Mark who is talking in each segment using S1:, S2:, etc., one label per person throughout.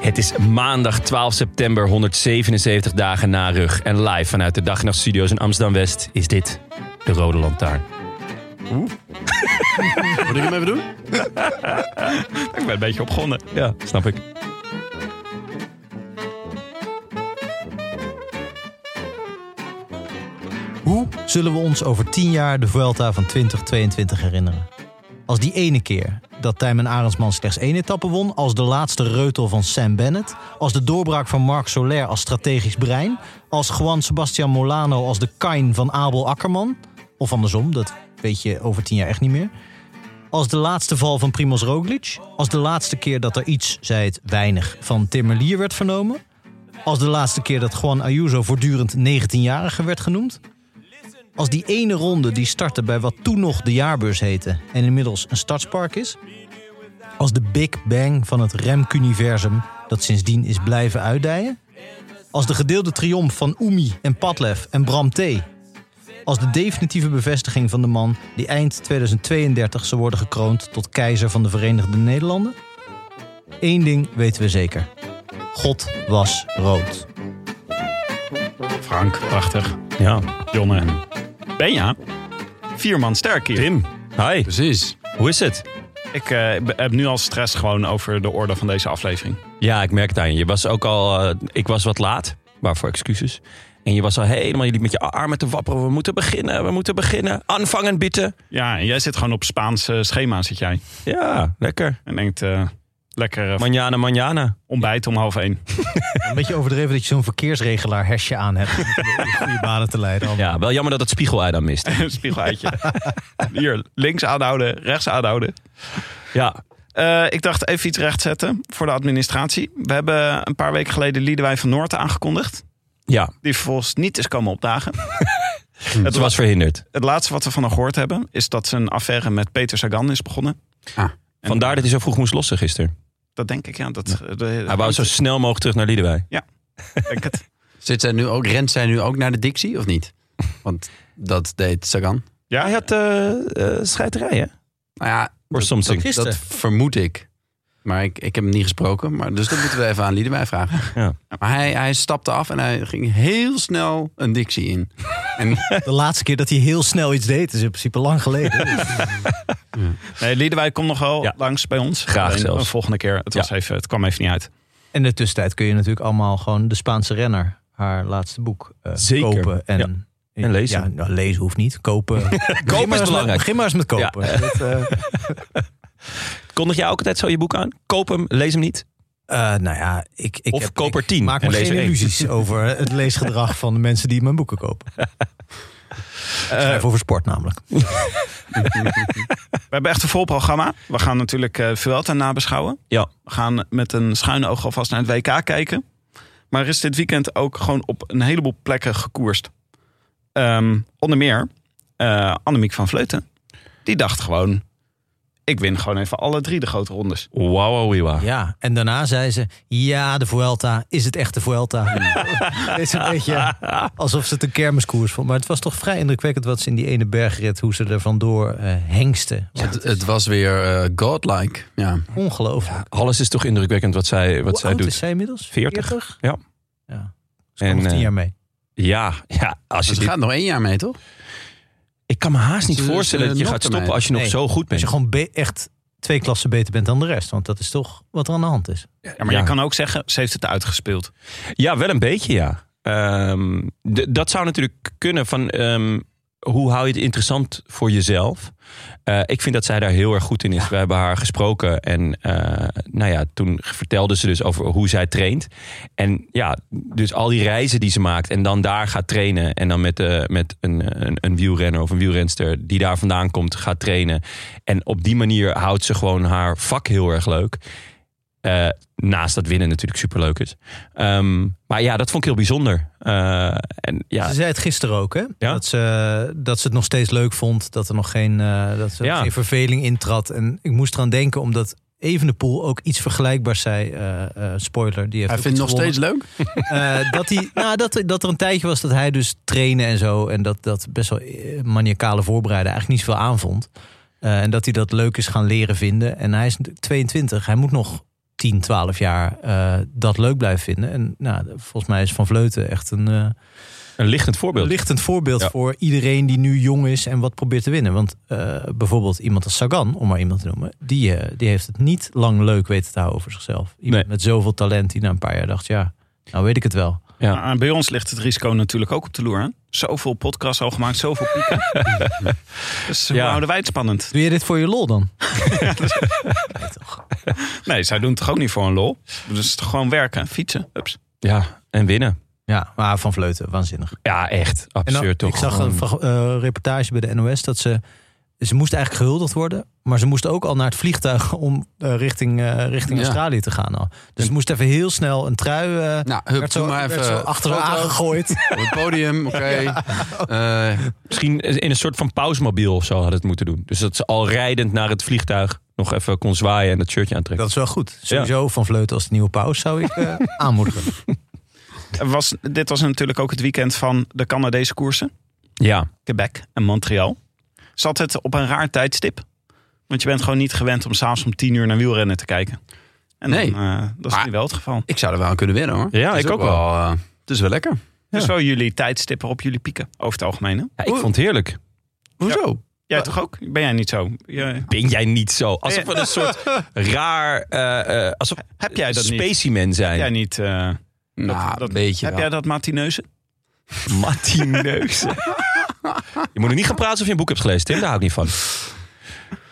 S1: Het is maandag 12 september, 177 dagen na rug. En live vanuit de Dag en Nacht Studio's in Amsterdam-West is dit de Rode Lantaarn.
S2: Moet ik hem even doen?
S1: Ik ben een beetje opgonnen. Ja, snap ik.
S3: Hoe zullen we ons over 10 jaar de Vuelta van 2022 herinneren? Als die ene keer dat Tijmen Arendsman slechts één etappe won, als de laatste reutel van Sam Bennett, als de doorbraak van Marc Soler als strategisch brein, als Juan Sebastian Molano als de kain van Abel Akkerman, of andersom, dat weet je over 10 jaar echt niet meer. Als de laatste val van Primoz Roglic, als de laatste keer dat er iets, zei het weinig, van Timmerlier werd vernomen, als de laatste keer dat Juan Ayuso voortdurend 19-jarige werd genoemd, als die ene ronde die startte bij wat toen nog de jaarbeurs heette en inmiddels een stadspark is. Als de Big Bang van het Remk-universum dat sindsdien is blijven uitdijen. Als de gedeelde triomf van Oemi en Padlef en Bram T. Als de definitieve bevestiging van de man die eind 2032 zal worden gekroond tot keizer van de Verenigde Nederlanden. Eén ding weten we zeker. God was rood.
S2: Frank, prachtig.
S1: Ja.
S2: Jonne. Benja. Vier man sterk hier.
S1: Tim, hi.
S2: Precies.
S1: Hoe is het?
S2: Ik eh, be- heb nu al stress gewoon over de orde van deze aflevering.
S1: Ja, ik merk het aan je. Je was ook al... eh, ik was wat laat. Waarvoor excuses. En je was al helemaal jullie met je armen te wapperen. We moeten beginnen, we moeten beginnen. Aanvangen, bieten.
S2: Ja, en jij zit gewoon op Spaans eh, schema, zit jij.
S1: Ja, lekker.
S2: En denkt, eh, lekker eh,
S1: Manjana, manjana.
S2: ontbijt om half één.
S3: Een beetje overdreven dat je zo'n verkeersregelaar hesje aan hebt. Om de goede banen te leiden.
S1: Ja, wel jammer dat het spiegelei dan mist.
S2: Spiegeleitje. Hier, links aanhouden, rechts aanhouden.
S1: Ja,
S2: Eh, ik dacht even iets rechtzetten voor de administratie. We hebben een paar weken geleden Liedewij van Noord aangekondigd.
S1: ja.
S2: Die vervolgens niet is komen opdagen.
S1: Het was verhinderd.
S2: Het laatste wat we van haar gehoord hebben... is dat ze een affaire met Peter Sagan is begonnen. En-
S1: Vandaar dat hij zo vroeg moest lossen gisteren.
S2: Dat denk ik, ja. Dat, eh, de-
S1: Hij wou zo snel mogelijk terug naar Liedewij.
S2: denk het.
S4: Zit zij nu ook, rent zij nu ook naar de Dixie of niet? Want dat deed Sagan.
S2: Ja,
S1: Hij had eh eh scheiterij, hè?
S4: Nou ja,
S1: Or something.
S3: dat- Gisteren.
S4: dat vermoed ik. Maar ik, ik heb hem niet gesproken. Maar, dus dat moeten we even aan Liedewij vragen.
S1: Ja.
S4: Maar hij, hij stapte af en hij ging heel snel een Dixie in. En
S3: De laatste keer dat hij heel snel iets deed is in principe lang geleden.
S2: nee, Liedewij komt nog wel
S1: Ja.
S2: langs bij ons.
S1: Graag
S2: Alleen
S1: zelfs.
S2: Een volgende keer. Het, was even, het kwam even niet uit.
S3: In de tussentijd kun je natuurlijk allemaal gewoon de Spaanse renner, haar laatste boek, eh,
S1: Zeker.
S3: kopen. En,
S1: Ja. En lezen.
S3: Ja, nou, lezen hoeft niet. Kopen. Kopen
S1: is belangrijk.
S3: begin maar eens met kopen. Dat, eh,
S1: Kondig jij ook altijd zo je boek aan? Koop hem, lees hem niet.
S3: eh, nou ja, ik, ik,
S1: Of
S3: heb,
S1: koop er
S3: ik
S1: tien
S3: maak
S1: en
S3: me
S1: lees
S3: geen
S1: er één.
S3: illusies over het leesgedrag van de mensen die mijn boeken kopen. Schrijf over sport namelijk.
S2: We hebben echt een vol programma. We gaan natuurlijk eh Vuelta nabeschouwen.
S1: Ja.
S2: We gaan met een schuine oog alvast naar het WK kijken. Maar er is dit weekend ook gewoon op een heleboel plekken gekoerst. Ehm, onder meer eh, Annemiek van Vleuten. Die dacht gewoon, ik win gewoon even alle drie de grote rondes.
S1: Wow, wow, wee, wow.
S3: Ja, en daarna zei ze, ja, de Vuelta, is het echt de Vuelta? Het is een beetje alsof ze het een kermiskoers vond. Maar het was toch vrij indrukwekkend wat ze in die ene bergrit, hoe ze er vandoor eh hengsten.
S4: het, het was weer eh, godlike. Ja. dus
S3: Ongelooflijk.
S1: Alles is toch indrukwekkend wat zij, wat
S3: Hoe
S1: zij
S3: oud
S1: doet.
S3: is zij inmiddels?
S1: 40? Ja.
S3: Ja. Ze
S1: En,
S3: en, nog tien
S1: eh,
S3: jaar mee.
S1: Ja, ja als je
S4: Ze
S1: dit-
S4: gaat nog één jaar mee, toch?
S1: ik kan me haast niet
S4: Ze- ze
S1: voorstellen dat je
S4: lokt
S1: gaat
S4: hem
S1: stoppen
S4: uit.
S1: als je nog
S3: Nee.
S1: zo goed
S3: Als
S1: bent.
S3: je gewoon be- echt twee klassen beter bent dan de rest. Want dat is toch wat er aan de hand is.
S2: Ja, maar
S1: Ja.
S2: je kan ook zeggen, ze heeft het uitgespeeld.
S1: Ja, wel een beetje, ja. Ehm, d- dat zou natuurlijk kunnen van ehm, hoe hou je het interessant voor jezelf? Eh, ik vind dat zij daar heel erg goed in is. We hebben haar gesproken en eh, nou ja, toen vertelde ze dus over hoe zij traint. En ja, dus al die reizen die ze maakt en dan daar gaat trainen. En dan met, eh, met een, een, een wielrenner of een wielrenster die daar vandaan komt gaat trainen. En op die manier houdt ze gewoon haar vak heel erg leuk. Eh, naast dat winnen natuurlijk superleuk is. Ehm, maar ja, dat vond ik heel bijzonder. Eh, en ja,
S3: Ze zei het gisteren ook, hè?
S1: Ja.
S3: Dat, ze, dat ze het nog steeds leuk vond. Dat er nog geen, eh, dat ze
S1: Ja.
S3: geen verveling intrad. En ik moest eraan denken, omdat Evenepoel ook iets vergelijkbaars zei. eh, eh, spoiler, die heeft
S4: Hij
S3: ook
S4: vindt
S3: iets
S4: het nog
S3: gewonnen.
S4: steeds leuk.
S3: Eh, dat, hij, nou, dat, dat er een tijdje was dat hij dus trainen en zo. En dat, dat best wel eh, maniacale voorbereiden eigenlijk niet zoveel aanvond. Eh, en dat hij dat leuk is gaan leren vinden. En hij is natuurlijk 22. Hij moet nog 10, 12 jaar eh, dat leuk blijven vinden. En nou, volgens mij is Van Vleuten echt een eh,
S1: een lichtend voorbeeld.
S3: lichtend voorbeeld
S1: Ja.
S3: voor iedereen die nu jong is en wat probeert te winnen. Want eh, bijvoorbeeld iemand als Sagan, om maar iemand te noemen, die, eh, die heeft het niet lang leuk weten te houden voor zichzelf. Iemand
S1: Nee.
S3: met zoveel talent die na een paar jaar dacht, ja, nou weet ik het wel.
S1: Ja.
S2: Maar bij ons ligt het risico natuurlijk ook op de loer. Hè? Zoveel podcasts al gemaakt, zoveel pieken. dus hoe
S1: Ja.
S2: houden wij het spannend?
S3: Doe je dit voor je lol dan?
S2: Nee, zij doen het toch ook niet voor een lol? Dus het is gewoon werken, fietsen, ups.
S1: Ja, en winnen.
S3: Ja, maar van Vleuten, waanzinnig.
S1: Ja, echt.
S3: En dan-
S1: Absurd toch?
S3: ik zag een
S1: Gewoon-
S3: frag- eh, reportage bij de NOS dat ze. Ze moest eigenlijk gehuldigd worden, maar ze moest ook al naar het vliegtuig om eh, richting, eh, richting
S4: Ja.
S3: Australië te gaan. Al. Dus ze moest even heel snel een trui. eh,
S4: Nou, hup,
S3: werd zo,
S4: doe maar
S3: werd zo
S4: even.
S3: achter haar
S4: foto
S3: aangegooid.
S4: Op het podium, oké. Eh,
S1: Misschien in een soort van pausmobiel of zo hadden het moeten doen. Dus dat ze al rijdend naar het vliegtuig nog even kon zwaaien en dat shirtje aantrekken.
S3: Dat is wel goed. Sowieso van Vleuten als de nieuwe paus zou ik eh, aanmoedigen.
S2: Er Was, dit was natuurlijk ook het weekend van de Canadese koersen.
S1: Ja,
S2: Quebec en Montreal. Zat het op een raar tijdstip? Want je bent gewoon niet gewend om s'avonds om tien uur naar wielrennen te kijken. En
S4: Nee.
S2: dan, eh, dat is
S4: Maar-
S2: nu wel het geval.
S4: ik zou er wel aan kunnen winnen hoor.
S1: Ja,
S4: Het is
S1: ik ook wel.
S4: eh, het is wel lekker.
S2: Dus wel jullie tijdstippen op jullie pieken, over het algemeen. Hè?
S1: Ja, ik vond het heerlijk.
S4: Hoezo?
S2: Jij toch ook? Ben jij niet zo? Je-
S1: Ben jij niet zo? Alsof we een soort raar, eh eh alsof
S2: heb jij dat niet?
S1: specimen zijn.
S2: Heb jij niet? eh,
S4: Nou,
S2: dat-
S4: een beetje
S2: heb
S4: wel.
S2: jij dat matineuze?
S1: Matineus. je moet er niet gaan praten of je een boek hebt gelezen. Tim, daar hou ik niet van.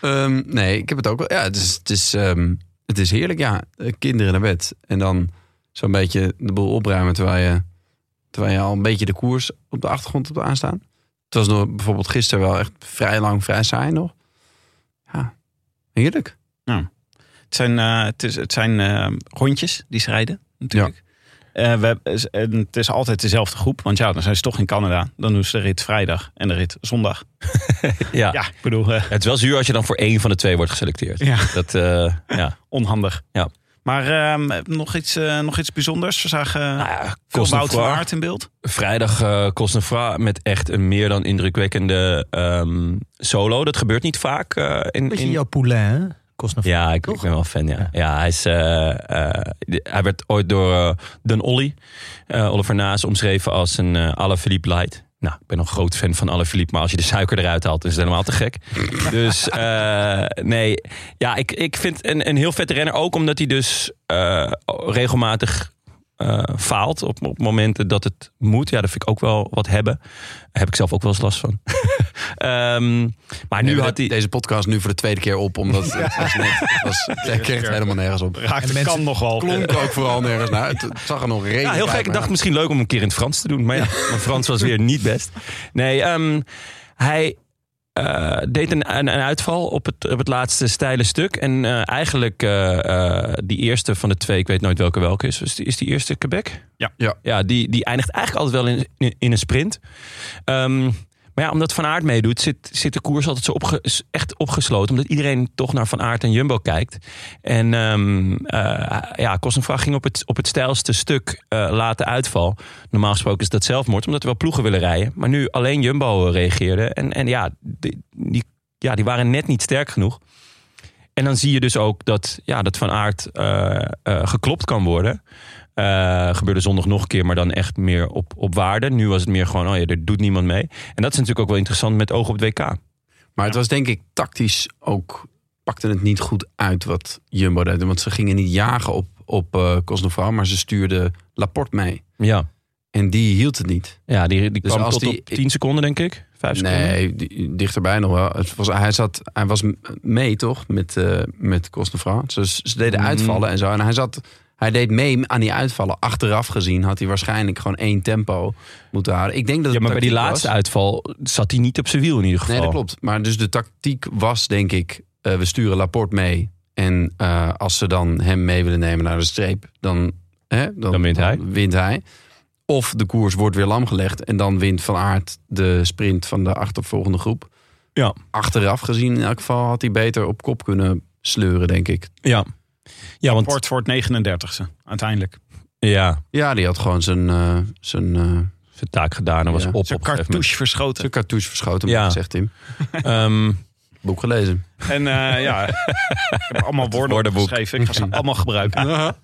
S4: Ehm, nee, ik heb het ook wel. Ja, het is, het is, ehm, het is heerlijk, ja. Eh, Kinderen naar bed. En dan zo'n beetje de boel opruimen terwijl je, terwijl je al een beetje de koers op de achtergrond hebt aanstaan. Het was nog, bijvoorbeeld gisteren wel echt vrij lang, vrij saai nog. Ja, heerlijk.
S2: Het zijn, eh, het is, het zijn eh, rondjes die ze rijden, natuurlijk. Eh, we, hebben- is- en het is altijd dezelfde groep, want ja, dan zijn ze toch in Canada. Dan doen ze de rit vrijdag en de rit zondag.
S1: Ja.
S2: Ja, ik bedoel, eh,
S1: Het is wel zuur als je dan voor één van de twee wordt geselecteerd.
S2: Ja.
S1: Dat, eh, ja.
S2: onhandig.
S1: Ja.
S2: Maar ehm, nog, iets, eh, nog iets bijzonders. We zagen eh,
S1: Nou ja,
S2: veel
S1: kost een
S2: Wout van
S1: vraag.
S2: Aert in beeld.
S1: Vrijdag eh Cosnefra met echt een meer dan indrukwekkende ehm, solo. Dat gebeurt niet vaak. eh, in,
S3: Beetje
S1: in-
S3: jouw poulain, hè? Kost nog
S1: Ja, ik, ik
S3: Toch?
S1: ben wel fan. Ja. Ja.
S3: Ja.
S1: hij, is, eh, eh, de- hij werd ooit door eh Dan Olly, eh, Oliver Naas, omschreven als een eh Alaphilippe light. Nou, ik ben een groot fan van Alaphilippe, maar als je de suiker eruit haalt, is het helemaal te gek. dus eh, nee, ja, ik, ik vind een, een heel vette renner ook omdat hij dus eh, regelmatig eh, faalt op, op momenten dat het moet. Ja, dat vind ik ook wel wat hebben. Daar heb ik zelf ook wel eens last van. Ehm, maar nu
S4: We
S1: had
S4: hebben
S1: hij...
S4: deze podcast nu voor de tweede keer op, omdat het was net, het was, het kreeg het helemaal nergens op.
S2: Raakte
S3: mensen-
S2: kan nogal.
S4: Klonk ook vooral nergens naar. Het, het zag er nog redelijk
S1: Ja, heel
S4: uit,
S1: gek. Ik
S4: maar-
S1: dacht misschien leuk om een keer in het Frans te doen. Maar ja, mijn Frans was weer niet best. Nee, ehm, hij eh, deed een, een, een uitval op het, op het laatste steile stuk. En eh, eigenlijk eh, eh, die eerste van de twee, ik weet nooit welke welke is. Is die, is die eerste Quebec?
S2: Ja.
S4: Ja.
S1: ja die, die eindigt eigenlijk altijd wel in, in, in een sprint. Ehm, maar ja, omdat Van Aert meedoet, zit, zit de koers altijd zo opge- is echt opgesloten. Omdat iedereen toch naar Van Aert en Jumbo kijkt. En ehm eh ja, Kostenvraag ging op het, op het stijlste stuk eh late uitval. Normaal gesproken is dat zelfmoord, omdat er wel ploegen willen rijden. Maar nu alleen Jumbo eh, reageerde. En, en ja, die, die, ja, die waren net niet sterk genoeg. En dan zie je dus ook dat, ja, dat Van Aert eh, eh, geklopt kan worden. Eh, gebeurde zondag nog een keer, maar dan echt meer op, op waarde. Nu was het meer gewoon, oh ja, er doet niemand mee. En dat is natuurlijk ook wel interessant met oog op het WK.
S4: Maar het was denk ik tactisch ook pakte het niet goed uit wat Jumbo deed. Want ze gingen niet jagen op, op eh Cosnefroid, maar ze stuurden Laporte mee.
S1: Ja,
S4: En die hield het niet.
S1: ja die, die
S4: Dus
S1: kwam
S4: als
S1: tot
S4: die-
S1: op 10 seconden, denk ik. 5 seconden.
S4: Nee, die- dichterbij nog wel. Het was, hij, zat, hij was m- mee, toch? Met, eh met Cosnefra. Ze, ze deden
S1: Mm.
S4: uitvallen en zo. En hij, zat, hij deed mee aan die uitvallen. Achteraf gezien had hij waarschijnlijk gewoon één tempo moeten houden. Ik denk dat
S1: Ja,
S4: het
S1: maar bij die
S4: tactiek
S1: laatste
S4: was.
S1: uitval zat hij niet op zijn wiel in ieder geval.
S4: Nee, dat klopt. Maar dus de tactiek was, denk ik... eh, we sturen Laporte mee. En eh, als ze dan hem mee willen nemen naar de streep... dan, hè,
S1: Dan wint hij.
S4: wint hij. Of de koers wordt weer lam gelegd... en dan wint Van Aert de sprint van de achtervolgende groep.
S1: Ja.
S4: Achteraf gezien in elk geval had hij beter op kop kunnen sleuren, denk ik.
S1: Ja, ja want
S2: Port voor het 39e, uiteindelijk.
S1: ja,
S4: Ja, die had gewoon zijn, eh zijn, eh,
S1: zijn taak gedaan en was
S4: Ja.
S1: op op
S2: Zijn
S1: een gegeven moment.
S2: cartouche verschoten.
S4: zijn cartouche verschoten,
S1: Ja.
S4: zegt Tim.
S1: Ehm,
S4: Boek gelezen.
S2: En eh, ja, ik heb allemaal woorden
S1: woordenboek.
S2: geschreven. Ik ga ze allemaal gebruiken.
S4: Oh,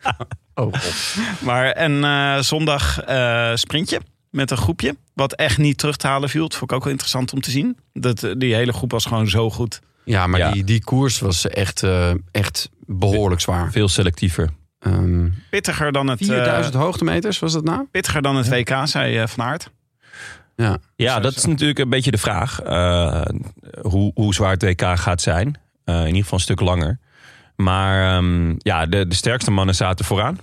S4: god.
S2: Maar en eh, zondag eh, sprintje met een groepje. Wat echt niet terug te halen viel. Dat vond ik ook wel interessant om te zien. Dat, eh, die hele groep was gewoon zo goed.
S4: Ja, maar
S1: Ja.
S4: Die, die koers was echt, eh, echt behoorlijk zwaar.
S1: veel selectiever.
S4: Ehm,
S2: Pittiger dan het, eh,
S4: 4000 hoogtemeters was dat nou?
S2: pittiger dan het WK, zei eh, Van Aert.
S1: Ja,
S2: Zo,
S1: dat
S2: zo.
S1: is natuurlijk een beetje de vraag. eh, hoe, hoe zwaar het WK gaat zijn. Eh, in ieder geval een stuk langer. Maar ehm, ja, de, de sterkste mannen zaten vooraan.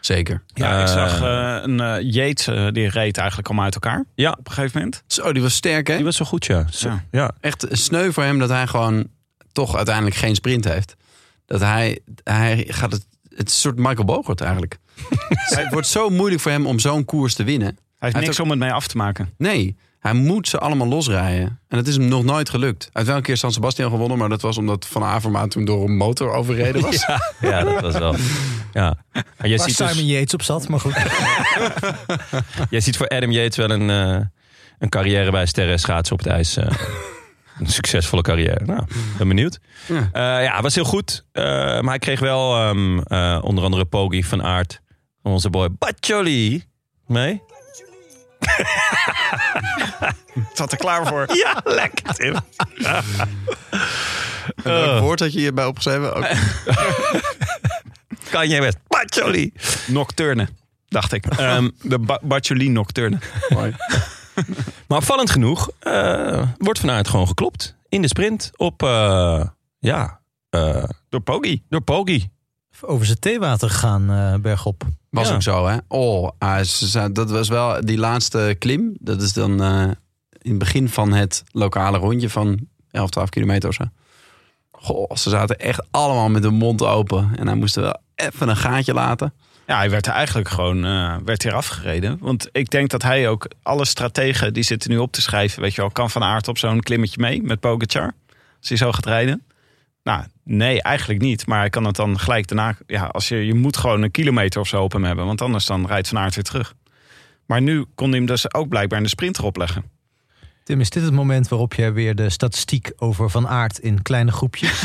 S4: Zeker.
S2: Ja, ik
S1: Eh,
S2: zag eh, een eh Yates, eh, die reed eigenlijk allemaal uit elkaar.
S1: Ja.
S2: Op een gegeven moment.
S4: Zo, die was sterk, hè?
S1: Die was zo goed, ja. Zo-
S2: Ja.
S1: ja.
S4: Echt sneu voor hem dat hij gewoon toch uiteindelijk geen sprint heeft. Dat hij, hij gaat het, het is een soort Michael Bogert eigenlijk. het wordt zo moeilijk voor hem om zo'n koers te winnen.
S2: Hij heeft
S4: Hij
S2: niks om het mee af te maken.
S4: Nee, hij moet ze allemaal losrijden. En dat is hem nog nooit gelukt. Uit welke keer San Sebastian gewonnen, maar dat was omdat Van Avermaat toen door een motor overreden was.
S1: Ja, ja, dat was wel. Ja. Maar jij,
S3: Waar
S1: ziet dus-
S3: Simon Yates op zat, maar goed.
S1: jij ziet voor Adam Yates wel een, eh, een carrière bij Sterren Schaatsen op het ijs. eh, een succesvolle carrière. Nou, ben benieuwd.
S4: Ja.
S1: Eh, ja, het was heel goed. Eh, maar hij kreeg wel ehm, eh, onder andere Pogi van Aert. Onze boy Baccioli. Mee?
S2: Ik zat er klaar voor.
S1: Ja, lekker Tim.
S4: Welk woord had je hierbij opgeschreven? Ook-
S1: Kan jij best. Baccioli.
S2: Nocturne, dacht ik.
S1: Ehm,
S2: de ba Bartoli Nocturne.
S4: Mooi.
S1: maar opvallend genoeg eh, wordt Van Aert gewoon geklopt. In de sprint op, eh, ja, eh,
S2: Door Poggi.
S1: door Pogi.
S3: Over zijn theewater gegaan, eh, bergop.
S4: Was
S1: Ja.
S4: ook zo, hè? Oh, ah, ze zei- dat was wel die laatste klim. Dat is dan eh, in het begin van het lokale rondje van 11, 12 kilometer of zo. Goh, ze zaten echt allemaal met hun mond open. En hij moest er wel even een gaatje laten.
S2: Ja, hij werd er eigenlijk gewoon eh werd hier afgereden. Want ik denk dat hij ook alle strategen die zitten nu op te schrijven. Weet je wel, kan Van Aert op zo'n klimmetje mee met Pogacar? Als hij zo gaat rijden. Nou, nee, eigenlijk niet. Maar hij kan het dan gelijk daarna... Ja, als je, je moet gewoon een kilometer of zo op hem hebben. Want anders dan rijdt Van Aert weer terug. Maar nu kon hij hem dus ook blijkbaar in de sprint erop leggen.
S3: Tim, is dit het moment waarop jij weer de statistiek over Van Aert in kleine groepjes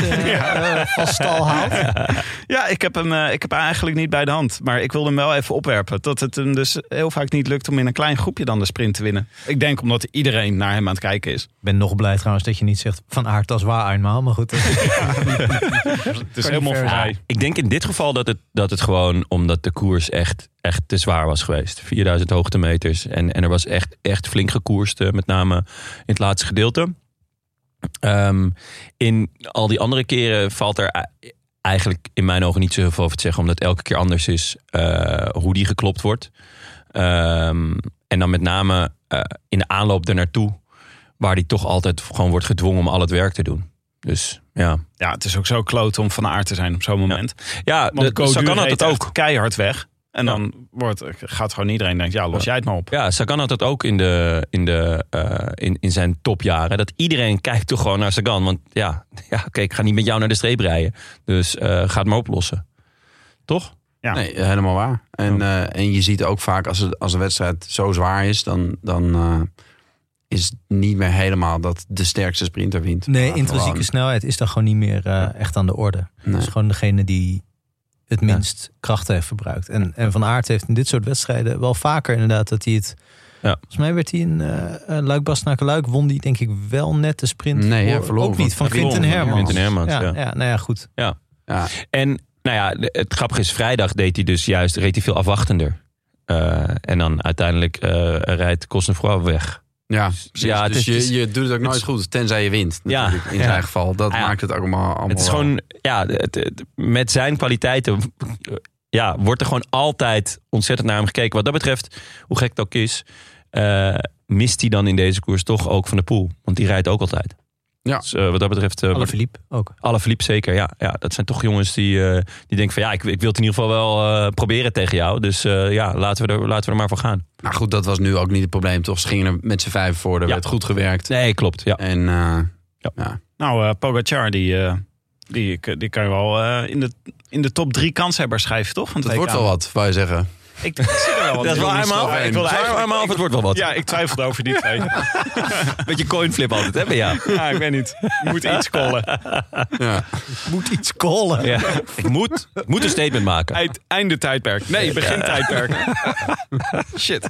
S3: eh, eh, van stal haalt?
S2: Ja, ik heb, hem, eh, ik heb hem eigenlijk niet bij de hand. Maar ik wilde hem wel even opwerpen. Dat het hem dus heel vaak niet lukt om in een klein groepje dan de sprint te winnen. Ik denk omdat iedereen naar hem aan het kijken is.
S3: Ik ben nog blij trouwens dat je niet zegt Van Aert als waar eenmaal, maar goed. eh.
S2: Het
S3: Kan
S2: is helemaal
S3: niet verder
S2: vrij.
S3: zijn.
S1: Ik denk in dit geval dat het, dat het gewoon omdat de koers echt, echt te zwaar was geweest. 4000 hoogtemeters. En, en er was echt, echt flink gekoerst, eh, met name in het laatste gedeelte. Ehm, in al die andere keren valt er e- eigenlijk in mijn ogen niet zo heel veel over te zeggen. Omdat het elke keer anders is eh, hoe die geklopt wordt. Ehm, en dan met name eh, in de aanloop ernaartoe. Waar die toch altijd gewoon wordt gedwongen om al het werk te doen. Dus ja.
S2: Ja, het is ook zo kloot om van aard te zijn op zo'n moment.
S1: Ja,
S2: Want
S1: de,
S2: Go
S1: zo
S2: Duur
S1: kan dat
S2: reed
S1: het ook.
S2: echt keihard weg. En
S1: Ja.
S2: dan wordt, gaat gewoon iedereen denken, ja, los jij het maar op.
S1: Ja, Sagan had dat ook in, de, in, de, eh, in, in zijn topjaren. Dat iedereen kijkt toch gewoon naar Sagan. Want ja, ja oké, ik ga niet met jou naar de streep rijden. Dus eh, ga het maar oplossen. Toch?
S2: Ja.
S4: Nee, helemaal waar. En, eh, en je ziet ook vaak als, het, als een wedstrijd zo zwaar is, dan, dan eh, is het niet meer helemaal dat de sterkste sprinter wint.
S3: Nee,
S4: Maar
S3: intrinsieke
S4: gewoon-
S3: snelheid is dan gewoon niet meer eh, echt aan de orde. Dat
S4: Nee.
S3: is gewoon degene die het minst krachten heeft verbruikt. En, en Van Aert heeft in dit soort wedstrijden wel vaker inderdaad dat hij het Volgens mij werd hij in eh eh, luik Bastenaken Luik won die denk ik wel net de sprint.
S4: Nee, hij
S3: voor-
S4: verloor
S3: Ook
S4: van-
S3: niet, van
S4: hij verloor
S3: Quinten
S4: van
S3: Hermans.
S1: Quinten Hermans,
S3: ja,
S1: ja.
S3: nou ja, goed.
S4: Ja,
S1: En nou ja, de- het grappige is, vrijdag deed hij dus juist reed hij veel afwachtender. Eh, en dan uiteindelijk eh, rijdt Cosnefroid weg.
S4: ja, precies.
S1: Ja, het
S4: dus
S1: is- het is-
S4: je, je doet het ook nooit
S1: is-
S4: goed, tenzij je wint.
S1: Ja,
S4: Natuurlijk, in
S1: ja. Ah,
S4: zijn geval. Dat
S1: Ja.
S4: maakt het ook allemaal, allemaal
S1: Het is
S4: wel-
S1: gewoon, ja, het, het- met zijn kwaliteiten ja, wordt er gewoon altijd ontzettend naar hem gekeken. Wat dat betreft, hoe gek het ook is, eh, mist hij dan in deze koers toch ook van de pool. Want die rijdt ook altijd.
S4: Ja.
S1: Dus, eh, wat dat betreft, eh,
S3: Alle
S1: wordt-
S3: Philippe ook.
S1: alle verliep zeker. Ja, ja, dat zijn toch jongens die, eh, die denken van ja, ik, ik wil het in ieder geval wel eh, proberen tegen jou. Dus eh, ja, laten we, er, laten we er maar voor gaan.
S4: Maar Nou goed, dat was nu ook niet het probleem, toch? Ze gingen er met z'n vijf voor, er
S1: Ja.
S4: werd goed gewerkt.
S1: Nee, klopt. Ja.
S4: En eh,
S2: Nou, eh Pogacar, die, eh, die, die kan je wel eh, in, de, in de top drie kanshebbers schrijven, toch? Van het
S4: dat wordt
S2: WK?
S4: wel wat, wou je zeggen.
S2: Ik, ik zit er wel wat
S1: Dat is
S2: in.
S1: wel
S4: Sloween.
S1: armaal. Ik wilde eigenlijk armaal, of het wordt wel wat.
S2: Ja, ik twijfelde over die twee.
S1: Beetje coinflip altijd, hè? bij jou.
S2: Ja, ik weet niet. Moet iets callen.
S4: Ja.
S3: Moet iets callen.
S1: Ja. Ik moet, ik moet een statement maken.
S2: Eind- Einde tijdperk. Nee, begin tijdperk. Shit.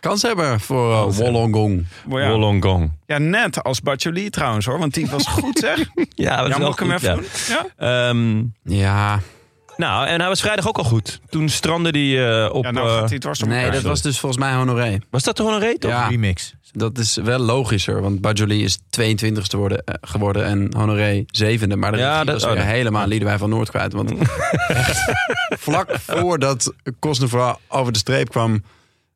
S4: Kans hebben voor eh, Wollongong.
S2: Maar ja.
S1: Wollongong.
S2: ja, net als Bacholi trouwens hoor. Want die was goed zeg.
S1: Ja, dat is
S2: Ja,
S1: wel
S2: mag ik hem
S1: goed, ja.
S2: even doen? Ja?
S1: Ehm,
S4: Ja,
S1: nou, en hij was vrijdag ook al goed. Toen strandde hij eh, op...
S2: Ja, nou
S1: eh,
S2: gaat hij het dwars door
S4: nee,
S2: elkaar.
S4: dat was dus volgens mij Honoré.
S1: was dat toch een reet? of-
S4: Ja,
S3: Remix.
S4: dat is wel logischer, want Bajoli is 22ste worden, eh, geworden en Honoré 7e. Maar de
S1: Ja,
S4: ja,
S1: dat-
S4: dat is
S1: oh, dat-
S4: helemaal Liedewij van Noord kwijt. Want vlak voordat Cosnefra over de streep kwam,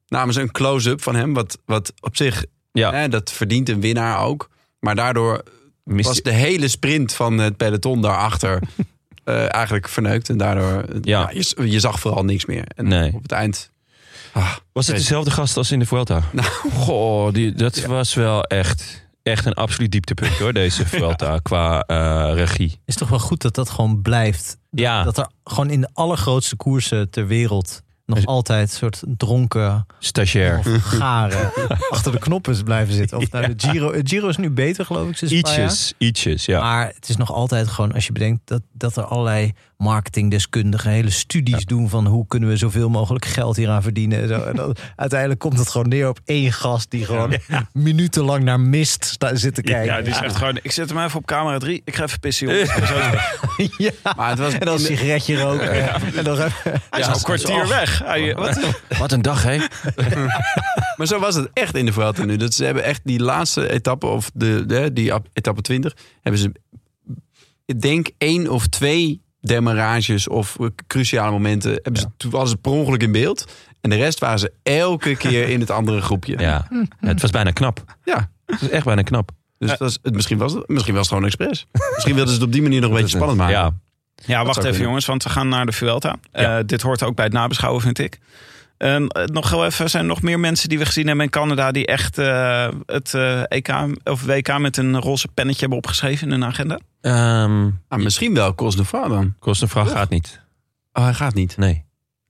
S4: namen ze een close-up van hem. Wat, wat op zich,
S1: Ja.
S4: hè, dat verdient een winnaar ook. Maar daardoor
S1: Mist-
S4: was de hele sprint van het peloton daarachter eh, eigenlijk verneukt. En daardoor, eh,
S1: Ja.
S4: ja. je, z- je zag vooral niks meer. En
S1: Nee.
S4: op het eind, ah,
S1: Was het dezelfde gast als in de Vuelta? Nou, goh, die, dat was wel echt, echt een absoluut dieptepunt hoor, deze Vuelta qua eh, regie.
S3: Is toch wel goed dat dat gewoon blijft.
S1: Ja,
S3: Dat er gewoon in de allergrootste koersen ter wereld nog
S1: Dus-
S3: altijd soort dronken
S1: stagiair.
S3: of garen achter de knoppen blijven zitten. Of nou, de Giro, eh, Giro is nu beter geloof ik. Sinds een paar jaar.
S1: Ietsjes, ietsjes, ja. Ah,
S3: Maar het is nog altijd gewoon, als je bedenkt dat, dat er allerlei marketingdeskundigen hele studies doen van hoe kunnen we zoveel mogelijk geld hieraan verdienen. En zo. En dan, uiteindelijk komt het gewoon neer op één gast die gewoon minutenlang naar mist sta, zit te kijken.
S2: Ja, die zegt gewoon, ik zet hem even op camera 3. Ik ga even pissen, jongens. En zo is het.
S3: Ja.
S4: maar het was
S3: En dan een
S4: in de-
S3: sigaretje roken. En dan,
S2: Hij is al een kwartier weg. Hij,
S1: Oh.
S2: wat?
S1: Wat een dag, hè?
S4: Maar zo was het echt in de Vuelta nu. Dat ze hebben echt die laatste etappe, of de, de, die ap- etappe 20, hebben ze, ik denk, één of twee demarages of eh, cruciale momenten. Hebben ze, toen was het per ongeluk in beeld. En de rest waren ze elke keer in het andere groepje.
S1: Ja, het was bijna knap.
S4: Ja.
S1: Het was echt bijna knap.
S4: Dus dat is, het, misschien, was het, misschien was het gewoon expres. misschien wilden ze het op die manier nog een beetje spannend maken.
S1: Ja,
S2: Ja, wacht
S4: zou
S2: even
S4: kunnen.
S2: jongens, want we gaan naar de Vuelta.
S1: Ja.
S2: Eh, dit hoort ook bij het nabeschouwen, vind ik. En eh, nog heel even, zijn er nog meer mensen die we gezien hebben in Canada... die echt eh, het eh, EK of WK met een roze pennetje hebben opgeschreven in hun agenda?
S1: Ehm
S4: Ah, misschien wel Cosnefra dan.
S1: Kostenvraag
S4: Ja.
S1: gaat niet.
S4: Oh, hij gaat niet.
S1: Nee.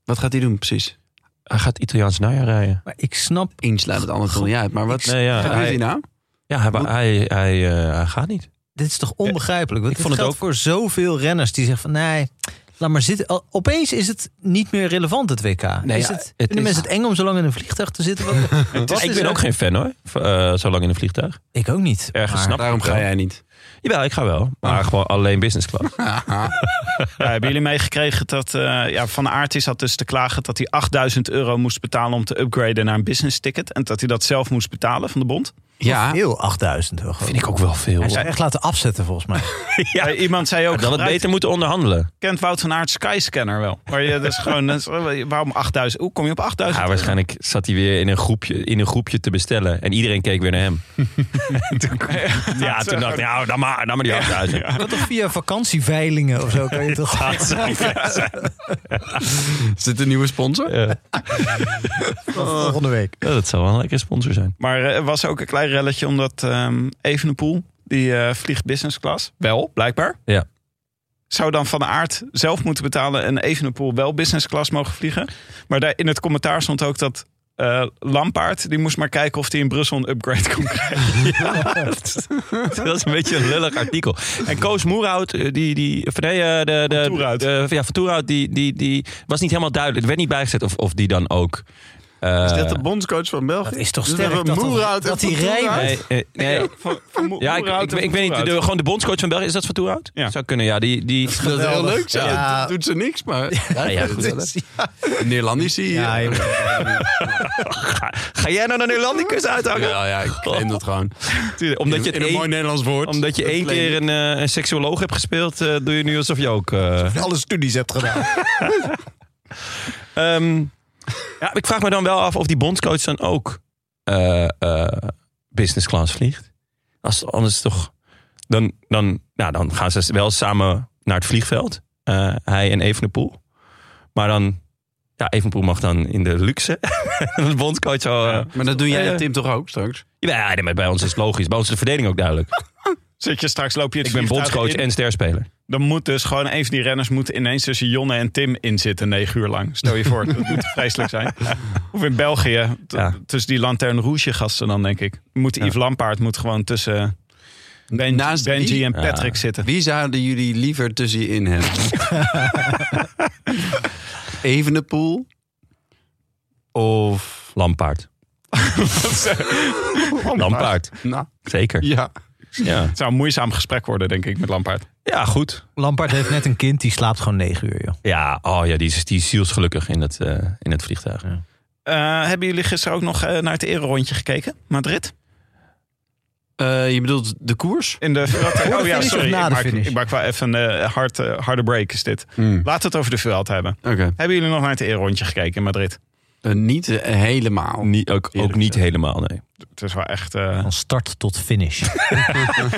S4: Wat gaat hij doen precies?
S1: Hij gaat Italiaans najaar rijden.
S3: maar ik snap,
S4: Eén sluit het ander toch niet uit. Maar wat
S1: Nee, ja,
S4: gebeurt
S1: hij-
S4: hier nou?
S1: Ja, hij, hij, hij, eh, hij gaat niet.
S3: dit is toch onbegrijpelijk?
S1: Ik
S3: Want ik vond
S1: vond het
S3: het ook voor zoveel renners die zeggen van nee, laat maar zitten. Al- Opeens is het niet meer relevant het WK.
S1: Nee,
S3: is
S1: ja,
S3: het,
S1: het
S3: vinden
S1: is-
S3: mensen het eng om zo lang in een vliegtuig te zitten? Wat- wat
S1: ik
S3: is
S1: ben
S3: er-
S1: ook geen fan hoor, v- eh, zo lang in een vliegtuig.
S3: Ik ook niet.
S1: Ergens
S3: maar-
S1: snap
S4: Daarom
S1: ik het
S4: ga
S1: wel.
S4: jij niet.
S1: Jawel, ik ga wel. Maar gewoon alleen business class.
S2: Ja, hebben jullie meegekregen dat eh, ja, Van Aert is had dus te klagen... dat hij 8000 euro moest betalen om te upgraden naar een business ticket... en dat hij dat zelf moest betalen van de bond?
S4: Ja,
S3: Heel 8000 euro.
S1: Vind ik ook wel veel.
S3: Hij zou echt laten afzetten volgens mij.
S2: Ja. Eh, iemand zei ook,
S1: Dan het
S2: gebruik-
S1: beter moeten onderhandelen.
S2: kent Wout van Aert Skyscanner wel. Maar je, dat is gewoon, dat is- waarom 8000? Hoe kom je op 8000?
S1: Ja, waarschijnlijk zat hij weer in een, groepje, in een groepje te bestellen. En iedereen keek weer naar hem. En toen, ja, toen dacht ik, nou, dan maar, dan maar die handen uit.
S3: Dat toch via vakantieveilingen of zo kan je toch
S4: is dit een nieuwe sponsor?
S3: volgende week.
S1: Ja, dat zou wel een lekkere sponsor zijn.
S2: Maar eh, er was ook een klein relletje omdat ehm Evenepoel, die eh, vliegt business class. Wel, blijkbaar.
S1: Ja.
S2: Zou dan Van Aert zelf moeten betalen en Evenepoel wel business class mogen vliegen. Maar daar, in het commentaar stond ook dat eh, Lampaard, die moest maar kijken of hij in Brussel een upgrade kon krijgen.
S1: Dat is een beetje een lullig artikel. En Koos Moerhout, eh, die, die, of nee, eh, de, de,
S2: Van Toerhout.
S1: de- ja, van Toerhout, die, die, die was niet helemaal duidelijk. Er werd niet bijgezet of, of die dan ook Eh,
S2: Is dit de bondscoach van België?
S3: Dat is toch
S2: Dus we
S3: sterk
S2: hebben
S3: dat,
S2: Moerhout en
S3: dat die
S2: Van
S3: rijmen.
S1: nee, eh, nee.
S2: Van- van Mo-
S1: Ja, ik,
S2: Moerhout
S1: ik,
S2: en
S1: ik weet niet.
S2: Moerhout.
S1: de- gewoon de bondscoach van België. Is dat van Toerhout?
S2: Ja.
S1: Zou kunnen, ja. Die, die,
S4: Dat is heel
S3: Geweldig.
S4: leuk. Zo.
S3: Ja.
S4: Dat doet ze niks, maar...
S1: ja, ja, goed.
S4: Neerlandici.
S3: Ja,
S4: Ja,
S3: joh.
S1: Ga, ga jij nou naar Nederlandicus uithangen?
S4: ja, ja, ik claim dat gewoon.
S1: Tuurlijk, Omdat je,
S4: in
S1: het
S4: een mooi
S1: één,
S4: Nederlands woord.
S1: omdat je één keer een, eh, een seksuoloog hebt gespeeld, eh, doe je nu alsof je ook... eh,
S3: Alle studies hebt gedaan.
S1: Ehm, ja, ik vraag me dan wel af of die bondscoach dan ook eh, eh, business class vliegt. Als, anders toch. Dan, dan, nou, dan gaan ze wel samen naar het vliegveld. Eh, hij en Evenepoel. Maar dan. Ja, Evenepoel mag dan in de luxe. En de bondscoach al. eh,
S4: Maar dat doe jij
S1: Eh,
S4: en Tim toch ook straks?
S1: ja, nee, maar bij ons is het logisch. Bij ons is de verdeling ook duidelijk.
S2: Zit je straks, loop je het
S1: Ik ben
S2: vliegtuig
S1: bondscoach
S2: in.
S1: en sterspeler.
S2: Dan moet dus gewoon een van die renners moet ineens tussen Jonne en Tim inzitten negen uur lang. Stel je voor, dat moet vreselijk zijn. Of in België, t-
S1: Ja.
S2: tussen die Lanterne Rouge gasten dan denk ik. Moet Yves Lampaard moet gewoon tussen Ben-
S4: Naast
S2: Benji
S4: wie?
S2: en Patrick zitten.
S4: Wie zouden jullie liever tussenin hebben? Evenepoel? Of...
S1: Lampaard. Lampaard.
S4: Nou,
S1: Zeker.
S4: ja.
S1: Ja,
S2: Het zou een moeizaam gesprek worden denk ik met Lampaard.
S1: ja goed.
S3: Lampard heeft net een kind, die slaapt gewoon negen uur, joh.
S1: Ja, oh ja, die is, die is zielsgelukkig in het, eh, in het vliegtuig.
S2: Eh, hebben jullie gisteren ook nog eh, naar het ererondje gekeken? Madrid?
S4: Eh, je bedoelt de koers?
S2: In de Vuelta? Oh ja,
S3: finish of
S2: sorry. Ik
S3: na de
S2: maak,
S3: finish?
S2: ik maak wel even een eh, hard, eh, harde break is dit.
S1: Mm.
S2: Laten we het over de Vuelta hebben.
S4: Oké.
S2: Hebben jullie nog naar het ererondje gekeken in Madrid?
S4: Eh, niet eh, helemaal.
S1: Niet, oh, ook, ook niet helemaal, nee.
S2: Het is wel echt... eh,
S3: Van start tot finish.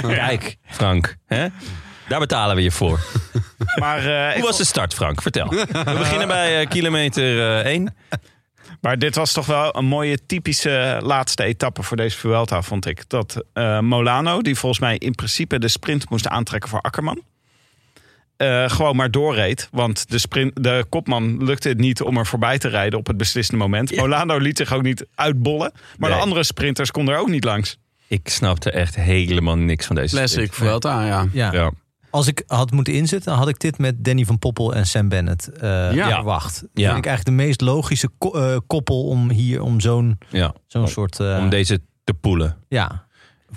S1: Kijk, Frank, hè? daar betalen we je voor.
S2: maar, eh, ik
S1: Hoe was de start, Frank? Vertel. We beginnen bij eh, kilometer 1.
S2: Maar dit was toch wel een mooie typische laatste etappe voor deze Vuelta, vond ik. Dat eh, Molano, die volgens mij in principe de sprint moest aantrekken voor Akkerman... eh, gewoon maar doorreed. Want de, sprint, de kopman lukte het niet om er voorbij te rijden op het beslissende moment. Molano liet zich ook niet uitbollen. Maar
S1: Nee.
S2: de andere sprinters konden er ook niet langs.
S1: ik snapte echt helemaal niks van deze
S4: Classic
S1: sprint.
S4: Vuelta, ja.
S3: Ja.
S1: Ja.
S3: Als ik had moeten inzetten, had ik dit met Danny van Poppel en Sam Bennett eh,
S4: Ja.
S3: verwacht. Dat
S1: Ja.
S3: vind ik eigenlijk de meest logische ko- eh, koppel om hier om zo'n
S1: Ja.
S3: zo'n
S1: Om-
S3: soort... eh,
S1: Om deze te poelen.
S3: ja.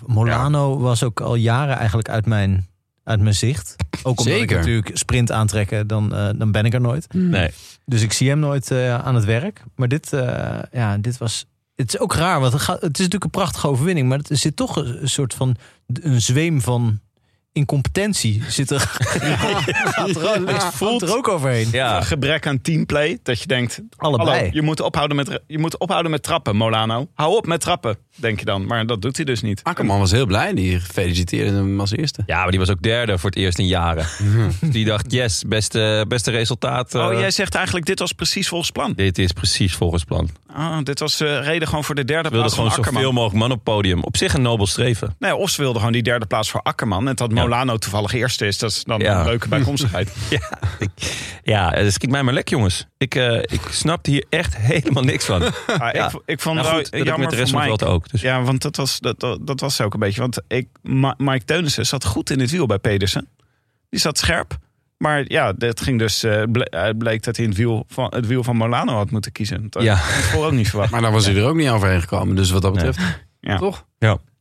S3: Molano was ook al jaren eigenlijk uit mijn, uit mijn zicht. Ook omdat ik
S4: Zeker.
S3: natuurlijk sprint aantrekken, dan, eh, dan ben ik er nooit.
S1: Nee.
S3: Dus ik zie hem nooit eh, aan het werk. Maar dit, eh, ja, dit was. Het is ook raar, want het, gaat, het is natuurlijk een prachtige overwinning. Maar er zit toch een een soort van. een zweem van incompetentie. Zit er, gaat er, ook- gaat er ook overheen.
S1: Ja.
S2: Een gebrek aan teamplay, dat je denkt...
S3: Allebei.
S2: Hallo, je moet, ophouden met, je moet ophouden met trappen, Molano. Hou op met trappen, denk je dan. Maar dat doet hij dus niet.
S4: Akkerman was heel blij. Die feliciteerde hem als eerste.
S1: ja, maar die was ook derde voor het eerst in jaren. Dus Die dacht, yes, beste, beste resultaat. eh,
S2: Oh, jij zegt eigenlijk, dit was precies volgens plan.
S1: Dit is precies volgens plan.
S2: Ah, dit was eh, reden gewoon voor de derde
S1: We wilden
S2: plaats
S1: gewoon
S2: van Akkerman.
S1: zoveel mogelijk man op podium. Op zich een nobel streven.
S2: Nee, of ze wilden gewoon die derde plaats voor Akkerman. En dat Molano toevallig eerste is, dat is dan
S1: Ja.
S2: een leuke bijkomstigheid.
S1: Ja, eh, schiet mij maar lek, jongens. Ik, eh ik snapte hier echt helemaal niks van. Nou
S2: Maar
S1: Ja.
S2: ik, ik vond het wel
S1: goed, dat heb ik
S2: jammer
S1: met de rest
S2: voor
S1: van het
S2: Mike.
S1: veld ook. Dus.
S2: Ja, want dat was, dat, dat, dat was ook een beetje. Want ik, Ma- Mike Teunissen zat goed in het wiel bij Pedersen. Die zat scherp. Maar ja, het ging dus, eh, ble- eh, bleek dat hij in het, wiel van, het wiel van Molano had moeten kiezen. Dat
S1: Ja.
S2: had ik voor ook niet verwacht.
S4: Maar dan was hij er ook niet overheen gekomen. Dus wat dat betreft...
S2: Ja.
S4: Toch?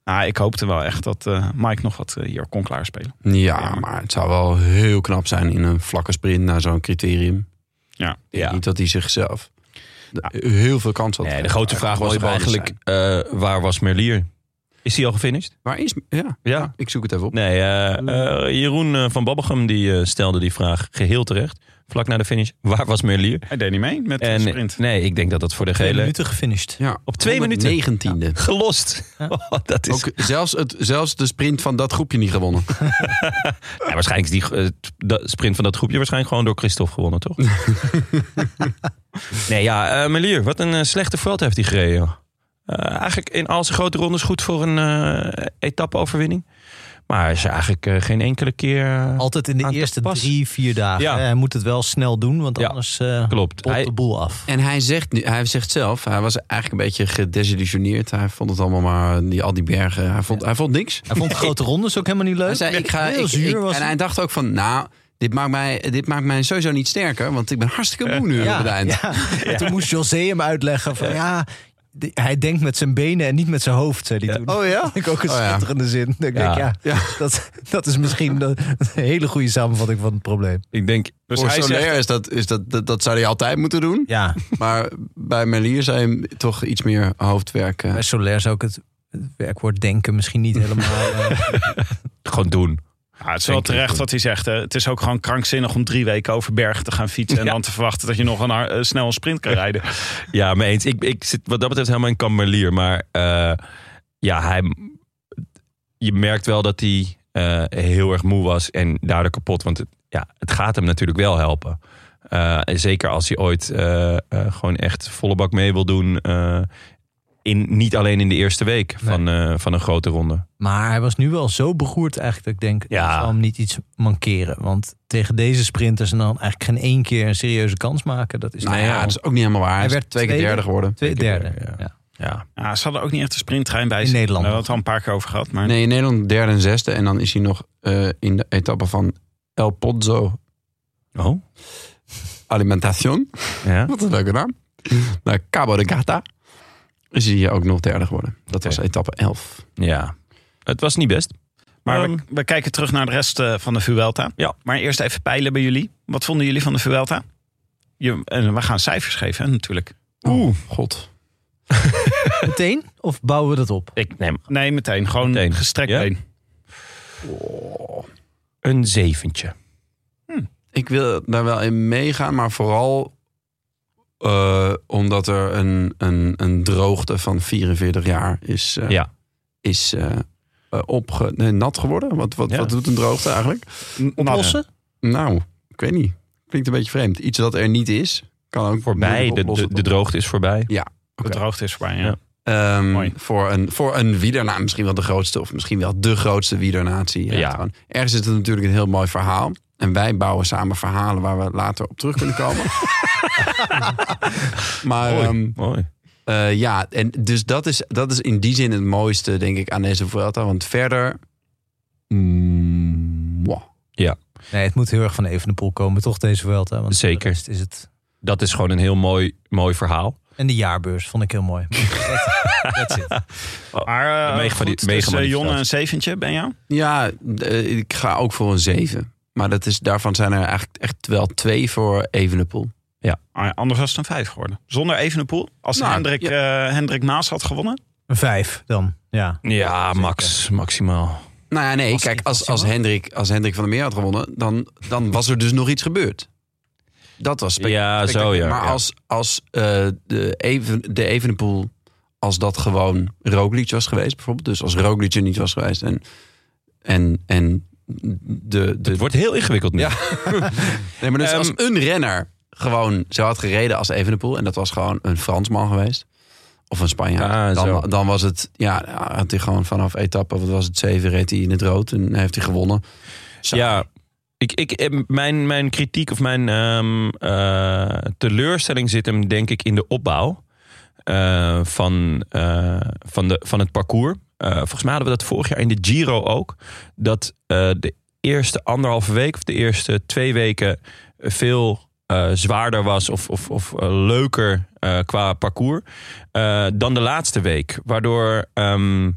S2: Nou, ik hoopte wel echt dat eh, Mike nog wat eh, hier kon klaarspelen.
S4: Ja, maar het zou wel heel knap zijn in een vlakke sprint naar zo'n criterium.
S2: Ja.
S4: Ik denk
S1: Ja. Nou.
S4: Niet dat hij zichzelf de- heel veel kans had.
S1: Nee, de grote
S4: Maar
S1: vraag
S4: het kon
S1: was
S4: wel bonus
S1: eigenlijk,
S4: zijn.
S1: eh, waar was Merlier? Is hij al gefinished?
S4: Waar is... Ja,
S1: Ja.
S4: Ah, ik zoek het even op.
S1: Nee, eh, eh, Jeroen eh, van Babbegem die, eh, stelde die vraag geheel terecht. Vlak na de finish, waar was Merlier?
S2: Hij deed niet mee met de
S1: En
S2: sprint.
S1: nee, ik denk dat dat voor de
S3: Twee
S1: gele...
S3: minuten gefinished.
S4: Ja,
S1: Op twee minuten.
S4: 19e.
S1: Gelost.
S3: Ja.
S1: Oh, dat is...
S4: Ook zelfs, het, zelfs de sprint van dat groepje niet gewonnen.
S1: Ja, waarschijnlijk is die eh, t- de sprint van dat groepje waarschijnlijk gewoon door Christophe gewonnen, toch? nee, ja, eh, Melier, wat een eh, slechte veld heeft hij gereden. joh. Eh, eigenlijk in al zijn grote rondes goed voor een eh etappe-overwinning. Maar hij is eigenlijk eh, geen enkele keer... eh,
S3: Altijd in de
S1: Aan te
S3: eerste
S1: pas.
S3: drie, vier dagen.
S1: Ja.
S3: hè. Hij moet het wel snel doen, want
S1: Ja.
S3: anders eh
S1: klopt.
S3: popt
S1: Hij,
S3: de boel af.
S4: En hij zegt, nu, hij zegt zelf, hij was eigenlijk een beetje gedesillusioneerd. Hij vond het allemaal maar, die, al die bergen. Hij vond, hij vond niks.
S3: Hij vond grote rondes ook helemaal niet leuk.
S4: Hij zei, ik ga,
S3: Heel
S4: ik,
S3: zuur
S4: ik-
S3: was
S4: en
S3: hij.
S4: hij dacht ook van, nou, Dit maakt, mij, dit maakt mij sowieso niet sterker, want ik ben hartstikke moe nu op het eind.
S3: ja. Toen moest José hem uitleggen van ja, die- hij denkt met zijn benen en niet met zijn hoofd, zei hij toen.
S4: Oh ja?
S3: Vind ik ook een
S4: Oh ja.
S3: schitterende zin. Dat Ik denk, ja,
S4: Ja.
S3: Dat, dat is misschien een hele goede samenvatting van het probleem.
S1: Ik denk,
S4: Dus
S1: hij
S4: hij
S1: zegt-
S4: is dat, is dat, dat, dat zou hij altijd moeten doen.
S3: Ja,
S4: Maar bij Melier zou je toch iets meer hoofdwerk... eh,
S3: bij Solaire zou ik het het werkwoord denken misschien niet helemaal... eh,
S1: gewoon doen.
S2: Ja, Ah, het is wel
S1: Denk ik
S2: terecht
S1: ook.
S2: wat hij zegt. Hè. Het is ook gewoon krankzinnig om drie weken over bergen te gaan fietsen. En
S1: Ja.
S2: dan te verwachten dat je nog een, har- eh, snel een sprint kan rijden.
S1: Ja, mee eens. Ik, ik zit wat dat betreft helemaal in kamerlier. Maar eh, ja, hij, je merkt wel dat hij eh, heel erg moe was en daardoor kapot. Want het, ja, het gaat hem natuurlijk wel helpen. Eh, en zeker als hij ooit eh, eh, gewoon echt volle bak mee wil doen. eh, in, niet alleen in de eerste week
S3: Nee.
S1: van, eh, van een grote ronde.
S3: Maar hij was nu wel zo beroerd eigenlijk dat ik denk,
S1: Ja.
S3: ik zal hem niet iets mankeren. Want tegen deze sprinters en dan eigenlijk geen één keer een serieuze kans maken, dat is
S4: nou
S3: toch
S4: ja,
S3: wel
S4: dat is ook niet helemaal waar. Hij,
S3: Hij
S4: is
S3: werd
S4: twee keer
S3: tweede.
S4: derde geworden.
S3: twee
S1: Twee keer
S3: derde.
S1: derde,
S3: ja.
S1: Ja,
S2: Ja, ze hadden ook niet echt een sprinttrein bij
S3: In
S2: zich.
S3: Nederland.
S2: We hebben het al een paar keer over gehad. Maar
S4: Nee, in Nederland derde en zesde. En dan is hij nog eh, in de etappe van El Pozo
S1: oh,
S4: Alimentación.
S1: ja.
S4: Wat een leuke naam. Naar Cabo de Gata. Is hij hier ook nog derde geworden. Dat was
S1: Oké.
S4: etappe 11.
S1: ja. Het was niet best.
S2: maar
S1: Ehm,
S2: we, we kijken terug naar de rest eh, van de Vuelta.
S1: Ja.
S2: Maar eerst even peilen bij jullie. Wat vonden jullie van de Vuelta? Je, en we gaan cijfers geven hè, natuurlijk.
S1: Oh.
S4: Oeh, god.
S3: Meteen? Of bouwen we dat op?
S1: ik neem
S2: Nee, meteen. Gewoon
S1: Meteen.
S2: gestrekt
S1: Ja?
S2: been.
S1: Oh. een zeventje.
S4: Ik wil daar wel in meegaan, maar vooral eh, omdat er een, een, een droogte van 44 jaar is, eh,
S1: Ja.
S4: is eh, eh, opge- nee, nat geworden. Wat, wat,
S1: Ja.
S4: wat doet een droogte eigenlijk?
S3: Oplossen?
S4: Nou, ik weet niet. Klinkt een beetje vreemd. Iets dat er niet is, kan ook
S1: Voorbij, de, de, de droogte is voorbij.
S2: De droogte is voorbij, ja.
S1: Ja.
S4: Ehm,
S2: Mooi.
S4: voor een, voor een wielernaam misschien wel de grootste, of misschien wel de grootste wielernatie.
S1: Ja.
S4: gewoon. Ergens is het natuurlijk een heel mooi verhaal. En wij bouwen samen verhalen waar we later op terug kunnen komen. maar ehm,
S1: Mooi.
S4: eh, ja, en dus dat is, dat is in die zin het mooiste, denk ik, aan deze Vuelta. Want verder. mm, mwah.
S3: Nee, het moet heel erg van Evenepoel komen, toch deze Vuelta? Want voor de
S1: Zeker.
S3: rest Is het...
S1: Dat is gewoon een heel mooi, mooi verhaal.
S3: En de jaarbeurs vond ik heel mooi.
S2: Maar
S1: De
S2: eh
S1: mega- mega
S2: goed, dus eh,
S1: manifestatie.
S2: Jonne een zeventje, ben jou?
S4: Ja, eh, ik ga ook voor een 7. Maar dat is, daarvan zijn er eigenlijk echt wel twee voor Evenepoel.
S2: Ah, anders was het een vijf geworden. Zonder Evenepoel. Als
S4: Nou,
S2: Hendrik, eh, Hendrik Maas had gewonnen.
S3: Een vijf dan, ja.
S1: Ja, max, maximaal.
S4: Nou ja, nee,
S3: Was
S4: kijk,
S3: die-
S4: als,
S3: was die
S4: als,
S3: wel?
S4: Hendrik, als Hendrik van der Meer had gewonnen, dan, dan was er dus nog iets gebeurd. Dat was spectaculair.
S1: Ja, zo ja.
S4: Maar
S1: ja.
S4: als, als eh, de, even, de Evenepoel, als dat gewoon Roglic was geweest bijvoorbeeld. Dus als Roglic er niet was geweest en, en, en de... de
S1: het wordt heel ingewikkeld nu.
S4: Ja. nee, maar dus
S1: Ehm,
S4: als een renner gewoon zo had gereden als Evenepoel... en dat was gewoon een Fransman geweest... Of een Spanjaard.
S1: Ah, zo.
S4: dan, dan was het, ja, had hij gewoon vanaf etappe, wat was het, zeven reed hij in het rood en heeft hij gewonnen. Zo.
S1: Ja, ik, ik, eh, mijn, mijn kritiek of mijn ehm, eh, teleurstelling zit hem denk ik in de opbouw eh, van, eh, van, de, van het parcours. Eh, volgens mij hadden we dat vorig jaar in de Giro ook. Dat eh, de eerste anderhalve week of de eerste twee weken veel eh, zwaarder was of, of, of eh, leuker eh, qua parcours eh, dan de laatste week. Waardoor ehm, nou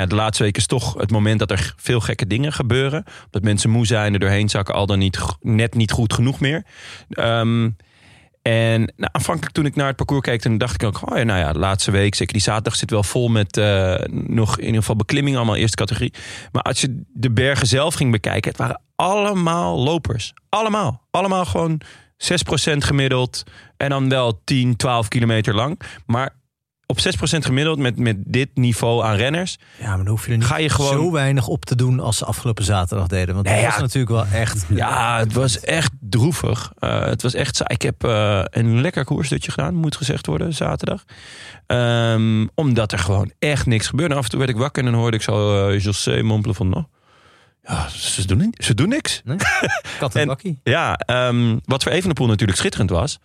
S1: ja, de laatste week is toch het moment dat er veel gekke dingen gebeuren. Dat mensen moe zijn, er doorheen zakken, al dan niet, g- net niet goed genoeg meer. Ehm, en nou, aanvankelijk toen ik naar het parcours keek, toen dacht ik ook... Oh ja, nou ja, de laatste week, zeker die zaterdag, zit wel vol met eh, nog in ieder geval beklimming allemaal eerste categorie. Maar als je de bergen zelf ging bekijken, het waren allemaal lopers. Allemaal. Allemaal gewoon 6% gemiddeld en dan wel 10, 12 kilometer lang. Maar op 6% gemiddeld met, met dit niveau aan renners...
S3: Ja, maar dan hoef je er niet
S1: Ga je gewoon-
S3: zo weinig op te doen als ze afgelopen zaterdag deden. Want
S1: Nee,
S3: dat
S1: ja.
S3: was natuurlijk wel echt...
S1: Ja, het was echt droevig. Eh, het was echt saai. Ik heb eh, een lekker koersdutje gedaan, moet gezegd worden, zaterdag. Ehm, omdat er gewoon echt niks gebeurde. Af en toe werd ik wakker en dan hoorde ik zo eh, José mompelen van... "Nou, ja, ze doen, ni- ze doen niks.
S3: Kat en
S1: En-
S3: bakkie.
S1: Ja, ehm, wat voor Evenepoel natuurlijk schitterend was.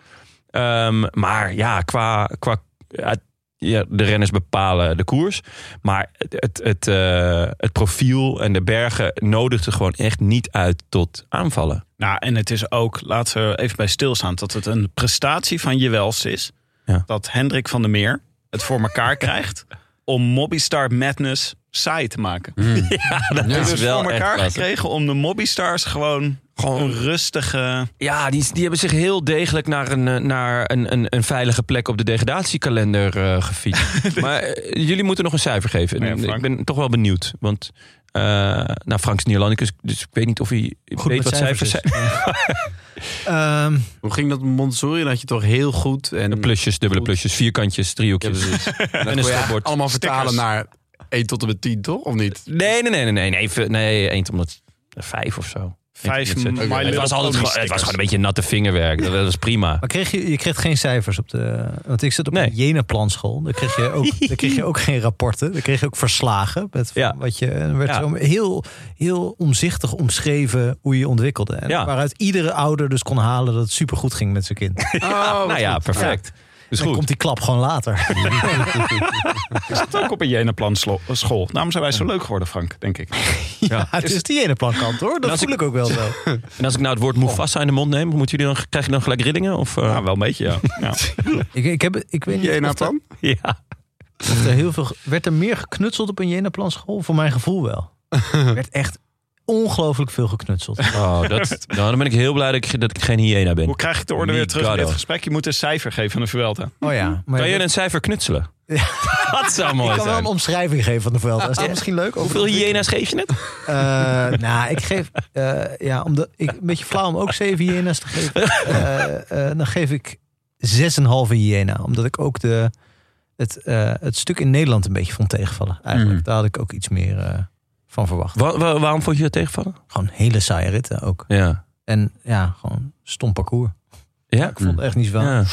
S1: Ehm, maar ja, qua, qua, ja, ja, de renners bepalen de koers. Maar het, het, het, eh, het profiel en de bergen nodigden gewoon echt niet uit tot aanvallen.
S2: Nou, en het is ook, laten we er even bij stilstaan, dat het een prestatie van Jewels is.
S1: Ja.
S2: Dat Hendrik van der Meer het voor elkaar krijgt om Mobbystar Madness saai te maken.
S1: Ja, dat
S4: Ja.
S2: Hij
S4: is
S2: heeft het dus voor elkaar
S1: klasse.
S2: gekregen om de Mobbystars gewoon, gewoon een rustige...
S1: Ja, die, die hebben zich heel degelijk naar een, eh, naar een, een, een veilige plek op de degradatiekalender eh gefietst. maar eh, jullie moeten nog een cijfer geven. eh,
S2: Ja, Frank.
S1: ik ben toch wel benieuwd. Want eh nou, Frank is Nederlandicus, dus ik weet niet of hij weet wat cijfers zijn.
S3: dus. Ehm,
S4: Hoe ging dat met Montessori? Dan had je toch heel goed. En
S1: De Hm. plusjes, dubbele plusjes, vierkantjes,
S4: Ja,
S1: driehoekjes.
S4: precies. En dat kon
S1: een
S4: je
S1: stopbord.
S4: Allemaal vertalen naar 1 tot en met 10, toch? Of niet?
S1: Nee, nee, nee, nee, nee. Nee, v- nee één tot met vijf of zo.
S2: Vijf
S1: Eén tot met zes.
S2: My Little
S1: het, was altijd gewoon,
S2: Pony
S1: het was
S2: stickers.
S1: gewoon een beetje natte vingerwerk. Dat, dat was prima.
S3: maar kreeg je, je kreeg geen cijfers op de... Want ik zit op
S1: Nee.
S3: een Jena-planschool. Daar, kreeg je ook- daar kreeg je ook geen rapporten. Daar kreeg je ook verslagen. Met
S1: Ja.
S3: wat je, er werd
S1: Ja.
S3: zo heel, heel omzichtig omschreven hoe je ontwikkelde. En
S1: Ja.
S3: waaruit iedere ouder dus kon halen dat het supergoed ging met zijn kind.
S4: Oh,
S1: nou ja, perfect. Dus
S3: Dan
S1: goed.
S3: komt die klap gewoon later.
S2: Is dat ook op een Jenaplan slo- eh, school? Daarom zijn wij zo leuk geworden, Frank, denk ik.
S3: Ja, het is die ene plankant hoor. Dat
S1: Nou, als
S3: voel ik ook wel zo.
S1: En als ik nou het woord Mufasa in de mond neem, moeten jullie dan, krijg je dan gelijk rillingen? Of, eh?
S2: Ja, wel een beetje, ja. ja.
S3: Ik, ik, heb, ik weet niet
S4: Jena
S3: of er-
S4: plan?
S1: ja.
S3: of er heel veel... Werd er meer geknutseld op een Jena-plan school? Voor mijn gevoel wel. Er werd echt ongelooflijk veel geknutseld.
S1: Oh, dat, nou, dan ben ik heel blij dat ik, dat ik geen hyena ben.
S2: Hoe krijg ik de orde weer terug in dit
S1: Migado.
S2: gesprek? Je moet een cijfer geven aan de Vuelta.
S3: Oh ja. Maar
S1: Kan
S3: je
S1: je een cijfer knutselen?
S3: Ja.
S1: Dat zou
S3: ik
S1: mooi
S3: kan wel
S1: zijn.
S3: een omschrijving geven van de Vuelta. Is dat misschien leuk? Of-
S1: Hoeveel hyena's geef je het?
S3: Eh, nou, ik geef... eh, ja, om de, ik, een beetje flauw om ook zeven hyena's te geven. Eh, eh, dan geef ik 6,5 hyena. Omdat ik ook de, het, eh, het stuk in Nederland een beetje vond tegenvallen. Eigenlijk.
S1: Hmm.
S4: Mhm.
S3: Daar had ik ook iets meer eh, van verwacht.
S1: Wa- wa- waarom vond je dat tegenvallen?
S3: Gewoon hele saaie ritten ook.
S1: Ja.
S3: En ja, gewoon stom parcours.
S1: Ja?
S3: Ik vond het echt niet zo.
S1: Hmm. Ja,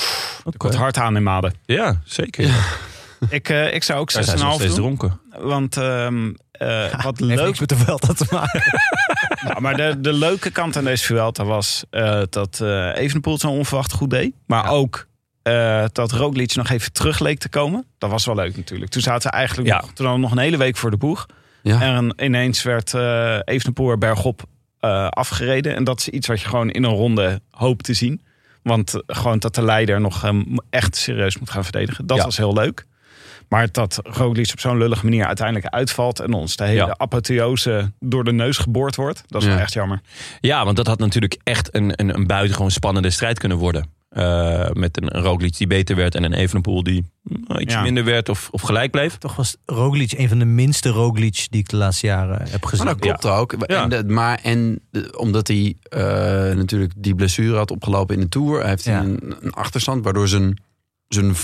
S2: Wat hard aan in Maden.
S1: ja zeker. Ja.
S2: Ik, eh, ik zou ook 6,5
S1: Zij zijn nog steeds
S2: doen.
S1: dronken.
S2: Want ehm, eh, wat
S3: Heeft
S2: leuk
S3: niks met de Vuelta te maken.
S2: Nou, maar de, de leuke kant aan deze Vuelta was eh, dat eh Evenepoel het zo onverwacht goed deed. Maar ook eh, dat Roglic nog even terug leek te komen. Dat was wel leuk natuurlijk. Toen zaten ze eigenlijk
S1: Ja.
S2: nog, toen hadden we nog een hele week voor de boeg.
S4: Ja.
S2: En ineens werd eh Evenepoel er bergop eh, afgereden. En dat is iets wat je gewoon in een ronde hoopt te zien. Want eh, gewoon dat de leider nog eh, echt serieus moet gaan verdedigen. Dat
S1: Ja.
S2: was heel leuk. Maar dat Roglic op zo'n lullige manier uiteindelijk uitvalt... en ons de hele
S1: Ja.
S2: apotheose door de neus geboord wordt... dat is
S4: Ja.
S2: wel echt jammer.
S1: Ja, want dat had natuurlijk echt een, een, een buitengewoon spannende strijd kunnen worden. Eh, met een, een Roglic die beter werd en een Evenepoel die mm, iets
S2: Ja.
S1: minder werd of, of gelijk bleef.
S3: Toch was Roglic een van de minste Roglic die ik de laatste jaren heb
S1: Oh,
S3: gezien.
S1: nou
S4: Maar dat klopt ook.
S1: Ja.
S4: En, dat- maar en eh, omdat hij eh, natuurlijk die blessure had opgelopen in de Tour. Hij heeft
S3: Ja.
S4: een, een achterstand waardoor zijn, zijn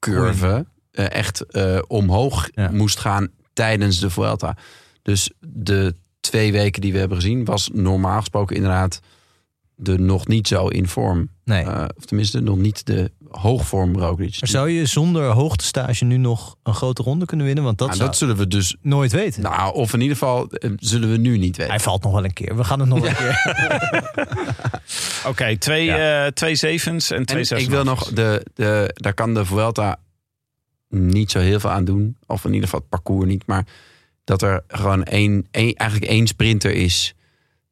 S4: vormcurve eh, echt eh, omhoog
S3: Ja.
S4: moest gaan tijdens de Vuelta. Dus de twee weken die we hebben gezien was normaal gesproken inderdaad de nog niet zo in vorm.
S1: Oh,
S3: nee.
S4: Eh, of tenminste nog niet de hoogvorm Roglic.
S3: Maar zou je zonder hoogtestage nu nog een grote ronde kunnen winnen? Want dat
S4: Nou,
S3: zou
S4: dat zullen we dus...
S3: ik nooit weten.
S4: Nou, of in ieder geval eh, zullen we nu niet weten.
S3: Hij valt nog wel een keer. We gaan het nog wel een keer.
S2: Oké, twee, eh, twee zevens en twee
S4: En
S2: zesens.
S4: ik wil nog, de, de, daar kan de Vuelta niet zo heel veel aan doen. Of in ieder geval het parcours niet. Maar dat er gewoon één, één, eigenlijk één sprinter is.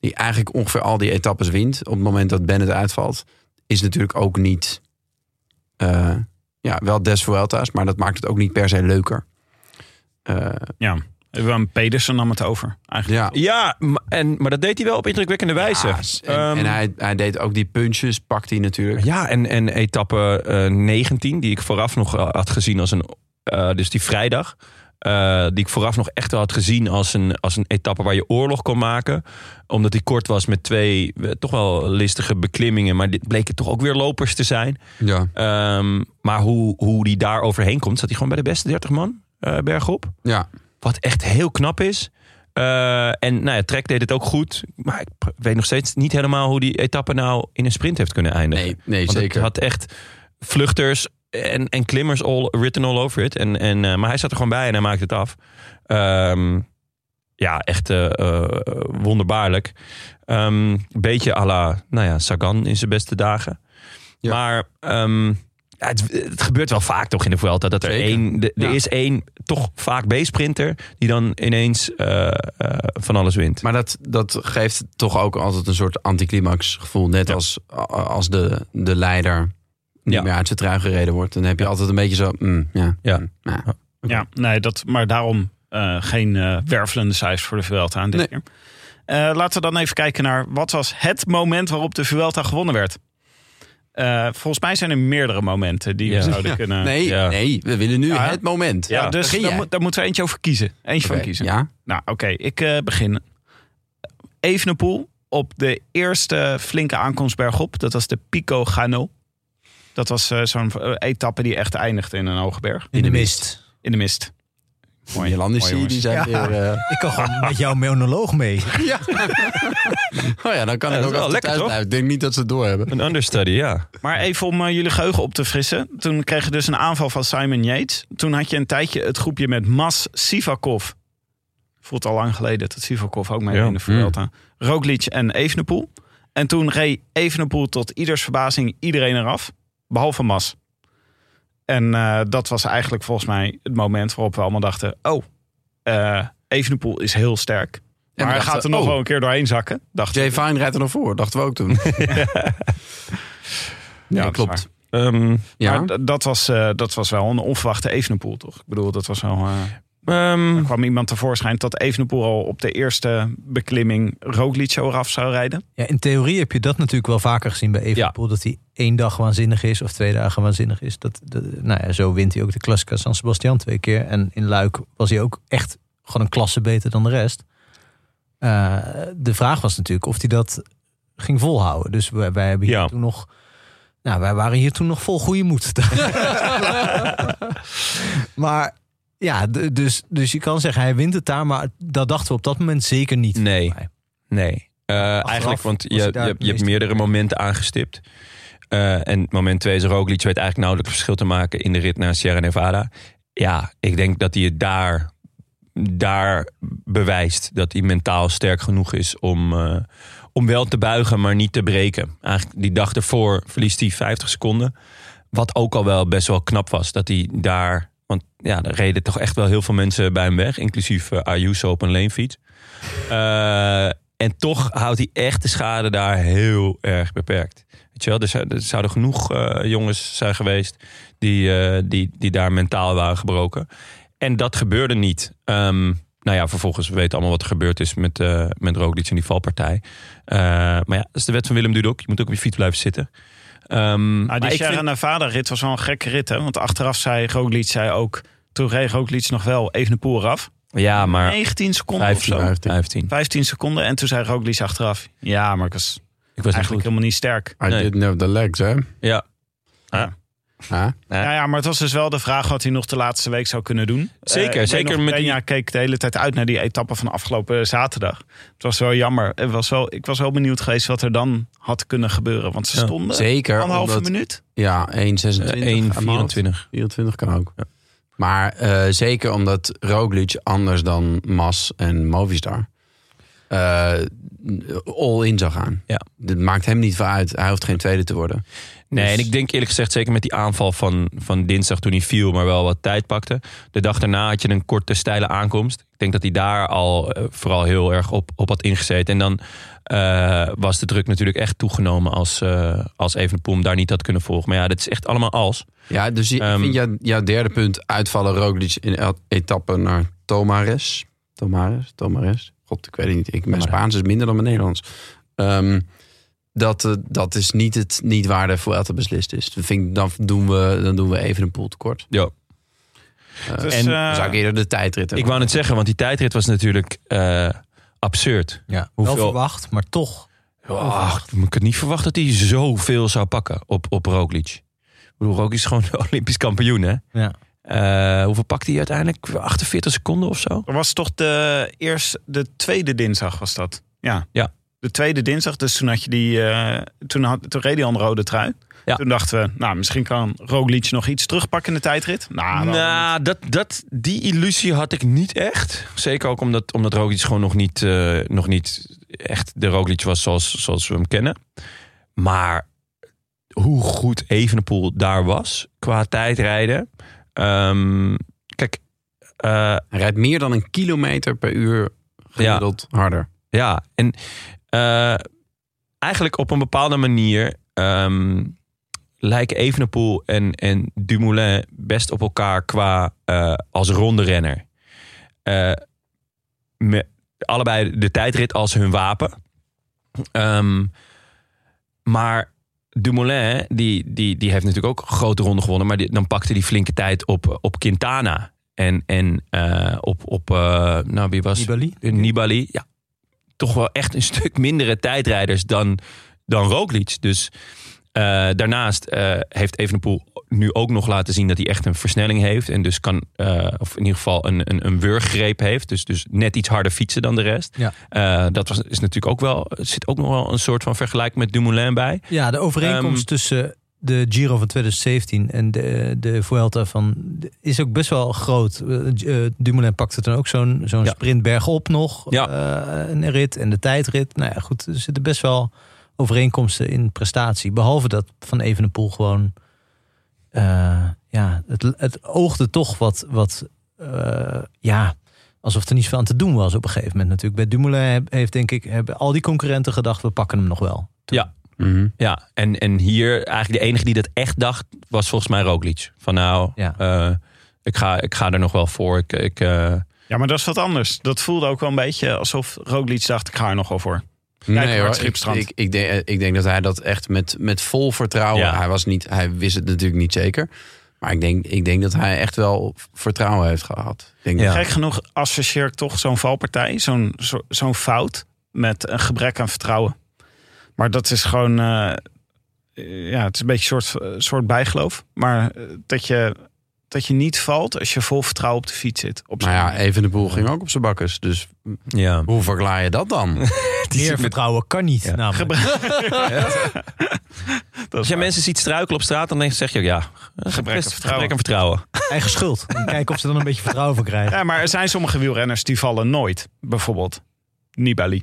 S4: Die eigenlijk ongeveer al die etappes wint. Op het moment dat Bennett uitvalt. Is natuurlijk ook niet... eh, ja, wel des Vuelta's. Maar dat maakt het ook niet per se leuker. Eh,
S2: Willem Pedersen nam het over. Eigenlijk.
S4: ja.
S1: Ja, maar- en, maar dat deed hij wel op indrukwekkende wijze.
S4: Ja, Ah, en
S1: Ehm,
S4: en hij, hij deed ook die punches. Pakt hij natuurlijk.
S1: Ja, en, en etappe eh, 19, die ik vooraf nog eh, had gezien als een. eh, dus die vrijdag. eh, die ik vooraf nog echt wel had gezien als een, als een etappe waar je oorlog kon maken. Omdat die kort was met twee eh, toch wel listige beklimmingen. Maar dit bleken toch ook weer lopers te zijn.
S4: Ja.
S1: Ehm, maar hoe, hoe die daar overheen komt, zat hij gewoon bij de beste 30 man eh, bergop.
S4: Ja.
S1: Wat echt heel knap is. Eh, en nou ja, Trek deed het ook goed. Maar ik pr- weet nog steeds niet helemaal hoe die etappe nou in een sprint heeft kunnen eindigen.
S4: Nee, nee
S1: Want
S4: zeker.
S1: het had echt vluchters en, en klimmers all written all over it. En, en, eh, maar hij zat er gewoon bij en hij maakte het af. Ehm, ja, echt eh, eh, wonderbaarlijk. Ehm, Een beetje à la nou ja, Sagan in zijn beste dagen.
S4: Ja.
S1: Maar ehm, Ja, het, het gebeurt wel vaak toch in de Vuelta dat er
S4: Zeker.
S1: één, de- er
S4: Ja.
S1: is één toch vaak B-sprinter die dan ineens eh, eh, van alles wint.
S4: Maar dat, dat geeft toch ook altijd een soort anticlimax gevoel. Net
S1: Ja.
S4: als, a- als de, de leider niet
S1: Ja.
S4: meer uit zijn trui gereden wordt. Dan heb je altijd een beetje zo... mm, ja,
S1: Ja.
S4: mm, nou,
S2: Ja, nee, dat, maar daarom eh, geen eh, wervelende cijfers voor de Vuelta aan dit
S4: Nee.
S2: keer. Eh, laten we dan even kijken naar wat was het moment waarop de Vuelta gewonnen werd. Eh, volgens mij zijn er meerdere momenten die we
S1: Ja.
S2: zouden
S4: Ja.
S2: kunnen...
S4: Nee,
S1: ja.
S4: nee, we willen nu
S2: Ja.
S4: het moment.
S2: Ja, dus
S4: Begin
S2: daar,
S4: jij.
S2: moet- daar moeten we eentje over kiezen. Eentje
S4: Oké,
S2: van kiezen.
S4: Ja,
S2: Nou, oké, ik eh, begin. Evenepoel op de eerste flinke aankomst bergop. Dat was de Pico Gano. Dat was eh, zo'n eh, etappe die echt eindigt in een hoge berg.
S3: In de mist.
S2: In de mist. Mooi, mooi,
S4: Jolandi die
S2: jongens.
S4: zijn
S3: Ja.
S4: weer... eh,
S3: Ik kan gewoon met jouw monoloog mee.
S4: Ja. oh ja, dan kan
S1: Ja, dat
S4: ik
S1: is wel
S4: ook
S1: lekker,
S4: wel lekker thuis
S1: toch?
S4: blijven. Ik denk niet dat ze het doorhebben.
S1: Een understudy, ja.
S2: Maar even om eh, jullie geheugen op te frissen. Toen kreeg je dus een aanval van Simon Yates. Toen had je een tijdje het groepje met Mas Sivakov. Voelt al lang geleden dat Sivakov ook mee
S1: Ja.
S2: in de Vuelta. Roglic en Evenepoel. En toen reed Evenepoel tot ieders verbazing iedereen eraf. Behalve Mas. En eh, dat was eigenlijk volgens mij het moment waarop we allemaal dachten... Oh, eh Evenepoel is heel sterk.
S4: we
S2: Maar hij
S4: dachten,
S2: gaat er nog
S4: oh.
S2: wel een keer doorheen zakken. Dacht
S4: Jay Fine rijdt er nog voor, dachten we ook toen. ja,
S2: dat is
S4: klopt.
S1: Ehm,
S4: Ja.
S2: Maar d- dat, was, eh, dat was wel een onverwachte Evenepoel, toch? Ik bedoel, dat was wel... eh,
S1: ehm,
S2: er kwam iemand tevoorschijn dat Evenepoel al op de eerste beklimming Roglic zo eraf zou rijden. Nou,
S3: Ja, in theorie heb je dat natuurlijk wel vaker gezien bij Evenepoel. Dat hij één dag waanzinnig is of twee dagen waanzinnig is. Dat, dat- nou ja, zo wint hij ook de Classica San Sebastian twee keer. En in Luik was hij ook echt gewoon een klasse beter dan de rest. Eh, de vraag was natuurlijk of hij dat ging volhouden. Dus wij, wij hebben hier
S1: Ja.
S3: toen nog... Nou, wij waren hier toen nog vol goede moed. maar ja, d- dus, dus je kan zeggen hij wint het daar. Maar dat dachten we op dat moment zeker niet.
S1: Nee.
S3: mij.
S1: Nee. Eh, eigenlijk, want je,
S3: hij
S1: je,
S3: daar
S1: hebt-
S3: het
S1: je hebt
S3: meest-
S1: meerdere momenten aangestipt. Eh, en moment 2 is Roglic weet eigenlijk nauwelijks verschil te maken in de rit naar Sierra Nevada. Ja, ik denk dat hij het daar, daar bewijst dat hij mentaal sterk genoeg is om, eh, om wel te buigen, maar niet te breken. Eigenlijk die dag ervoor verliest hij 50 seconden. Wat ook al wel best wel knap was, dat hij daar... Want ja, er reden toch echt wel heel veel mensen bij hem weg. Inclusief eh, Ayuso op een leenfiets. Eh, en toch houdt hij echt de schade daar heel erg beperkt. Weet je wel, er, zou- er zouden genoeg eh, jongens zijn geweest die, eh, die, die daar mentaal waren gebroken. En dat gebeurde niet. Ehm, nou ja, vervolgens we weten allemaal wat er gebeurd is met, eh met Roglic en die valpartij. Eh, maar ja, dat is de wet van Willem Dudok. Je moet ook op je fiets blijven zitten. Ehm, maar
S2: Nou, die
S1: ik
S2: Sierra
S1: vind-
S2: Nevada rit was wel een gekke rit, hè? Want achteraf zei Roglic zei ook, toen reed Roglic nog wel Evenepoel eraf.
S1: Ja, maar
S2: 19 seconden of zo.
S1: 15. 15.
S2: 15 seconden en toen zei Roglic achteraf, ja, maar ik was
S1: Ik was niet
S2: eigenlijk
S1: goed.
S2: helemaal niet sterk.
S4: I
S1: Nee.
S4: didn't have the legs, hè?
S1: Ja.
S4: Ja.
S1: Ja.
S2: Ja, ja, maar het was dus wel de vraag wat hij nog de laatste week zou kunnen doen.
S1: Zeker,
S2: Eh, ik weet
S1: zeker
S2: nog,
S1: met die-
S2: Benja keek de hele tijd uit naar die etappe van afgelopen zaterdag. Het was wel jammer. Het was wel, ik was wel benieuwd geweest wat er dan had kunnen gebeuren. Want ze
S1: Ja,
S2: stonden
S4: Zeker.
S2: anderhalve
S4: omdat-
S2: minuut.
S4: Ja, 1,26.
S1: Eh,
S4: aan de
S1: 1,24.
S4: hand. 24 kan ook. Maar eh, zeker omdat Roglic anders dan Mas en Movistar eh, all in zou gaan.
S1: Ja.
S4: Dit maakt hem niet veel uit. Hij hoeft geen tweede te worden.
S1: Nee,
S4: Dus-
S1: en ik denk eerlijk gezegd, zeker met die aanval van, van dinsdag toen hij viel, maar wel wat tijd pakte. De dag daarna had je een korte, steile aankomst. Ik denk dat hij daar al eh, vooral heel erg op, op had ingezeten. En dan eh, was de druk natuurlijk echt toegenomen als, eh als Evenepoel hem daar niet had kunnen volgen. Maar ja, dat is echt allemaal als.
S4: Ja, dus je,
S1: Ehm,
S4: ik vind jou- jouw derde punt uitvallen Roglic in el- etappe naar Tomares. Tomares? Tomares? God, ik weet het niet. Ik, mijn Spaans is minder dan mijn Nederlands. Ehm, dat, eh, dat is niet het niet waar de Vuelta beslist is. Dat vind ik, dan, doen we, dan doen we even een pool tekort.
S1: Ja.
S2: Dus,
S1: en-
S2: eh,
S4: Dan zou ik eerder de tijdrit hebben.
S1: Ik wou het zeggen, want die tijdrit was natuurlijk eh, absurd.
S3: Ja,
S1: Hoeveel-
S3: wel verwacht, maar toch.
S1: Oh, ik had niet verwacht dat hij zoveel zou pakken op, op Roglic. Ik bedoel, Roglic is gewoon de Olympisch kampioen, hè?
S3: Ja.
S1: Eh, hoeveel pakte hij uiteindelijk? 48 seconden of zo?
S2: er was toch de, eerst, de tweede dinsdag was dat? Ja.
S1: Ja.
S2: De tweede dinsdag, dus toen had je die, eh, toen, had, toen reed hij al een rode trui.
S1: Ja.
S2: Toen dachten we, nou, misschien kan Roglic nog iets terugpakken in de tijdrit. Nou, dan-
S1: nou, dat, dat, die illusie had ik niet echt. Zeker ook omdat, omdat Roglic gewoon nog niet, eh, nog niet echt de Roglic was zoals, zoals we hem kennen. Maar hoe goed Evenepoel daar was qua tijdrijden. Ehm, kijk, eh,
S4: Hij rijdt meer dan een kilometer per uur gemiddeld harder.
S1: Ja, en eh, eigenlijk op een bepaalde manier ehm, lijken Evenepoel en, en Dumoulin best op elkaar qua eh, als ronde renner. met allebei de tijdrit als hun wapen. Ehm, maar Dumoulin, die, die, die heeft natuurlijk ook een grote ronde gewonnen. Maar die- dan pakte die flinke tijd op, op Quintana. En, en eh, op, op eh, nou, wie was
S3: Nibali?
S1: een Nibali, ja, toch wel echt een stuk mindere tijdrijders dan, dan Roglic. Dus eh, daarnaast eh, heeft Evenepoel nu ook nog laten zien dat hij echt een versnelling heeft. En dus kan, eh, of in ieder geval een, een, een wurggreep heeft. Dus, dus net iets harder fietsen dan de rest.
S3: Ja.
S1: Eh, dat was, is natuurlijk ook wel, er zit ook nog wel een soort van vergelijk met Dumoulin bij.
S3: Ja, de overeenkomst
S1: Ehm,
S3: tussen de Giro van 2017 en de, de Vuelta van, is ook best wel groot. Eh, eh, Dumoulin pakte toen ook zo'n zo'n
S1: Ja.
S3: sprint bergop nog.
S1: Ja.
S3: eh, een rit en de tijdrit. Nou ja, goed, er zitten best wel overeenkomsten in prestatie. Behalve dat Van Evenepoel gewoon... eh, ja, het, het oogde toch wat... wat eh, ja, alsof er niets van te doen was op een gegeven moment natuurlijk. Bij Dumoulin heb- heeft denk ik... hebben al die concurrenten gedacht, we pakken hem nog wel.
S4: Mhm.
S1: Ja, en, en hier eigenlijk de enige die dat echt dacht, was volgens mij Roglic. Van nou,
S3: Ja.
S1: eh, ik, ga, ik ga er nog wel voor. Ik, ik, eh,
S2: Ja, maar dat is wat anders. Dat voelde ook wel een beetje alsof Roglic dacht, ik ga er nog wel voor. Kijk,
S4: Nee hoor, ik,
S2: Hartschipstrand.
S4: ik, ik, denk, ik denk dat hij dat echt met, met vol vertrouwen...
S1: Ja.
S4: Hij, was niet, hij wist het natuurlijk niet zeker. Maar ik denk, ik denk dat hij echt wel vertrouwen heeft gehad. Ik denk
S1: Ja.
S4: dat-
S2: Gek genoeg associeer ik toch zo'n valpartij, zo'n zo, zo'n fout, met een gebrek aan vertrouwen. Maar dat is gewoon, eh, eh, ja, het is een beetje een soort, eh, soort bijgeloof. Maar eh, dat, je, dat je niet valt als je vol vertrouwen op de fiets zit.
S1: Nou
S2: Op
S4: Maar
S2: zo'n-
S4: ja, even de boel ging ook op zijn bakkers. Dus
S1: ja.
S4: hoe verklaar je dat dan?
S3: Meer vertrouwen kan niet.
S1: Ja.
S3: namelijk.
S2: dat
S1: Als
S2: is
S1: jij
S2: waar.
S1: mensen ziet struikelen op straat, dan denk- zeg je ook ja, gebrek,
S2: aan vertrouwen.
S1: gebrek aan vertrouwen.
S3: Eigen schuld. En kijken of ze dan een beetje vertrouwen van krijgen.
S2: Ja, maar er zijn sommige wielrenners die vallen nooit. Bijvoorbeeld Nibali.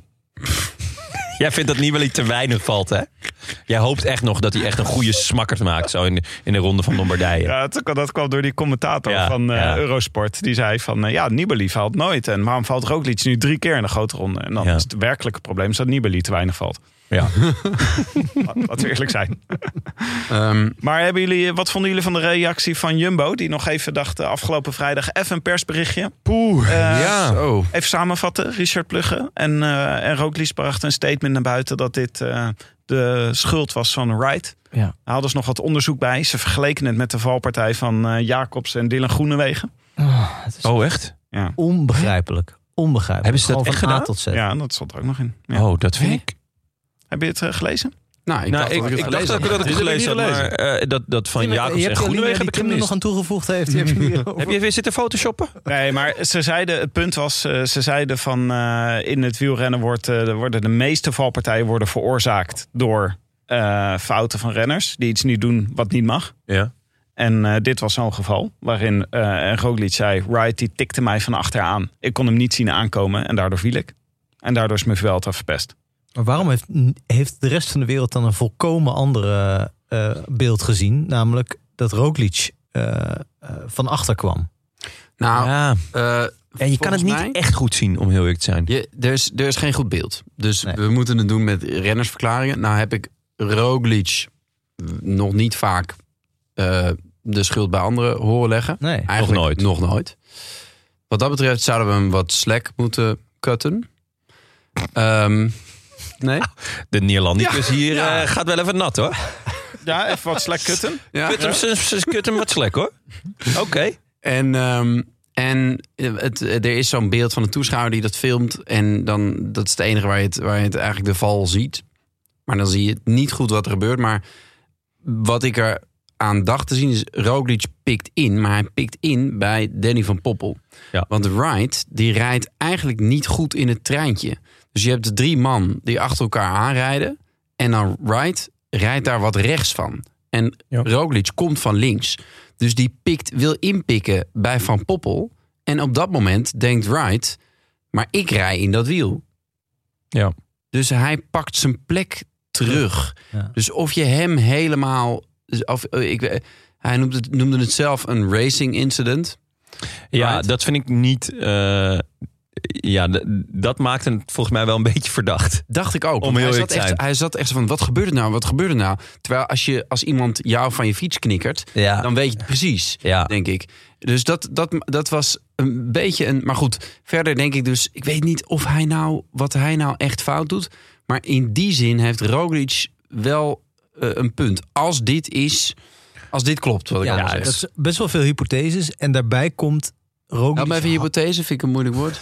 S1: Jij vindt dat Nibali te weinig valt, hè? Jij hoopt echt nog dat hij echt een goede smakkert maakt, zo in de, in de ronde van Lombardije.
S2: Ja, dat, dat kwam door die commentator
S1: Ja,
S2: van eh,
S1: ja.
S2: Eurosport. Die zei van, eh, ja, Nibali valt nooit. En waarom valt Roglic nu drie keer in de grote ronde? En dan
S1: Ja.
S2: is het werkelijke probleem is dat Nibali te weinig valt.
S1: Ja.
S2: Laat- Laten we eerlijk zijn.
S4: Ehm,
S2: Maar hebben jullie, eh, wat vonden jullie van de reactie van Jumbo? Die nog even dacht eh, afgelopen vrijdag even een persberichtje.
S4: Poeh,
S2: Eh,
S4: ja. Nou, Zo.
S2: Even samenvatten, Richard Plugge en, eh en Roglic brachten een statement naar buiten dat dit eh, de schuld was van Wright.
S3: Ja.
S2: Daar hadden ze nog wat onderzoek bij. Ze vergeleken het met de valpartij van eh, Jacobs en Dylan Groenewegen.
S3: Oh, het is
S1: Oh, echt?
S3: onbegrijpelijk. Onbegrijpelijk.
S1: Hebben ze dat
S3: Gewoon van
S1: echt
S3: A
S1: gedaan?
S3: tot Z.
S2: Ja, dat stond er ook nog in. Ja.
S1: Oh, dat vind
S4: Hè?
S1: ik.
S2: Heb je het eh, gelezen?
S4: Nou, ik
S1: nou,
S4: dacht
S1: ik,
S4: dat ik,
S1: ik,
S4: het
S1: dacht
S4: gelezen
S1: ook
S4: had.
S1: dat ik het
S4: Dit heb
S1: gelezen had, maar eh, dat, dat van
S3: Je hebt
S1: Jacobs
S3: die
S1: en
S3: Alinea
S1: Groenewegen heb ik
S3: die toen er nog
S1: gemist.
S3: aan toegevoegd heeft. Die heb je hier
S1: Heb je weer zitten photoshoppen?
S2: Nee, maar ze zeiden, het punt was, eh, ze zeiden van eh, in het wielrennen wordt, eh, worden de meeste valpartijen worden veroorzaakt door eh, fouten van renners die iets niet doen wat niet mag.
S1: Ja.
S2: En eh, dit was zo'n geval waarin eh Roglic zei, Wright die tikte mij van achteraan. Ik kon hem niet zien aankomen en daardoor viel ik. En daardoor is mijn Vuelta verpest.
S3: Maar waarom heeft, heeft de rest van de wereld dan een volkomen andere eh, beeld gezien? Namelijk dat Roglic eh, eh, van achter kwam.
S4: Nou,
S1: ja.
S4: eh,
S1: Ja, je kan het
S4: volgens
S1: niet
S4: mij-
S1: echt goed zien, om heel eerlijk te zijn.
S4: Je, er, is, er is geen goed beeld. Dus
S3: Nee.
S4: we moeten het doen met rennersverklaringen. Nou heb ik Roglic nog niet vaak eh, de schuld bij anderen horen leggen.
S3: Nee.
S4: Eigenlijk
S1: nooit.
S4: Nog nooit. Wat dat betreft zouden we hem wat slack moeten cutten. Ehm, nee?
S1: De Neerlandicus hier eh, gaat wel even nat, hoor.
S2: Ja, even wat slecht kutten.
S4: Ja.
S1: Kut hem, ze- ze- kut hem wat slek, hoor. Oké.
S4: En, ehm, en eh, het, er is zo'n beeld van een toeschouwer die dat filmt. En dan, dat is het enige waar je het, waar je het eigenlijk de val ziet. Maar dan zie je het niet goed wat er gebeurt. Maar wat ik er aan dacht te zien is... Roglic pikt in, maar hij pikt in bij Danny van Poppel.
S1: Ja.
S4: Want Wright, die rijdt eigenlijk niet goed in het treintje. Dus je hebt drie man die achter elkaar aanrijden. En dan Wright rijdt daar wat rechts van. En
S1: Ja.
S4: Roglic komt van links. Dus die pikt, wil inpikken bij Van Poppel. En op dat moment denkt Wright, maar ik rij in dat wiel.
S1: Ja.
S4: Dus hij pakt zijn plek terug.
S3: Ja.
S4: Dus of je hem helemaal. Of, eh, ik, we- hij noemde het, noemde het zelf een racing incident.
S1: Ja,
S4: Right?
S1: dat vind ik niet. eh, ja, d- dat maakt hem volgens mij wel een beetje verdacht.
S4: Dacht ik ook.
S1: Om
S4: want
S1: heel
S4: hij, zat
S1: eerlijk te
S4: echt,
S1: zijn.
S4: hij zat echt zo van: wat gebeurde nou? Wat gebeurde nou? Terwijl als, je, als iemand jou van je fiets knikkert,
S1: Ja.
S4: dan weet je het precies.
S1: ja.
S4: denk ik. Dus dat, dat, dat was een beetje een. Maar goed, verder denk ik dus. Ik weet niet of hij nou. wat hij nou echt fout doet. Maar in die zin heeft Roglic wel eh, een punt. Als dit is. Als dit klopt, wat ik
S3: Ja,
S4: allemaal
S3: dat
S4: zeg.
S3: is best wel veel hypotheses. En daarbij komt
S4: Help me
S3: Roglic...
S4: even hypothese, vind ik een moeilijk woord.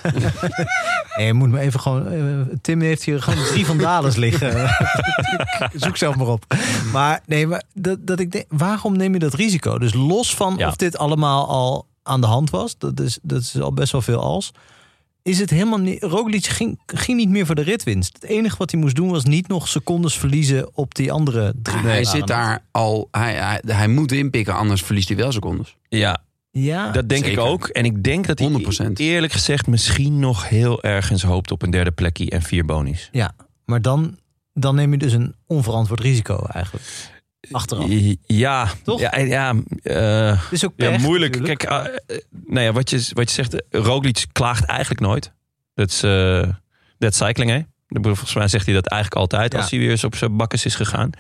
S3: Nee, je moet me even gewoon... eh, Tim heeft hier gewoon drie vandales liggen. Zoek zelf maar op. Maar nee, maar dat, dat ik denk, waarom neem je dat risico? Dus los van
S1: Ja.
S3: of dit allemaal al aan de hand was. Dat is, dat is al best wel veel als. Is het helemaal niet... Roglic ging, ging niet meer voor de ritwinst. Het enige wat hij moest doen was niet nog secondes verliezen op die andere drie.
S4: hij
S3: banen.
S4: zit daar al. Hij, hij, hij moet inpikken, anders verliest hij wel secondes.
S1: ja,
S3: Ja,
S1: dat denk
S4: zeker.
S1: ik ook. En ik denk dat hij
S4: 100%.
S1: eerlijk gezegd misschien nog heel ergens hoopt op een derde plekje en vier bonies.
S3: ja. maar dan, dan neem je dus een onverantwoord risico eigenlijk. Achteraf.
S1: Eh, Ja,
S3: Toch?
S1: Ja, ja, eh,
S3: Het is ook
S1: ja
S3: pech
S1: moeilijk.
S3: natuurlijk.
S1: Kijk, eh, eh, nou ja, wat je, wat je zegt, eh, Roglic klaagt eigenlijk nooit. Dat is eh, dat is cycling, hè? Ik bedoel, Volgens mij zegt hij dat eigenlijk altijd
S3: Ja.
S1: als hij weer eens op zijn bakkes is gegaan.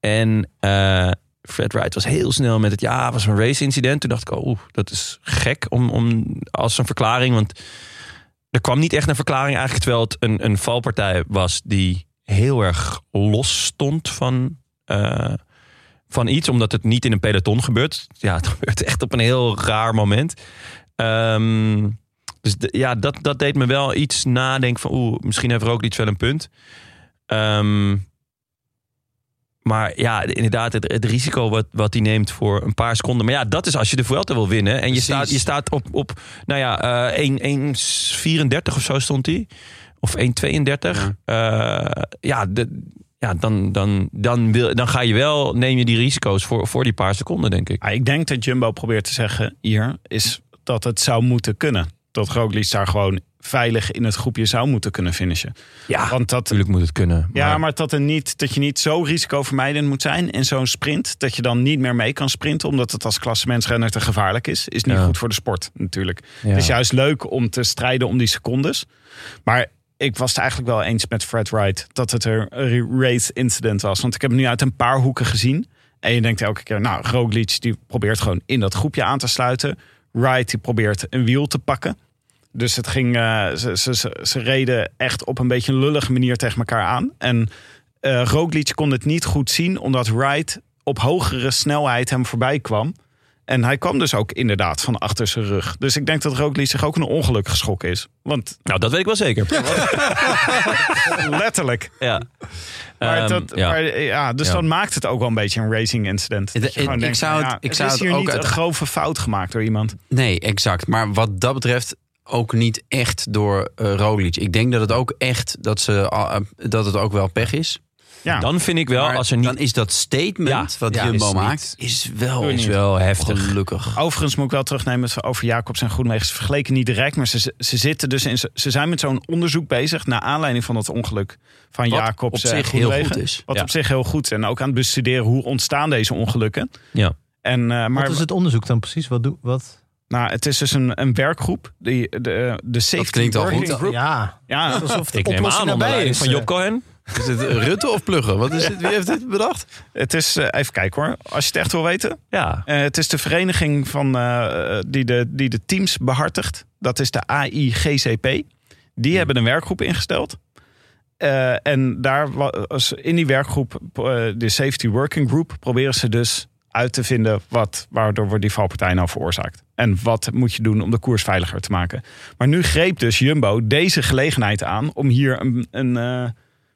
S1: En eh, Fred Wright was heel snel met het, ja, was een race-incident. Toen dacht ik, oh, oeh, dat is gek om, om, als een verklaring. Want er kwam niet echt een verklaring eigenlijk, terwijl het een, een valpartij was die heel erg los stond van, eh, van iets. Omdat het niet in een peloton gebeurt. Ja, het gebeurt echt op een heel raar moment. Ehm, dus d- ja, dat, dat deed me wel iets nadenken van... oeh, misschien heeft Roglic wel een punt. Ehm, maar ja, inderdaad, het, het risico wat, wat hij neemt voor een paar seconden. Maar ja, dat is als je de Vuelta wil winnen. En je
S4: Precies.
S1: staat, je staat op, op nou ja, eh, 1 1,34 of zo stond hij. Of 1,32. Ja, ja, de- ja dan, dan, dan, wil, dan ga je wel, neem je die risico's voor, voor die paar seconden, denk ik.
S2: Ah, ik denk dat Jumbo probeert te zeggen hier is dat het zou moeten kunnen. Dat Roglic daar gewoon veilig in het groepje zou moeten kunnen finishen.
S1: Ja,
S2: Want dat,
S1: natuurlijk moet het kunnen.
S2: ja, maar dat, er niet, dat je niet zo risicovermijdend moet zijn in zo'n sprint. Dat je dan niet meer mee kan sprinten omdat het als klassementsrenner te gevaarlijk is. Is niet
S1: Ja.
S2: goed voor de sport natuurlijk.
S1: Ja.
S2: Het is juist leuk om te strijden om die secondes. Maar ik was het eigenlijk wel eens met Fred Wright dat het er een race incident was. Want ik heb hem nu uit een paar hoeken gezien. En je denkt elke keer, nou, Roglic die probeert gewoon in dat groepje aan te sluiten. Wright die probeert een wiel te pakken. Dus het ging, eh, ze, ze, ze, ze reden echt op een beetje een lullige manier tegen elkaar aan. En eh Roglic kon het niet goed zien, omdat Wright op hogere snelheid hem voorbij kwam. En hij kwam dus ook inderdaad van achter zijn rug. Dus ik denk dat Roglic zich ook een ongeluk geschrokken is. Want
S1: Nou, dat weet ik wel zeker.
S2: letterlijk.
S1: Ja.
S2: Maar
S1: Ehm,
S2: dat,
S1: ja.
S2: maar, eh, ja, dus
S1: Ja.
S2: dan maakt het ook wel een beetje een racing incident.
S4: Het-
S2: Dat je
S4: het-
S2: gewoon
S4: ik
S2: denkt,
S4: zou
S2: nou
S4: het-
S2: ja,
S4: ik
S2: er
S4: zou
S2: is
S4: het
S2: hier
S4: ook
S2: niet
S4: uit-
S2: een grove fout gemaakt door iemand.
S4: Nee, exact. Maar wat dat betreft ook niet echt door eh, Roglic. Ik denk dat het ook echt. dat, ze, ah, eh, dat het ook wel pech is.
S2: Ja.
S1: Dan vind ik wel,
S4: Maar
S1: als er niet...
S4: dan is dat statement
S1: Ja,
S4: wat
S1: ja,
S4: Jumbo
S1: is niet-
S4: maakt, is wel,
S2: Doe je
S4: is
S2: niet.
S4: wel
S1: wel heftig.
S4: gelukkig.
S2: Overigens moet ik wel terugnemen dat we over Jacobs en Groenwegen. Ze vergeleken niet direct, maar ze, ze, zitten dus in, ze zijn met zo'n onderzoek bezig. naar aanleiding van dat ongeluk van
S4: Wat
S2: Jacobs
S4: op
S2: en
S4: zich heel
S2: Groenewegen.
S4: goed is.
S2: Wat
S1: Ja.
S2: op zich heel goed is. En ook aan het bestuderen hoe ontstaan deze ongelukken.
S1: Ja.
S2: En, eh, maar
S3: Wat is het onderzoek dan precies? Wat doe, wat?
S2: Nou, het is dus een, een werkgroep. Die, de, de safety
S4: klinkt al
S2: working
S4: goed.
S2: group.
S3: Ja,
S2: Ja,
S3: alsof de
S1: Ik neem aan
S3: oplossing
S1: onder
S3: nabij
S1: leiding
S3: is. eh,
S1: van Job Cohen.
S4: Is het eh, Rutte of Pluggen? Wat is dit? Wie heeft dit bedacht?
S2: het is, eh, even kijken hoor. Als je het echt wil weten.
S1: Ja.
S2: Eh, het is de vereniging van, eh, eh, die, de, die de teams behartigt. Dat is de AIGCP.
S1: Hmm.
S2: Die hebben een werkgroep ingesteld. Eh, en daar was, in die werkgroep, eh, de Safety Working Group, proberen ze dus uit te vinden wat, waardoor wordt die valpartij nou veroorzaakt. En wat moet je doen om de koers veiliger te maken. Maar nu greep dus Jumbo deze gelegenheid aan om hier een, een eh,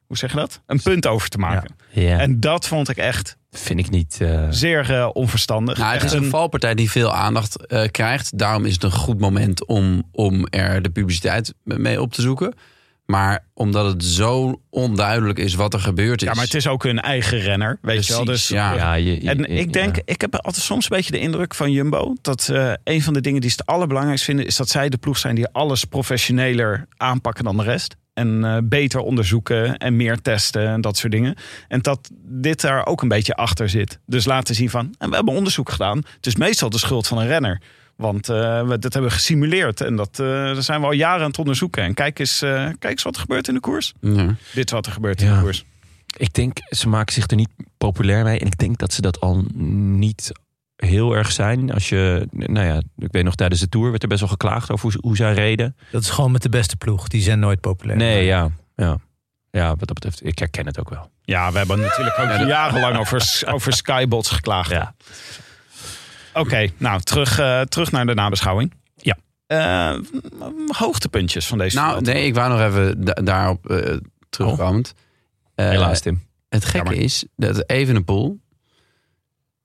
S2: hoe zeg je dat? Een punt over te maken.
S1: ja.
S2: En dat vond ik echt
S1: vind ik niet... eh,
S2: zeer eh, onverstandig.
S4: Nou, het is
S2: Echt
S4: een valpartij die veel aandacht eh, krijgt. Daarom is het een goed moment om, om er de publiciteit mee op te zoeken. Maar omdat het zo onduidelijk is wat er gebeurd is.
S2: Ja, maar het is ook hun eigen renner, weet je wel.
S4: Dus Precies,
S2: Dus,
S4: ja.
S1: ja, je, je-
S2: En ik denk,
S1: ja.
S2: ik heb altijd soms een beetje de indruk van Jumbo... dat eh, een van de dingen die ze het allerbelangrijkst vinden... is dat zij de ploeg zijn die alles professioneler aanpakken dan de rest. En eh, beter onderzoeken en meer testen en dat soort dingen. En dat dit daar ook een beetje achter zit. Dus laten zien van, en we hebben onderzoek gedaan. Het is meestal de schuld van een renner. Want eh, we, dat hebben we gesimuleerd. En dat, eh daar zijn we al jaren aan het onderzoeken. En kijk eens, eh, kijk eens wat er gebeurt in de koers.
S4: Ja.
S2: Dit is wat er gebeurt in
S1: Ja.
S2: de koers.
S1: Ik denk, ze maken zich er niet populair mee. En ik denk dat ze dat al niet heel erg zijn. Als je, nou ja, ik weet nog, tijdens de Tour werd er best wel geklaagd over hoe, hoe zij reden.
S3: Dat is gewoon met de beste ploeg. Die zijn nooit populair.
S1: Nee, ja, ja. Ja, wat dat betreft, ik herken het ook wel.
S2: Ja, we hebben natuurlijk ook jarenlang over, over skybots geklaagd.
S1: Ja.
S2: Oké, nou terug, eh, terug naar de nabeschouwing.
S1: Ja.
S2: Eh, m- hoogtepuntjes van deze
S4: Nou,
S2: wereld.
S4: nee, ik wou nog even da- daarop eh
S2: Oh.
S4: terugkomend. Eh,
S1: Helaas, Tim.
S4: Het gekke
S2: Jammer.
S4: is dat Evenepoel...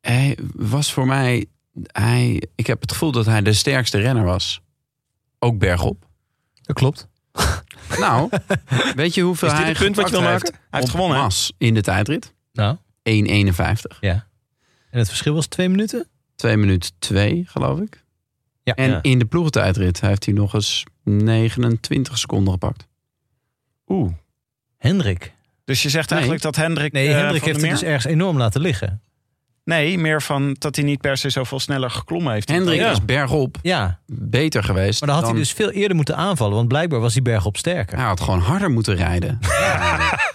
S4: Hij was voor mij... Hij, ik heb het gevoel dat hij de sterkste renner was. Ook bergop.
S3: Dat klopt.
S4: Nou, weet je hoeveel
S1: Is dit
S4: hij
S1: het punt wat je wil
S4: gepakt
S1: maken?
S4: heeft
S2: Hij heeft
S4: op
S2: gewonnen, hè?
S4: Mas in de tijdrit.
S3: Nou,
S4: 1,51.
S3: en het verschil was twee minuten?
S4: 2 minuten 2, geloof ik.
S3: Ja.
S4: En
S1: Ja.
S4: in de ploegentijdrit heeft hij nog eens 29 seconden gepakt.
S1: Oeh.
S3: Hendrik.
S2: Dus je zegt
S4: Nee.
S2: eigenlijk dat Hendrik.
S3: Nee,
S2: eh,
S3: Hendrik
S2: van
S3: heeft
S2: der
S3: het dus
S2: Meer-
S3: ergens enorm laten liggen.
S2: Nee, meer van dat hij niet per se zoveel sneller geklommen heeft.
S4: Hendrik
S2: Ja.
S4: is bergop
S3: Ja,
S4: beter geweest.
S3: maar dan had hij
S4: dan-
S3: dus veel eerder moeten aanvallen. Want blijkbaar was die berg op sterker.
S4: Hij had gewoon harder moeten rijden.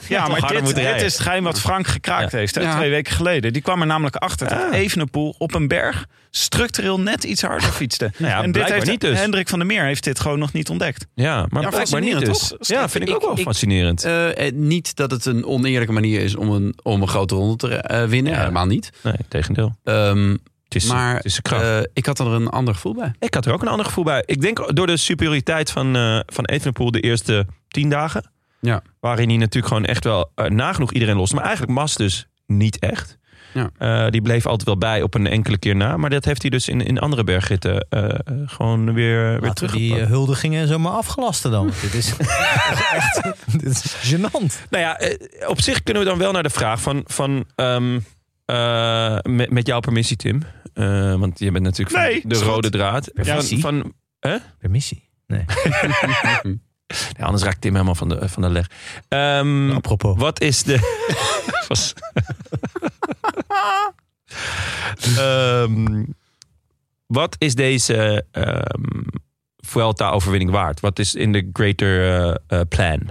S2: Ja, maar
S1: harder
S2: dit,
S1: moeten
S2: dit
S1: rijden.
S2: is het geheim wat Frank gekraakt heeft. Hè,
S4: Ja.
S2: Twee weken geleden. Die kwam er namelijk achter dat Evenepoel op een berg structureel net iets harder fietste.
S1: Nou ja,
S2: en dit
S1: blijkbaar
S2: heeft
S1: niet dus.
S2: Hendrik van der Meer heeft dit gewoon nog niet ontdekt.
S1: Ja, maar
S4: Ja,
S1: blijkbaar niet
S4: fascinerend,
S1: dus.
S4: toch?
S1: Ja, vind ik, ook wel
S4: Ik- ik-
S1: fascinerend.
S4: Eh, eh, niet dat het een oneerlijke manier is om een, om een grote ronde te eh, winnen.
S1: Ja.
S4: Helemaal niet.
S1: nee, tegendeel.
S4: Ehm,
S1: Het is,
S4: maar
S1: het is de kracht.
S4: eh, ik had er een ander gevoel bij.
S1: Ik had er ook een ander gevoel bij. Ik denk door de superioriteit van, eh van Evenepoel de eerste tien dagen.
S4: Ja.
S1: Waarin hij natuurlijk gewoon echt wel eh, nagenoeg iedereen lost. Maar eigenlijk Mas dus niet echt.
S4: Ja.
S1: Eh, die bleef altijd wel bij op een enkele keer na. Maar dat heeft hij dus in, in andere bergritten eh, eh, gewoon weer, weer
S3: Laten we die
S1: teruggepakt.
S3: eh, huldigingen zomaar afgelasten dan. Want dit, is, echt, dit is gênant.
S1: Nou ja, eh, op zich kunnen we dan wel naar de vraag van... van ehm, eh, met, met jouw permissie, Tim. Eh, want je bent natuurlijk van
S2: Nee,
S1: de
S2: schat.
S1: rode draad. Van,
S3: Permissie?
S1: van,
S3: Permissie. Nee,
S1: ja, anders raakt Tim helemaal van de, eh, van de leg.
S3: Nou,
S1: Ehm,
S3: apropos.
S1: Wat is de. Was- Ehm, wat is deze ehm Vuelta-overwinning waard? Wat is in de greater eh, eh, plan?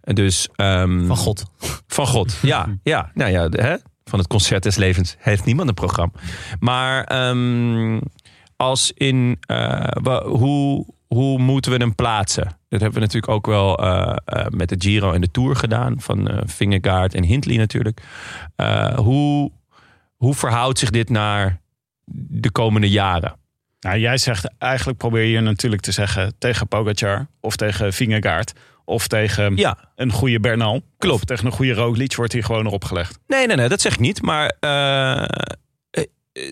S1: En Dus, ehm,
S3: Van God.
S1: Van God, ja. ja. Nou ja, de- hè? van het concert des levens heeft niemand een programma. Maar ehm, als in, eh, wa- hoe, hoe moeten we hem plaatsen? Dat hebben we natuurlijk ook wel eh, eh, met de Giro en de Tour gedaan. Van eh Vingegaard en Hindley natuurlijk. Eh, hoe, hoe verhoudt zich dit naar de komende jaren?
S2: Nou, jij zegt eigenlijk probeer je natuurlijk te zeggen tegen Pogacar of tegen Vingegaard of tegen
S1: Ja,
S2: een goede Bernal.
S1: Klopt.
S2: Of tegen een goede Roglic wordt hier gewoon erop gelegd.
S1: nee, nee, nee, dat zeg ik niet. Maar eh, eh,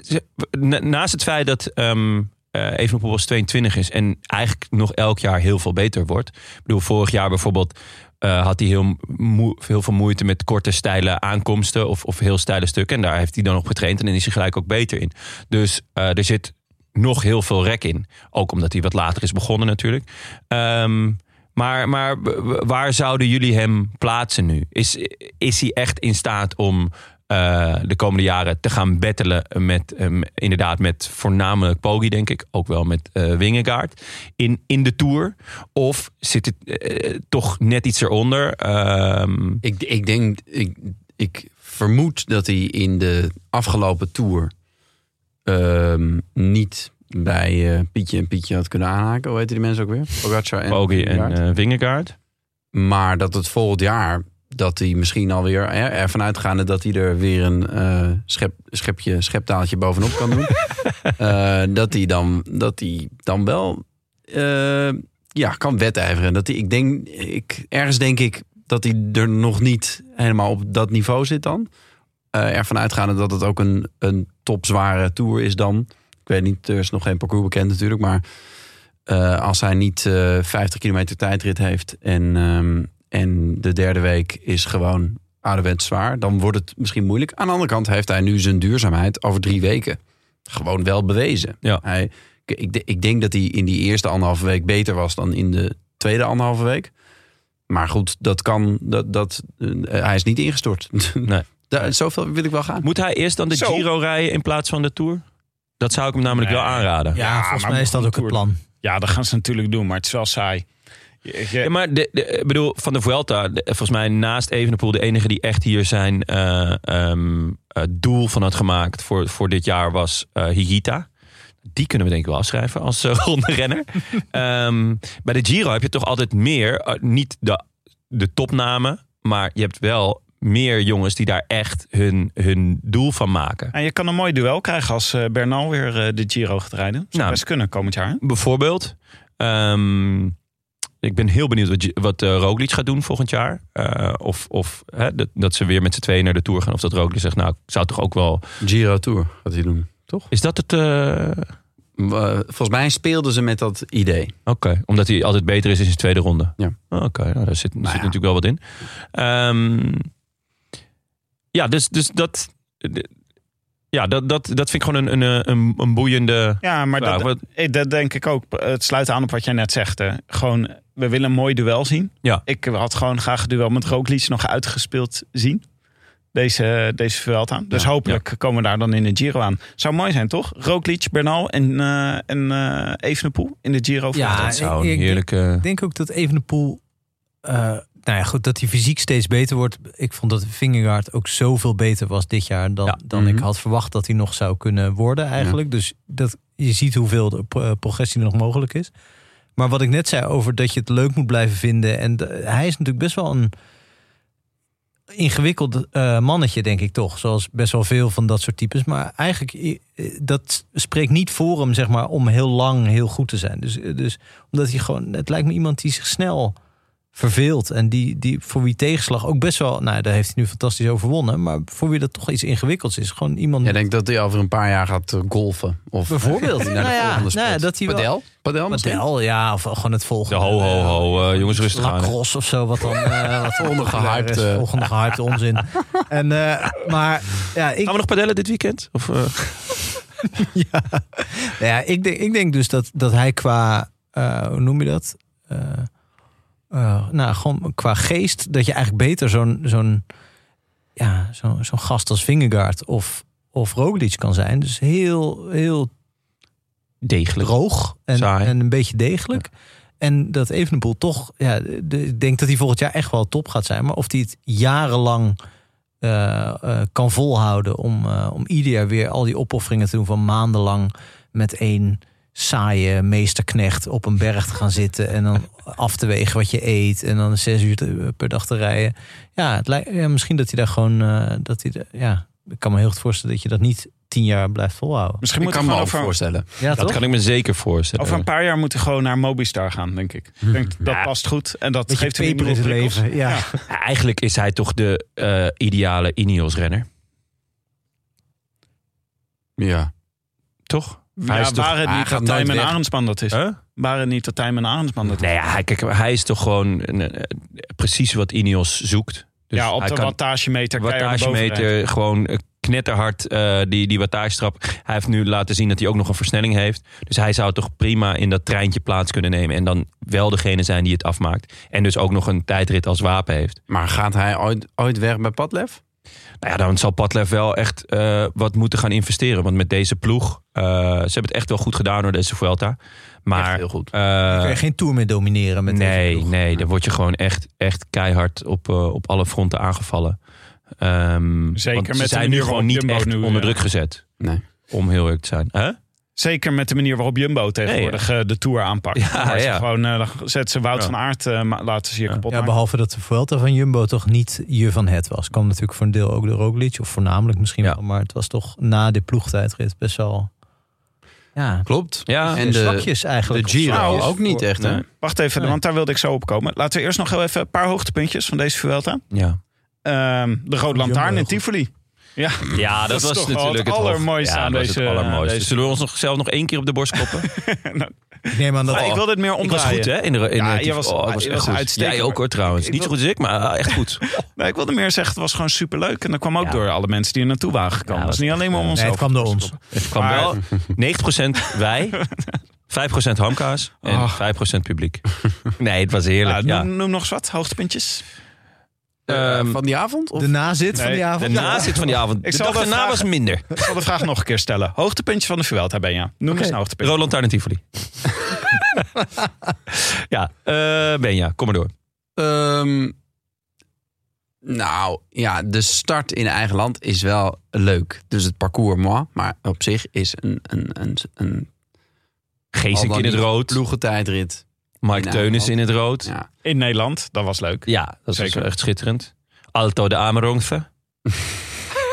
S1: ze- na- naast het feit dat ehm eh Evenepoel als 22 is en eigenlijk nog elk jaar heel veel beter wordt. Ik bedoel, vorig jaar bijvoorbeeld eh, had hij heel, moe- heel veel moeite met korte, steile aankomsten of, of heel steile stukken. En daar heeft hij dan op getraind en dan is hij gelijk ook beter in. Dus eh, er zit nog heel veel rek in. Ook omdat hij wat later is begonnen natuurlijk. Ehm, maar maar w- w- waar zouden jullie hem plaatsen nu? Is, is hij echt in staat om eh, de komende jaren te gaan battelen met, ehm, inderdaad, met voornamelijk Poggi, denk ik. Ook wel met eh Wingegaard in, in de Tour. Of zit het eh, toch net iets eronder? Ehm,
S4: Ik, ik denk, ik, ik vermoed dat hij in de afgelopen tour ehm, niet bij eh, Pietje en Pietje had kunnen aanhaken. Hoe heten die mensen ook weer? Pogacar en
S1: Poggi en
S4: Vingegaard.
S1: eh Wingegaard.
S4: Maar dat het volgend jaar, dat hij misschien alweer hè, ervan uitgaande dat hij er weer een eh, schep, schepje, scheptaaltje bovenop kan doen. eh, dat, hij dan, dat hij dan wel eh, ja, kan wedijveren. Dat hij, ik denk, ik, ergens denk ik dat hij er nog niet helemaal op dat niveau zit dan. Eh ervan uitgaande dat het ook een, een topzware tour is dan. Ik weet niet, er is nog geen parcours bekend natuurlijk, maar eh, als hij niet eh, 50 kilometer tijdrit heeft en, ehm, en de derde week is gewoon ouderwets zwaar, dan wordt het misschien moeilijk. Aan de andere kant heeft hij nu zijn duurzaamheid over drie weken gewoon wel bewezen.
S1: Ja.
S4: Hij, ik, ik denk dat hij in die eerste anderhalve week beter was dan in de tweede anderhalve week. Maar goed, dat kan. Dat, dat, eh, hij is niet ingestort.
S1: Nee.
S4: Daar, zoveel wil ik wel gaan.
S1: Moet hij eerst dan de
S2: Zo.
S1: Giro rijden in plaats van de Tour? Dat zou ik hem namelijk
S2: Nee.
S1: wel aanraden.
S3: Ja,
S2: Ja,
S3: volgens
S2: maar
S3: mij is dat ook het
S2: Tour-
S3: plan.
S2: Ja, dat gaan ze natuurlijk doen, maar het is wel saai. Je- je-
S1: Ja, maar de, de, ik bedoel, van de Vuelta, de- volgens mij naast Evenepoel de enige die echt hier zijn eh, ehm, eh, doel van had gemaakt voor, voor dit jaar was eh, Higita. Die kunnen we denk ik wel afschrijven als eh, ronde renner. Ehm, bij de Giro heb je toch altijd meer, eh, niet de, de topnamen, maar je hebt wel meer jongens die daar echt hun, hun doel van maken.
S2: En je kan een mooi duel krijgen als eh, Bernal weer eh, de Giro gaat rijden. Zou
S1: Nou.
S2: best kunnen komend jaar.
S1: bijvoorbeeld. Ehm, ik ben heel benieuwd wat, G- wat eh, Roglic gaat doen volgend jaar. Eh, of of hè, dat, dat ze weer met z'n tweeën naar de Tour gaan. Of dat Roglic zegt, nou, ik zou toch ook wel...
S4: Giro Tour gaat hij doen.
S1: Is dat het... eh,
S4: Eh, volgens mij speelden ze met dat idee.
S1: Oké, omdat hij altijd beter is in zijn tweede ronde.
S4: Ja.
S1: Oké, nou, daar zit, zit
S4: ja.
S1: natuurlijk wel wat in. Ehm, ja, dus, dus dat... de- ja, dat, dat, dat vind ik gewoon een, een, eh, een, een boeiende...
S2: Ja, maar
S1: vraag.
S2: dat,
S1: Wat-
S2: Eh, Dat denk ik ook. Het sluit aan op wat jij net zegt. Hè. Gewoon, we willen een mooi duel zien.
S1: Ja.
S2: Ik had gewoon graag het duel met Roglic nog uitgespeeld zien. Deze, deze Vuelta. Dus
S4: Ja.
S2: hopelijk komen we daar dan in de Giro aan. Zou mooi zijn, toch? Roglic, Bernal en, eh, en eh Evenepoel in de Giro.
S3: Ja,
S1: dat zou
S3: ik-
S1: een
S3: ik-
S1: heerlijke...
S3: Ik denk ook dat Evenepoel... eh nou ja, goed, dat hij fysiek steeds beter wordt. Ik vond dat Vingegaard ook zoveel beter was dit jaar... dan,
S1: Ja.
S3: dan ik
S4: Mhm.
S3: had verwacht dat hij nog zou kunnen worden eigenlijk. Dus dat, je ziet hoeveel de pro- eh, progressie er nog mogelijk is. Maar wat ik net zei over dat je het leuk moet blijven vinden... en de- hij is natuurlijk best wel een ingewikkeld eh, mannetje, denk ik toch. Zoals best wel veel van dat soort types. Maar eigenlijk, eh, dat spreekt niet voor hem, zeg maar, om heel lang heel goed te zijn. Dus, eh, dus omdat hij gewoon, het lijkt me iemand die zich snel verveelt. En die, die voor wie tegenslag ook best wel, nou, daar heeft hij nu fantastisch overwonnen. Maar voor wie dat toch iets ingewikkelds is. Gewoon iemand.
S4: Jij denkt dat hij over een paar jaar gaat eh, golfen. Of
S3: Bijvoorbeeld.
S4: Naar de
S3: Nou ja,
S4: volgende sport.
S3: nou ja, dat hij wel-
S4: Padel? Padel misschien?
S3: Padel, ja, of gewoon het
S1: De
S3: volgende.
S1: ho, ho, ho, eh, jongens, rustig aan. hè.
S3: Lacrosse of zo, wat dan. eh wat dan
S4: Ondergehyped,
S3: is.
S4: eh.
S3: Volgende gehypte onzin. En, eh, maar ja, ik,
S1: Gaan we nog padellen dit weekend? Of, eh?
S3: ja. Nou ja, ik denk, ik denk dus dat, dat hij qua, eh, hoe noem je dat? Eh, eh, nou, gewoon qua geest, dat je eigenlijk beter zo'n zo'n ja, zo, zo'n gast als Vingegaard of, of Roglic kan zijn. Dus heel, heel
S1: Degelijk.
S3: droog en,
S1: Saai.
S3: en een beetje degelijk. En dat Evenepoel toch, ja, de- ik denk dat hij volgend jaar echt wel top gaat zijn. Maar of hij het jarenlang eh, eh, kan volhouden om, eh, om ieder jaar weer al die opofferingen te doen van maandenlang met één saaie meesterknecht op een berg te gaan zitten en dan af te wegen wat je eet en dan zes uur te- per dag te rijden. Ja, het lijkt, ja, misschien dat hij daar gewoon, eh, dat hij, de- ja, ik kan me heel goed voorstellen dat je dat niet tien jaar blijft volhouden.
S2: Misschien
S4: Ik
S2: moet
S4: kan
S2: hij
S4: me
S2: gewoon
S4: ook
S2: over,
S4: voorstellen.
S3: Ja,
S1: Dat kan ik me zeker voorstellen.
S2: over een paar jaar moet hij gewoon naar Mobistar gaan, denk ik. Ik denk, dat past goed en dat geeft hem
S3: paper in
S2: nieuwe
S3: het
S2: prikkels.
S3: leven. Ja.
S1: Eigenlijk is hij toch de eh, ideale Ineos-renner,
S4: Ja.
S1: toch?
S2: Ja,
S1: Hij is toch...
S2: waren het
S4: hij
S2: niet
S4: gaat
S2: dat Tijmen
S4: nooit weg.
S2: Arendsman dat is.
S1: Huh?
S2: Waren het niet dat Tijmen Arendsman dat is.
S1: Nee, ja, hij, kijk, hij is toch gewoon een- eh, precies wat Ineos zoekt. Dus
S2: ja, op
S1: hij
S2: de
S1: kan
S2: wattagemeter. keihard bovenrijden.
S1: wattagemeter gewoon eh, knetterhard eh, die, die wattagestrap. Hij heeft nu laten zien dat hij ook nog een versnelling heeft. Dus hij zou toch prima in dat treintje plaats kunnen nemen. En dan wel degene zijn die het afmaakt. En dus ook nog een tijdrit als wapen heeft.
S4: Maar gaat hij ooit, ooit weg bij Padlef?
S1: Nou ja, dan zal Padlef wel echt eh, wat moeten gaan investeren. Want met deze ploeg, eh, ze hebben het echt wel goed gedaan door deze Vuelta. Maar
S4: Echt heel goed.
S1: eh,
S3: kan je geen tour meer domineren met deze
S1: nee,
S3: ploeg.
S1: nee, dan word je gewoon echt, echt keihard op, eh, op alle fronten aangevallen. Ehm,
S2: Zeker
S1: want
S2: met
S1: ze
S2: de
S1: zijn
S2: manier
S1: nu gewoon
S2: waarop
S1: niet
S2: Jumbo
S1: echt
S2: nu,
S1: onder
S2: eh,
S1: druk gezet.
S4: Nee.
S1: Om heel eerlijk te zijn. Huh?
S2: Zeker met de manier waarop Jumbo tegenwoordig eh, de Tour aanpakt.
S1: Ja,
S2: Waar ze
S1: ja.
S2: gewoon, eh, dan zet ze Wout
S1: Ja.
S2: van Aert, eh, ma- laten ze hier kapot
S3: Ja,
S2: maken.
S3: behalve dat de Vuelta van Jumbo toch niet je van het was. Kwam natuurlijk voor een deel ook de Roglic, of voornamelijk misschien
S1: Ja.
S3: wel. Maar het was toch na de ploegtijdrit best wel... Ja,
S4: Klopt.
S1: Ja,
S4: en de,
S3: zwakjes eigenlijk.
S4: de Giro
S2: Nou,
S4: ook niet echt, hè?
S1: Nee.
S2: Wacht even,
S3: Nee.
S2: want daar wilde ik zo op komen. Laten we eerst nog heel even een paar hoogtepuntjes van deze Vuelta.
S1: Ja.
S2: Ehm, de Rode Lantaarn
S3: heel
S2: in
S3: goed.
S2: Tivoli. Ja,
S1: ja, dat,
S2: is
S1: was
S2: toch wel
S1: natuurlijk
S2: het
S1: hoofd-
S2: allermooiste
S1: ja,
S2: aan
S1: dat was
S2: deze-
S1: het allermooiste.
S2: aan deze-
S1: Zullen we ons nog zelf nog één keer op de borst kloppen?
S3: Ik neem aan dat...
S2: Maar ik wil dit meer
S1: ik was
S2: omdraaien.
S1: goed, hè? In de, in
S2: Ja,
S1: de- oh,
S2: je was-
S1: ik
S2: je was
S1: goed.
S2: uitstekend.
S1: Jij ook, hoor, trouwens.
S2: Ik- ik
S1: niet zo
S2: wil-
S1: goed als ik, maar eh, echt goed.
S2: Nee, ik wilde meer zeggen, het was gewoon superleuk. En dat kwam ook
S1: Ja.
S2: door alle mensen die er naartoe waren gekomen.
S1: Ja, eh,
S2: dat is
S1: dat
S2: niet alleen maar om
S3: Nee, het
S2: onszelf.
S3: kwam door ons.
S1: Het kwam
S2: Maar-
S1: wel 90% wij, 5% 5% hamkaas en
S2: Ach.
S1: 5% publiek. Nee, het was heerlijk.
S2: Ja,
S1: Ja,
S2: Noem, noem nog eens wat hoogtepuntjes.
S4: Eh,
S1: Ehm,
S4: van die avond? Of?
S3: De nazit van
S2: Nee,
S3: die avond.
S1: De nazit van die avond.
S2: Ik
S1: de
S2: zal
S1: dag
S2: wel
S1: daarna was
S2: vragen-
S1: minder.
S2: Ik zal de vraag nog een keer stellen. Hoogtepuntje van de Vuelta ben je. Noem eens een hoogtepunt.
S1: Roland Taarn en Tivoli. ja, eh, Benja, kom maar door.
S4: Ehm, nou ja, de start in eigen land is wel leuk. Dus het parcours, moi, maar op zich is een, een, een, een
S1: Geesink
S4: al
S1: in
S4: dan
S1: het
S4: niet
S1: rood.
S4: ploegentijdrit.
S1: Mike
S4: Ja,
S1: Teunis in het rood.
S4: Ja.
S2: In Nederland, dat was leuk.
S1: Ja, dat is dus
S2: Zeker.
S1: echt schitterend. Alto de Amerongve.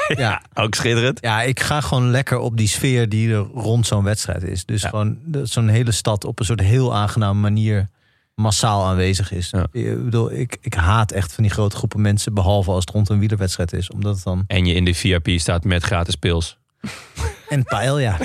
S1: ja, ook schitterend.
S3: Ja, ik ga gewoon lekker op die sfeer die er rond zo'n wedstrijd is. Dus
S1: Ja.
S3: gewoon dat zo'n hele stad op een soort heel aangename manier massaal aanwezig is.
S1: Ja.
S3: Ik bedoel, ik, ik haat echt van die grote groepen mensen, behalve als het rond een wielerwedstrijd is. Omdat het dan...
S1: En je in de VIP staat met gratis pils.
S3: En paella.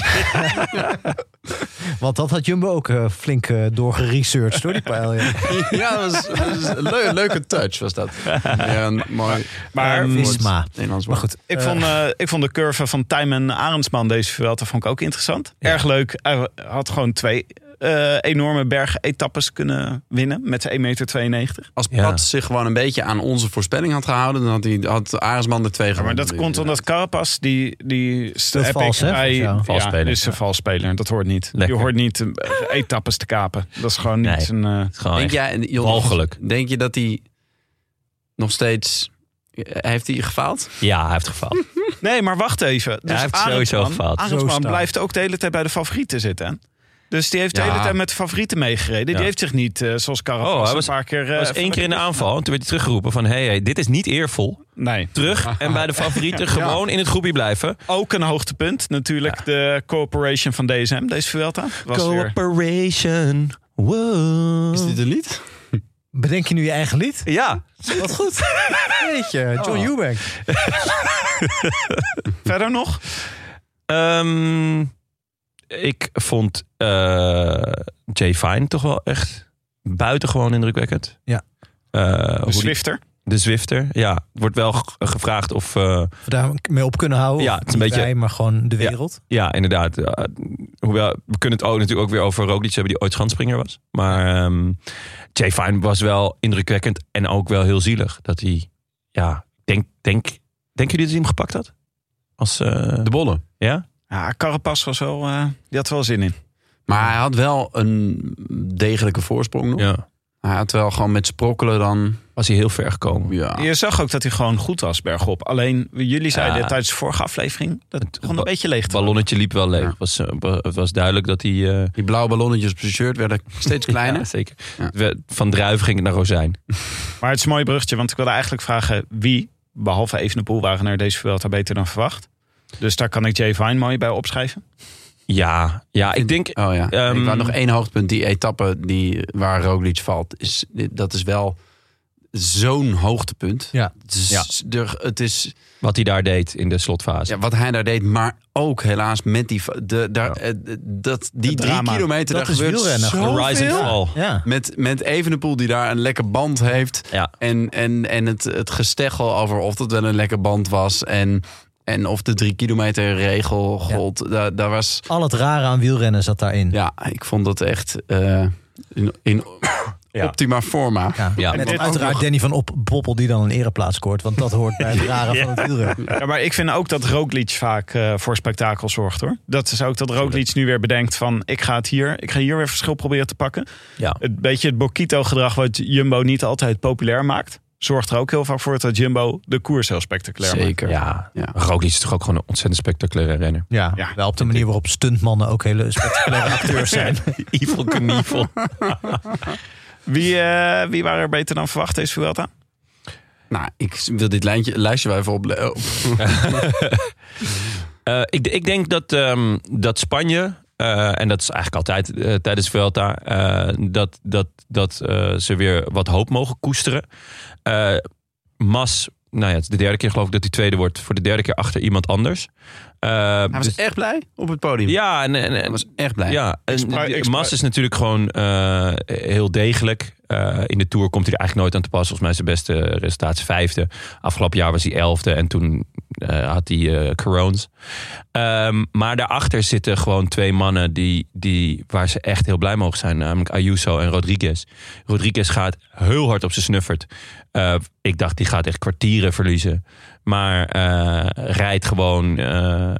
S3: Want dat had Jumbo ook eh, flink eh, doorgeresearched door die paella.
S4: Ja, dat was, dat was een leu- leuke touch was dat. Ja, een mooi
S2: Maar
S3: Ehm,
S4: woord.
S3: Visma.
S4: Nederlands
S3: Maar
S4: woord.
S3: goed.
S2: Ik,
S3: eh,
S2: vond, eh, ik vond de curve van Tijmen Arendsman deze Vuelta vond ik ook interessant. Erg leuk. Hij had gewoon twee eh, enorme bergetappes kunnen winnen met 1,92 meter.
S4: Als
S1: Ja.
S4: Pat zich gewoon een beetje aan onze voorspelling had gehouden, dan had, hij, had Aresman er twee
S2: Ja, maar
S4: gewonnen.
S2: dat komt omdat Carapas, die... die
S3: Dat is vals, hè,
S2: hij-
S3: volgens jou?
S1: Valsspeler.
S2: Ja, is een valsspeler. Dat hoort niet.
S1: Lekker.
S2: Je hoort niet eh, etappes te kapen. Dat is gewoon niet
S1: Nee.
S2: zijn... eh,
S1: Het is gewoon
S4: Denk
S1: echt
S4: jij, Jon,
S1: walgelijk.
S4: Denk je dat hij nog steeds... Heeft hij gefaald?
S1: Ja, hij heeft gefaald.
S2: Nee, maar wacht even. Dus
S1: hij heeft sowieso
S2: Arendsman-
S1: gefaald.
S3: Zo
S2: Arendsman
S3: staan.
S2: blijft ook de hele tijd bij de favorieten zitten. hè? Dus die heeft de
S4: Ja.
S2: hele tijd met de favorieten meegereden.
S1: Ja.
S2: Die heeft zich niet, eh, zoals Carapaz,
S1: Oh, hij was-
S2: een paar keer... eh,
S1: Hij was één keer in de aanval en toen werd hij teruggeroepen van... hey, hey, dit is niet eervol.
S2: Nee.
S1: Terug en bij de favorieten gewoon in het groepje blijven.
S2: Ook een hoogtepunt natuurlijk. De corporation van DSM, deze Vuelta. Was weer...
S1: Cooperation. Wow.
S4: Is dit een lied?
S3: Bedenk je nu je eigen lied?
S1: Ja,
S3: Wat goed. Weet je, John Eubank.
S2: Verder nog?
S1: Ehm, ik vond eh, Jay Fine toch wel echt buitengewoon indrukwekkend.
S3: Ja.
S1: Eh,
S2: De
S1: hoe die-
S2: Swifter.
S1: de Zwifter, ja. Er Wordt wel ge- gevraagd of... eh,
S3: Of we daarmee op kunnen houden.
S1: Ja,
S3: Of
S1: het is een
S3: niet
S1: beetje-
S3: wij, maar gewoon de
S1: Ja.
S3: wereld.
S1: ja, inderdaad. eh, hoewel, we kunnen het ook natuurlijk ook weer over Roglic hebben... die ooit schanspringer was. Maar ehm Jay Fine was wel indrukwekkend en ook wel heel zielig. Dat hij, ja, denk, denk, denk jullie dat hij hem gepakt had? Als, eh,
S4: De bollen.
S1: ja?
S2: Ja, Carapaz was wel... eh, die had wel zin in.
S4: Maar hij had wel een degelijke voorsprong nog.
S1: ja.
S4: Hij had wel gewoon met sprokkelen dan...
S1: Was hij heel ver gekomen.
S4: Ja,
S2: Je zag ook dat hij gewoon goed was bergop. Alleen, jullie zeiden
S1: Ja.
S2: tijdens de vorige aflevering... dat het gewoon een
S1: ba-
S2: beetje leeg
S1: Het ballonnetje liep wel leeg.
S4: Ja.
S1: Het was, eh, wa- het was duidelijk dat hij... eh,
S4: die blauwe ballonnetjes op zijn shirt werden steeds kleiner.
S1: Ja, zeker.
S4: Ja.
S1: Het werd- Van druiven ging het naar rozijn.
S2: Maar het is een mooi bruggetje, want ik wilde eigenlijk vragen wie, behalve Evenepoel, waren er deze Vuelta beter dan verwacht. Dus daar kan ik Jay Vine mooi bij opschrijven.
S1: Ja, ja ik denk...
S4: Oh ja.
S1: Ehm,
S4: ik wou nog één hoogtepunt. Die etappe die, waar Roglic valt, is, dat is wel zo'n hoogtepunt.
S3: Ja.
S4: Het is,
S1: Ja.
S4: er- Dus het is
S1: Wat hij daar deed in de slotfase.
S4: ja, wat hij daar deed, maar ook helaas met die, va- de, daar,
S1: Ja.
S4: eh, dat, die
S2: Het
S4: drie
S2: drama.
S4: kilometer,
S3: Dat
S4: daar
S3: is
S4: gebeurt
S3: wielrennen.
S4: zo-
S1: De rise and fall.
S3: Ja.
S4: Met, met Evenepoel die daar een lekker band heeft.
S1: Ja.
S4: En, en, en het, het gesteggel over of dat wel een lekker band was. En, en of de drie kilometer regel gold. Daar, daar was...
S3: Al het rare aan wielrennen zat daarin.
S4: Ja, ik vond dat echt eh, in, in
S1: Ja.
S4: optima forma.
S3: Ja.
S1: Ja.
S3: En
S2: En dit
S3: dan uiteraard
S2: ook
S3: Danny van Op Boppel die dan een ereplaats scoort. Want dat hoort bij het rare van het wielrennen.
S2: Ja, maar ik vind ook dat Roglic vaak eh, voor spektakel zorgt hoor. Dat is ook dat Roglic nu weer bedenkt van ik ga het hier, ik ga hier weer verschil proberen te pakken.
S1: Ja.
S2: Het beetje het Bokito gedrag wat Jumbo niet altijd populair maakt, zorgt er ook heel vaak voor dat Jumbo de koers heel spectaculair maakt.
S4: Zeker.
S1: Ja,
S4: Ja.
S1: Maar Roglic is toch ook gewoon een ontzettend spectaculaire renner.
S3: Ja,
S2: Ja.
S3: wel op de manier waarop stuntmannen ook hele spectaculaire acteurs zijn.
S1: Evil Knievel.
S2: Wie, eh, wie waren er beter dan verwacht deze Vuelta?
S4: Nou, ik wil dit lijntje, lijstje wel even op. op-
S1: Eh, ik, ik denk dat, ehm, dat Spanje, eh, en dat is eigenlijk altijd eh, tijdens Vuelta, eh, dat, dat, dat eh, ze weer wat hoop mogen koesteren. Eh, Mas, nou ja, het is de derde keer geloof ik dat hij tweede wordt. Voor de derde keer achter iemand anders. Eh,
S4: Hij was
S1: dus-
S4: echt blij op het podium.
S1: ja, en, en,
S4: Hij
S1: en-
S4: was echt blij.
S1: ja, en
S2: spra-
S1: die-
S2: ik spra-
S1: Mas is natuurlijk gewoon eh, heel degelijk. eh, in de Tour komt hij er eigenlijk nooit aan te pas. Volgens mij is zijn beste resultaat is vijfde. Afgelopen jaar was hij elfde en toen eh, had hij eh Carones. Ehm, maar daarachter zitten gewoon twee mannen die, die, waar ze echt heel blij mogen zijn. Namelijk Ayuso en Rodriguez. Rodriguez gaat heel hard op zijn snuffert. Eh, ik dacht, die gaat echt kwartieren verliezen. Maar eh, rijdt gewoon eh,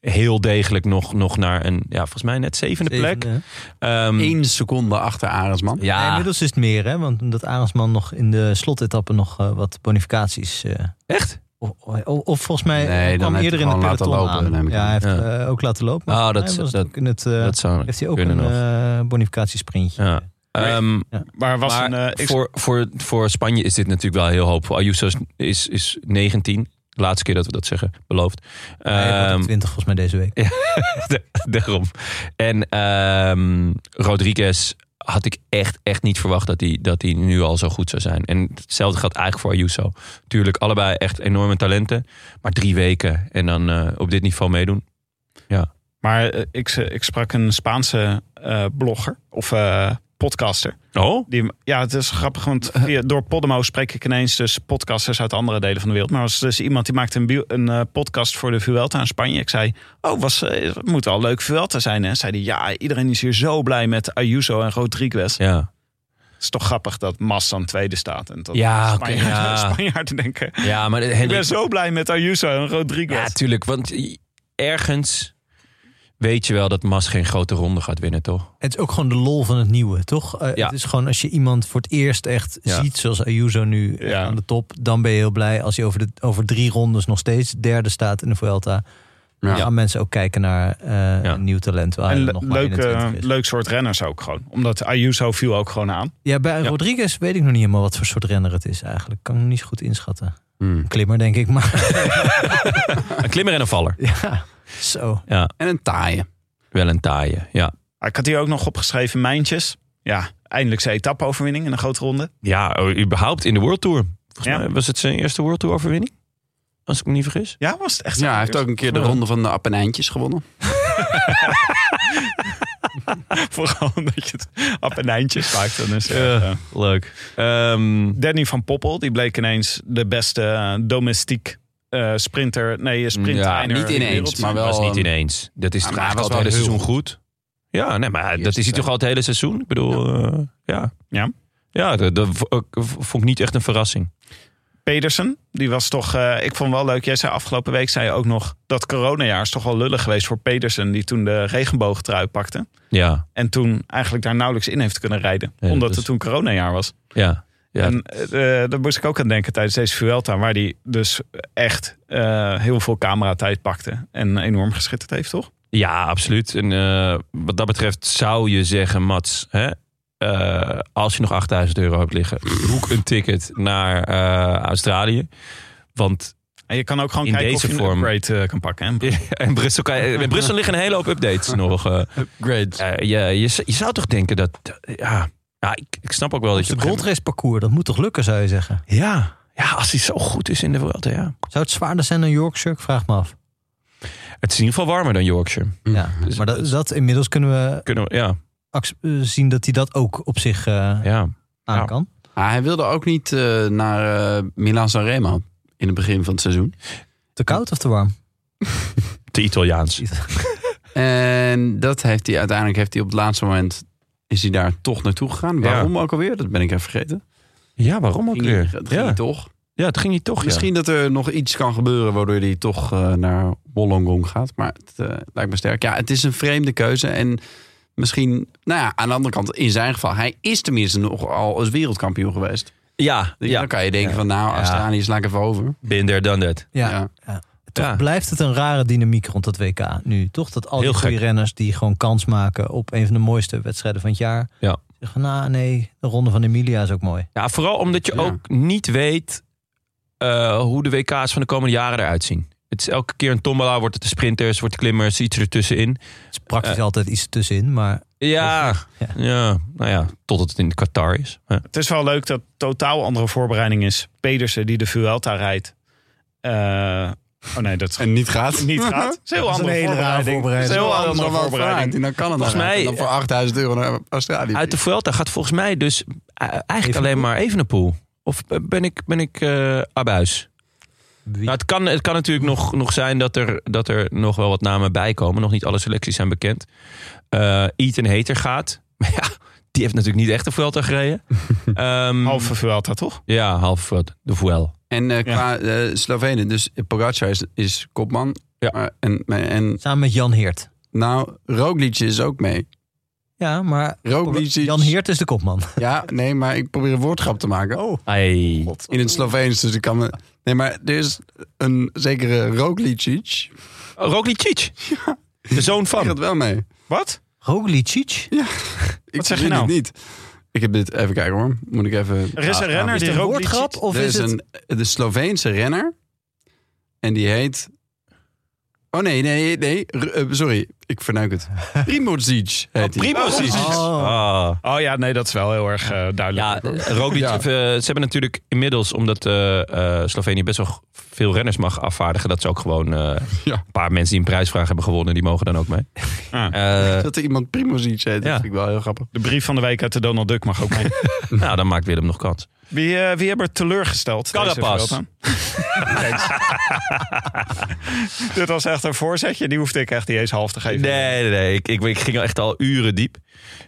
S1: heel degelijk nog, nog naar een, ja, volgens mij net zevende plek.
S3: Zevende.
S1: Ehm,
S4: Eén seconde achter Arendsman.
S1: ja,
S3: Nee, inmiddels is het meer, hè? Want omdat Arendsman nog in de slotetappe nog eh, wat bonificaties... eh,
S1: echt?
S3: o- o- o- of volgens mij
S4: Nee, dan
S3: kwam
S4: heeft
S3: eerder
S4: hij
S3: in het
S4: gewoon laten
S3: peloton
S4: lopen,
S3: aan.
S4: neem ik
S3: ja, hij
S4: aan.
S3: heeft
S1: Ja.
S3: eh, ook laten lopen.
S1: Ah,
S3: Maar volgens
S1: dat-
S3: mij was het
S1: dat-
S3: ook in het, eh,
S1: dat zou
S3: heeft hij ook
S1: kunnen
S3: een
S1: nog.
S3: eh bonificatiesprintje.
S1: Ja. Ehm,
S2: Maar was
S1: maar
S2: een, eh, ik-
S1: voor, voor, voor Spanje is dit natuurlijk wel heel hoopvol. Ayuso is, is, is 19. De laatste keer dat we dat zeggen, beloofd.
S3: Hij wordt
S1: Ehm,
S3: 20 volgens mij deze week.
S1: da- daarom. En ehm, Rodriguez had ik echt, echt niet verwacht dat hij dat die nu al zo goed zou zijn. En hetzelfde geldt eigenlijk voor Ayuso. Tuurlijk, allebei echt enorme talenten. Maar drie weken en dan eh, op dit niveau meedoen.
S2: maar eh, ik, eh, ik sprak een Spaanse eh, blogger of eh, podcaster.
S1: Oh?
S2: Die, ja, het is grappig, want via- door Podemo spreek ik ineens dus podcasters uit andere delen van de wereld. Maar er was dus iemand die maakte een, bio- een eh, podcast voor de Vuelta in Spanje. Ik zei, oh, was, eh, het moet wel leuk Vuelta zijn. En zei hij, ja, iedereen is hier zo blij met Ayuso en Rodriguez.
S1: Ja.
S2: Het is toch grappig dat Mas dan tweede staat. En dat
S1: Ja, oké,
S2: Spanjaarden,
S1: ja.
S2: Spanjaarden denken,
S1: Ja, maar eh,
S2: ik
S1: Henry,
S2: ben zo blij met Ayuso en Rodriguez.
S1: Ja, tuurlijk. Want ergens weet je wel dat Mas geen grote ronde gaat winnen, toch?
S3: Het is ook gewoon de lol van het nieuwe, toch? Eh,
S1: Ja.
S3: Het is gewoon als je iemand voor het eerst echt
S1: Ja.
S3: ziet, zoals Ayuso nu eh,
S2: Ja.
S3: aan de top, dan ben je heel blij als hij over, de, over drie rondes nog steeds derde staat in de Vuelta. Dan gaan mensen ook kijken naar eh, een nieuw talent. Waar
S2: en
S3: hij
S2: le-
S3: nog maar
S2: leuk, eh,
S3: 21 is.
S2: leuk soort renners ook gewoon. Omdat Ayuso viel ook gewoon aan.
S3: Ja, bij
S2: Ja.
S3: Rodriguez weet ik nog niet helemaal wat voor soort renner het is eigenlijk. Kan ik nog niet zo goed inschatten.
S4: Hmm.
S3: Een klimmer, denk ik, maar
S1: Een klimmer en een valler.
S3: ja, zo.
S1: Ja,
S4: En een taaie.
S1: wel een taaie. Ja,
S2: Ik had hier ook nog opgeschreven, mijntjes. Ja, eindelijk zijn etappe-overwinning in een grote ronde.
S1: ja oh, überhaupt in de World Tour. Volgens
S2: Ja.
S1: mij was het zijn eerste World Tour overwinning. Als ik me niet vergis.
S2: Ja, was het echt
S4: Ja, hij heeft ook een keer de ronde van de Appenijntjes gewonnen.
S2: Vooral omdat je het appenijntjes maakt. Dan is het, eh,
S1: Leuk. Ehm,
S2: Danny van Poppel, die bleek ineens de beste eh, domestiek eh, sprinter. Nee,
S4: Ja,
S2: sprinttrainer.
S4: niet ineens, maar
S1: dat
S4: wel...
S1: is niet
S4: ehm,
S1: ineens. Dat is
S4: maar
S1: toch
S4: hij
S1: eigenlijk
S4: was
S1: al het hele
S4: wel heel eh,
S1: seizoen goed. Ja, nee, maar dat
S4: Eerste,
S1: is hij toch
S4: tweede.
S1: al het hele seizoen? Ik bedoel, eh, ja.
S2: Ja.
S1: Ja, dat, dat v- ook- v- vond ik niet echt een verrassing.
S2: Pedersen, die was toch... eh, ik vond wel leuk, jij zei afgelopen week zei je ook nog... dat coronajaar is toch wel lullig geweest voor Pedersen... die toen de regenboogtrui pakte.
S1: Ja,
S2: En toen eigenlijk daar nauwelijks in heeft kunnen rijden.
S1: Ja,
S2: omdat
S1: dus-
S2: het toen coronajaar was.
S1: ja. Ja.
S2: En eh, eh, daar moest ik ook aan denken tijdens deze Vuelta. Waar hij dus echt eh, heel veel cameratijd pakte. En enorm geschitterd heeft, toch?
S1: Ja, absoluut. En eh, wat dat betreft zou je zeggen, Mats, hè, eh, als je nog 8000 euro hebt liggen, boek een ticket naar eh, Australië. Want
S2: En je kan ook gewoon
S1: In
S2: kijken
S1: deze
S2: of je
S1: vorm.
S2: een upgrade eh, kan pakken. hè?
S1: in Brussel, kan je- in Brussel liggen een hele hoop updates nog. eh.
S4: Upgrades.
S1: Eh, je, je, z- je zou toch denken dat. eh, Ja, ja ik, ik snap ook wel dat je.
S3: Het
S1: op een gegeven
S3: goldrace parcours, dat moet toch lukken, zou je zeggen?
S1: moment- Ja, ja, als hij zo goed is in de wereld. Ja.
S3: Zou het zwaarder zijn dan Yorkshire? Ik vraag me af.
S1: Het is in ieder geval warmer dan Yorkshire.
S3: Ja,
S1: Dus-
S3: maar dat, dat inmiddels kunnen we
S1: Kunnen we, ja,
S3: ac- eh, zien dat hij dat ook op zich eh,
S1: ja.
S3: aan
S1: Ja.
S3: kan.
S4: Ah, hij wilde ook niet eh, naar eh Milan Sanremo in het begin van het seizoen.
S3: Te koud of te warm?
S1: Te Italiaans.
S4: En dat heeft hij uiteindelijk heeft hij op het laatste moment is hij daar toch naartoe gegaan. Waarom ook alweer? Dat ben ik even vergeten.
S1: Ja, waarom ook
S4: Ging hij,
S1: weer?
S4: dat ging
S1: Ja.
S4: hij toch.
S1: ja, het ging niet toch. ja.
S4: Misschien dat er nog iets kan gebeuren waardoor hij toch eh, naar Wollongong gaat. Maar het eh, lijkt me sterk. Ja, het is een vreemde keuze. En misschien, nou ja, aan de andere kant, in zijn geval, hij is tenminste nogal als wereldkampioen geweest.
S1: Ja,
S4: Ja.
S1: ja.
S4: Dus Dan kan je denken van nou, Australië is laat ik even over.
S1: Been there, done that.
S3: Ja.
S4: Ja.
S3: Toch
S1: Ja.
S3: blijft het een rare dynamiek rond dat WK nu. Toch dat al die
S1: Heel
S3: goede
S1: gek.
S3: renners die gewoon kans maken op een van de mooiste wedstrijden van het jaar.
S1: Ja.
S3: Zeggen, nou nee, de ronde van Emilia is ook mooi.
S1: Ja, vooral omdat je
S4: Ja.
S1: ook niet weet eh, hoe de WK's van de komende jaren eruit zien. Het is elke keer een tombola, wordt het de sprinters, wordt de klimmers, iets ertussenin.
S3: Het is praktisch altijd iets tussenin, maar
S1: Ja,
S3: Ja.
S1: ja. nou ja, totdat het in Qatar is. Ja.
S2: Het is wel leuk dat totaal andere voorbereiding is. Pedersen die de Vuelta rijdt. eh, Oh nee, dat is
S4: En niet gaat.
S2: niet gaat. Dat is heel
S3: Dat is een
S2: andere
S3: hele rare
S2: voorbereiding. Dat
S3: voorbereiding.
S2: is een heel
S4: Anders
S2: andere
S4: dan wat
S2: voorbereiding.
S4: vraagt. En dan kan het
S1: Volgens
S4: nog.
S1: mij-
S4: En dan voor 8000 euro naar Australië.
S1: Uit de Vuelta gaat volgens mij dus eh, eigenlijk alleen maar Evenepoel. Of eh, ben ik, ben ik eh, abuis? Nou, het, kan, het kan natuurlijk nog, nog zijn dat er, dat er nog wel wat namen bij komen. Nog niet alle selecties zijn bekend. Eh Ethan Hater gaat. Maar ja, die heeft natuurlijk niet echt de Vuelta gereden. Ehm,
S2: Hmm. Halve Vuelta, toch?
S1: Ja, half Vuelta. De Vuel.
S4: En eh, qua eh, Slovenen, dus Pogacar is, is kopman.
S1: Ja.
S4: Maar- en, en
S3: Samen met Jan Heert.
S4: nou, Roglic is ook mee.
S3: Ja, maar
S4: Roglic is-
S3: Jan Heert is de kopman.
S4: Ja, nee, maar ik probeer een woordgrap te maken. Oh.
S1: Hey.
S4: In het Sloveens, dus ik kan me... Nee, maar er is een zekere Roglicic.
S1: Roglicic. De zoon
S4: Die
S1: van.
S4: gaat wel mee.
S2: Wat?
S3: Roglicic?
S4: Ik
S2: zeg je
S4: verzin
S2: nou?
S4: het niet. Ik heb dit... Even kijken hoor. Moet ik even...
S2: Er
S1: nou,
S2: is een renner
S3: Is
S2: die
S3: het een
S2: Roglic-
S3: woordgrap of
S4: er
S3: is
S4: is
S3: het...
S4: een de Sloveense renner. En die heet... Oh nee, nee, nee. R- eh, sorry, ik vernuik het. Primozic heet hij.
S1: Primozic.
S3: Oh.
S1: Ah.
S2: Oh ja, nee, dat is wel heel erg eh,
S1: Ja,
S2: duidelijk.
S1: Roglic,
S4: Ja.
S1: eh, ze hebben natuurlijk inmiddels, omdat eh, eh, Slovenië best wel veel renners mag afvaardigen, dat ze ook gewoon eh,
S4: Ja.
S1: een paar mensen die een prijsvraag hebben gewonnen, die mogen dan ook mee.
S2: Ah.
S1: Eh,
S4: Dat er iemand Primozic heet,
S1: Ja.
S4: dat vind ik wel heel grappig.
S2: De brief van de week uit de Donald Duck mag ook mee.
S1: nou, dan maakt Willem nog kans.
S2: Wie, eh, wie hebben er teleurgesteld? deze
S1: Carapaz.
S2: Vuelta? Thanks. Dit was echt een voorzetje. Die hoefde ik echt niet eens half te geven.
S1: Nee, nee, nee. Ik, ik, ik ging al echt al uren diep.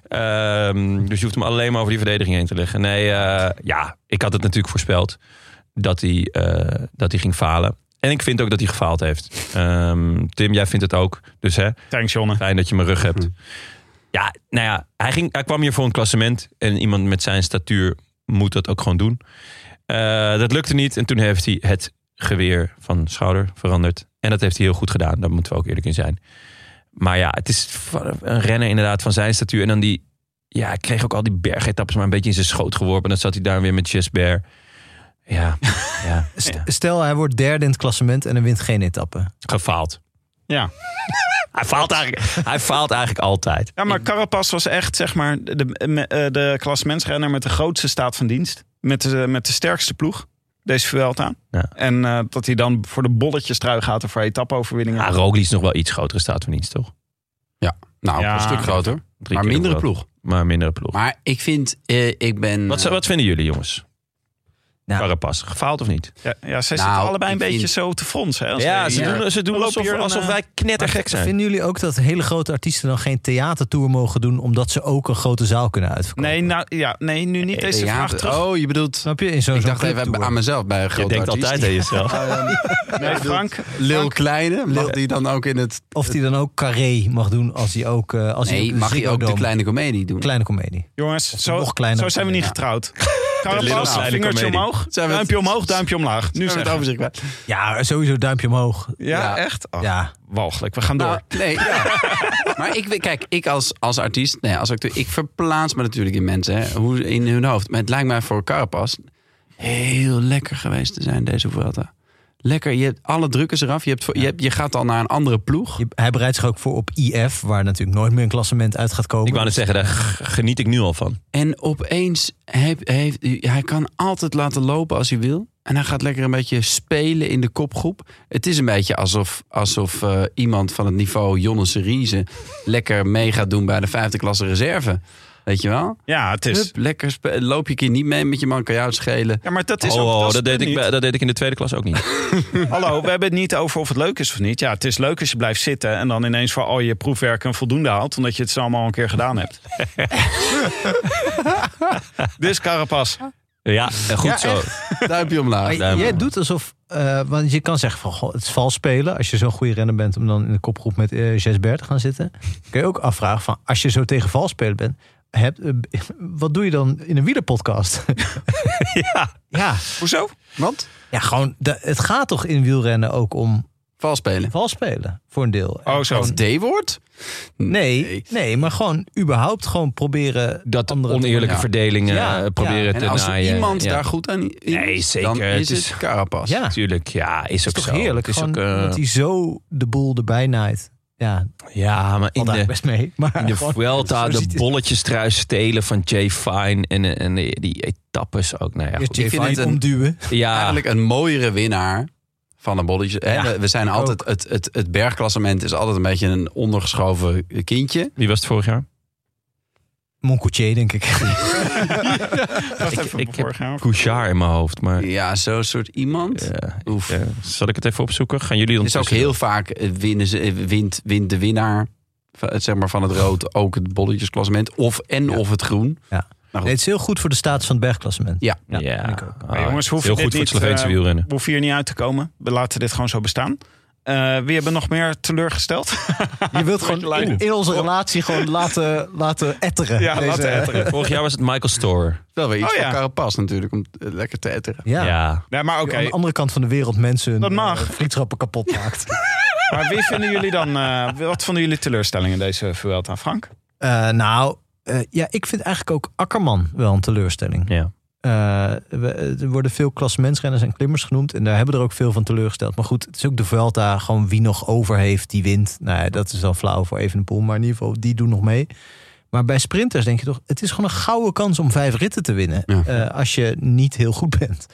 S1: Ehm, dus je hoeft hem alleen maar over die verdediging heen te leggen. Nee, eh, ja, ik had het natuurlijk voorspeld dat hij, eh, dat hij ging falen. En ik vind ook dat hij gefaald heeft. Ehm, Tim, jij vindt het ook. Dus hè,
S2: Thanks, Jonne.
S1: Fijn dat je mijn rug hebt. Ja, nou ja, hij, ging, hij kwam hier voor een klassement. En iemand met zijn statuur moet dat ook gewoon doen. Eh, dat lukte niet. En toen heeft hij het geweer van schouder veranderd. En dat heeft hij heel goed gedaan. Daar moeten we ook eerlijk in zijn. Maar ja, het is van- een renner inderdaad van zijn statuur. En dan die... Ja, hij kreeg ook al die bergetappes maar een beetje in zijn schoot geworpen. En dan zat hij daar weer met Jesper. Ja, ja, ja,
S3: Stel, hij wordt derde in het klassement en hij wint geen etappe.
S1: gefaald.
S2: Ja.
S1: Hij faalt eigenlijk, hij faalt eigenlijk altijd.
S2: Ja, maar Carapaz was echt, zeg maar, de, de, eh, de klassementsrenner met de grootste staat van dienst. Met de, met de sterkste ploeg, deze Vuelta.
S1: Ja.
S2: En eh, dat hij dan voor de bolletjes trui gaat of voor etappeoverwinningen.
S1: Ja, Ah, Roglic is nog wel iets grotere staat van dienst, toch?
S4: Nou,
S2: Ja.
S4: een stuk groter.
S1: Drie
S4: Maar
S1: keer
S4: mindere
S1: nog wel.
S4: ploeg.
S1: Maar mindere ploeg.
S4: Maar ik vind... eh, ik ben...
S1: wat,
S4: eh,
S1: wat vinden jullie, jongens?
S3: Nou.
S1: Carapaz, gefaald of niet?
S2: Ja, ja zij
S4: Nou,
S2: zitten allebei een
S4: ik
S2: beetje
S4: vind-
S2: zo te fronsen. Hè, als
S1: Ja,
S2: wij
S1: ze
S2: hier-
S1: doen, ze doen
S2: Dan
S1: alsof,
S2: lopen hier
S1: alsof
S2: een,
S1: wij knettergek zijn.
S3: Vinden jullie ook dat hele grote artiesten dan geen theatertour mogen doen... omdat ze ook een grote zaal kunnen uitverkopen?
S2: Nee, nou, ja, nee, nu
S1: Eh,
S2: niet deze
S4: ja,
S2: vraag terug.
S4: Oh, je bedoelt...
S3: Snap je? In zo'n
S4: Ik
S3: zo'n
S4: dacht even
S3: clubtour.
S4: aan mezelf bij een
S1: Je
S4: grote
S1: denkt
S4: artiest. Ah,
S1: altijd aan jezelf.
S2: nee, Frank,
S4: Lil Kleine, mag die dan ook in het...
S3: Of die dan ook carré mag doen als hij ook... eh, als hij
S4: Nee,
S3: ook
S4: mag je
S3: Ziggo
S4: ook de
S3: Dome-
S4: kleine comedie doen?
S3: Kleine komedie.
S2: jongens,
S3: Of
S2: zo,
S3: nog kleiner
S2: zo zijn we niet
S3: Ja.
S2: getrouwd.
S1: Little
S2: Carapaz,
S1: Kleine
S2: vingertje
S1: Comedie.
S2: omhoog,
S4: Zijn we het-
S2: duimpje omhoog, duimpje omlaag. Nu zijn
S4: Nu zijn we Oh, het overzicht bij.
S3: Ja, sowieso duimpje omhoog.
S2: Ja,
S4: Ja.
S2: echt? Ach,
S3: Ja.
S2: Walgelijk, we gaan door.
S4: Nou, nee, ja. maar ik, weet- kijk, ik als, als artiest, nee, als acteur, ik verplaats me natuurlijk in mensen, hè, hoe, in hun hoofd. Maar het lijkt mij voor Carapas heel lekker geweest te zijn deze Vuelta. Lekker, je hebt alle druk is eraf. Je, hebt, voor- je, hebt, je gaat al naar een andere ploeg.
S3: Je- hij bereidt zich ook voor op IF, waar natuurlijk nooit meer een klassement uit gaat komen.
S1: Ik wou net zeggen, daar g- geniet ik nu al van.
S4: En opeens heeft, heeft hij kan altijd laten lopen als hij wil. En hij gaat lekker een beetje spelen in de kopgroep. Het is een beetje alsof, alsof eh, iemand van het niveau Jonne Serize lekker mee gaat doen bij de vijfde klasse reserve. Weet je wel?
S2: Ja, het is...
S4: Hup, lekker spe- loop je een keer niet mee met je man, kan jou het schelen.
S2: Ja, maar dat is
S1: Oh,
S2: ook...
S1: oh,
S2: is
S1: dat, deed
S2: het
S1: ik,
S2: niet.
S1: bij- dat deed ik in de tweede klas ook niet.
S2: Hallo, we hebben het niet over of het leuk is of niet. Ja, het is leuk als je blijft zitten en dan ineens voor al je proefwerken een voldoende haalt, omdat je het zo allemaal een keer gedaan hebt. dus Carapas,
S1: Ja, eh, goed
S3: Ja,
S1: zo.
S4: Duimpje omlaag.
S3: Maar
S1: duim
S3: jij
S1: omhoog.
S3: doet alsof, eh, want je kan zeggen van, goh, het is vals spelen als je zo'n goede renner bent om dan in de kopgroep met eh Jesbert te gaan zitten. Kun je ook afvragen van, als je zo tegen vals spelen bent, hebt, eh, wat doe je dan in een wielerpodcast?
S1: Ja.
S3: ja,
S2: hoezo?
S4: Want?
S3: ja, gewoon, de- het gaat toch in wielrennen ook om
S4: Vals spelen.
S3: vals spelen voor een deel.
S2: Oh, zo.
S4: Als D-woord?
S3: Nee, nee, maar gewoon überhaupt gewoon proberen
S1: Dat
S3: anderen te-
S1: oneerlijke
S4: Ja.
S1: verdeling eh,
S3: Ja, ja.
S1: proberen
S4: En
S1: te
S4: als er
S1: naaien.
S4: iemand
S1: Ja,
S4: daar goed aan is,
S1: Nee, zeker.
S4: dan
S1: Het
S4: is het,
S1: is-
S4: Carapas.
S3: Ja.
S1: Tuurlijk, ja, is ook
S3: is
S1: zo.
S3: toch heerlijk?
S1: Het is
S3: gewoon
S1: ook, eh,
S3: dat hij zo de boel erbij naait. Ja,
S1: ja, maar in
S3: valt
S1: de,
S3: daar best mee. Maar
S1: In de
S3: gewoon-
S1: Vuelta,
S3: zo
S1: de
S3: ziet het-
S1: bolletjes trui stelen van Jay Fine en, eh, en die, die etappes ook. Nou ja,
S3: Eerst
S1: goed.
S3: Jay
S4: Ik vind
S3: Vine
S4: het een-
S3: omduwen.
S1: ja,
S4: Eigenlijk een mooiere winnaar van een bolletje. Hè,
S1: Ja,
S4: we, we zijn
S1: ik
S4: altijd, het, het, het bergklassement is altijd een beetje een ondergeschoven kindje.
S1: Wie was het vorig jaar?
S3: Moncoutier, denk ik.
S2: Wacht even,
S1: ik
S2: vorig jaar.
S1: Couchard in mijn hoofd. Maar
S4: Ja, zo'n soort iemand.
S1: ja,
S4: Oef.
S1: ja. zal ik het even opzoeken? Gaan jullie
S4: Het is ook
S1: ondertussen-
S4: heel vaak eh, winnen ze, eh, wint, wint de winnaar van het- zeg maar, van het rood ook het bolletjesklassement. Of en of het groen.
S3: Nee, het is heel goed voor de status van het bergklassement.
S4: Ja.
S1: Ja,
S3: ik ook.
S1: Ah,
S2: Maar jongens, hoef
S1: heel
S2: dit
S1: goed voor het
S2: niet,
S1: Sloveense
S2: eh,
S1: wielrennen.
S2: We hoeven hier niet uit te komen. We laten dit gewoon zo bestaan. Eh, wie hebben nog meer teleurgesteld?
S3: Je wilt
S2: gewoon
S3: gewoon
S2: in-
S3: in, onze relatie gewoon laten, laten etteren.
S2: Ja, laten etteren.
S1: Vorig jaar was het Michael Store.
S4: Wel weer iets
S2: Oh, ja.
S4: van Carapas natuurlijk, om eh, lekker te etteren.
S3: Ja.
S1: Ja.
S2: Nee, maar oké.
S3: Aan de andere kant van de wereld mensen hun
S2: Dat mag.
S3: eh, vriendschappen kapot maakt.
S2: Maar wie vinden jullie dan... eh, wat vonden jullie teleurstellingen deze Vuelta, Frank?
S3: Eh, nou, eh, ja, ik vind eigenlijk ook Akkerman wel een teleurstelling.
S1: Ja.
S3: Eh, we- er worden veel klassementsrenners en klimmers genoemd. En daar hebben er ook veel van teleurgesteld. Maar goed, het is ook de Vuelta. Gewoon wie nog over heeft, die wint. Nou, ja, dat is dan flauw voor Evenepoel. Maar in ieder geval, die doen nog mee. Maar bij sprinters denk je toch... Het is gewoon een gouden kans om vijf ritten te winnen.
S4: Ja.
S3: eh, als je niet heel goed bent.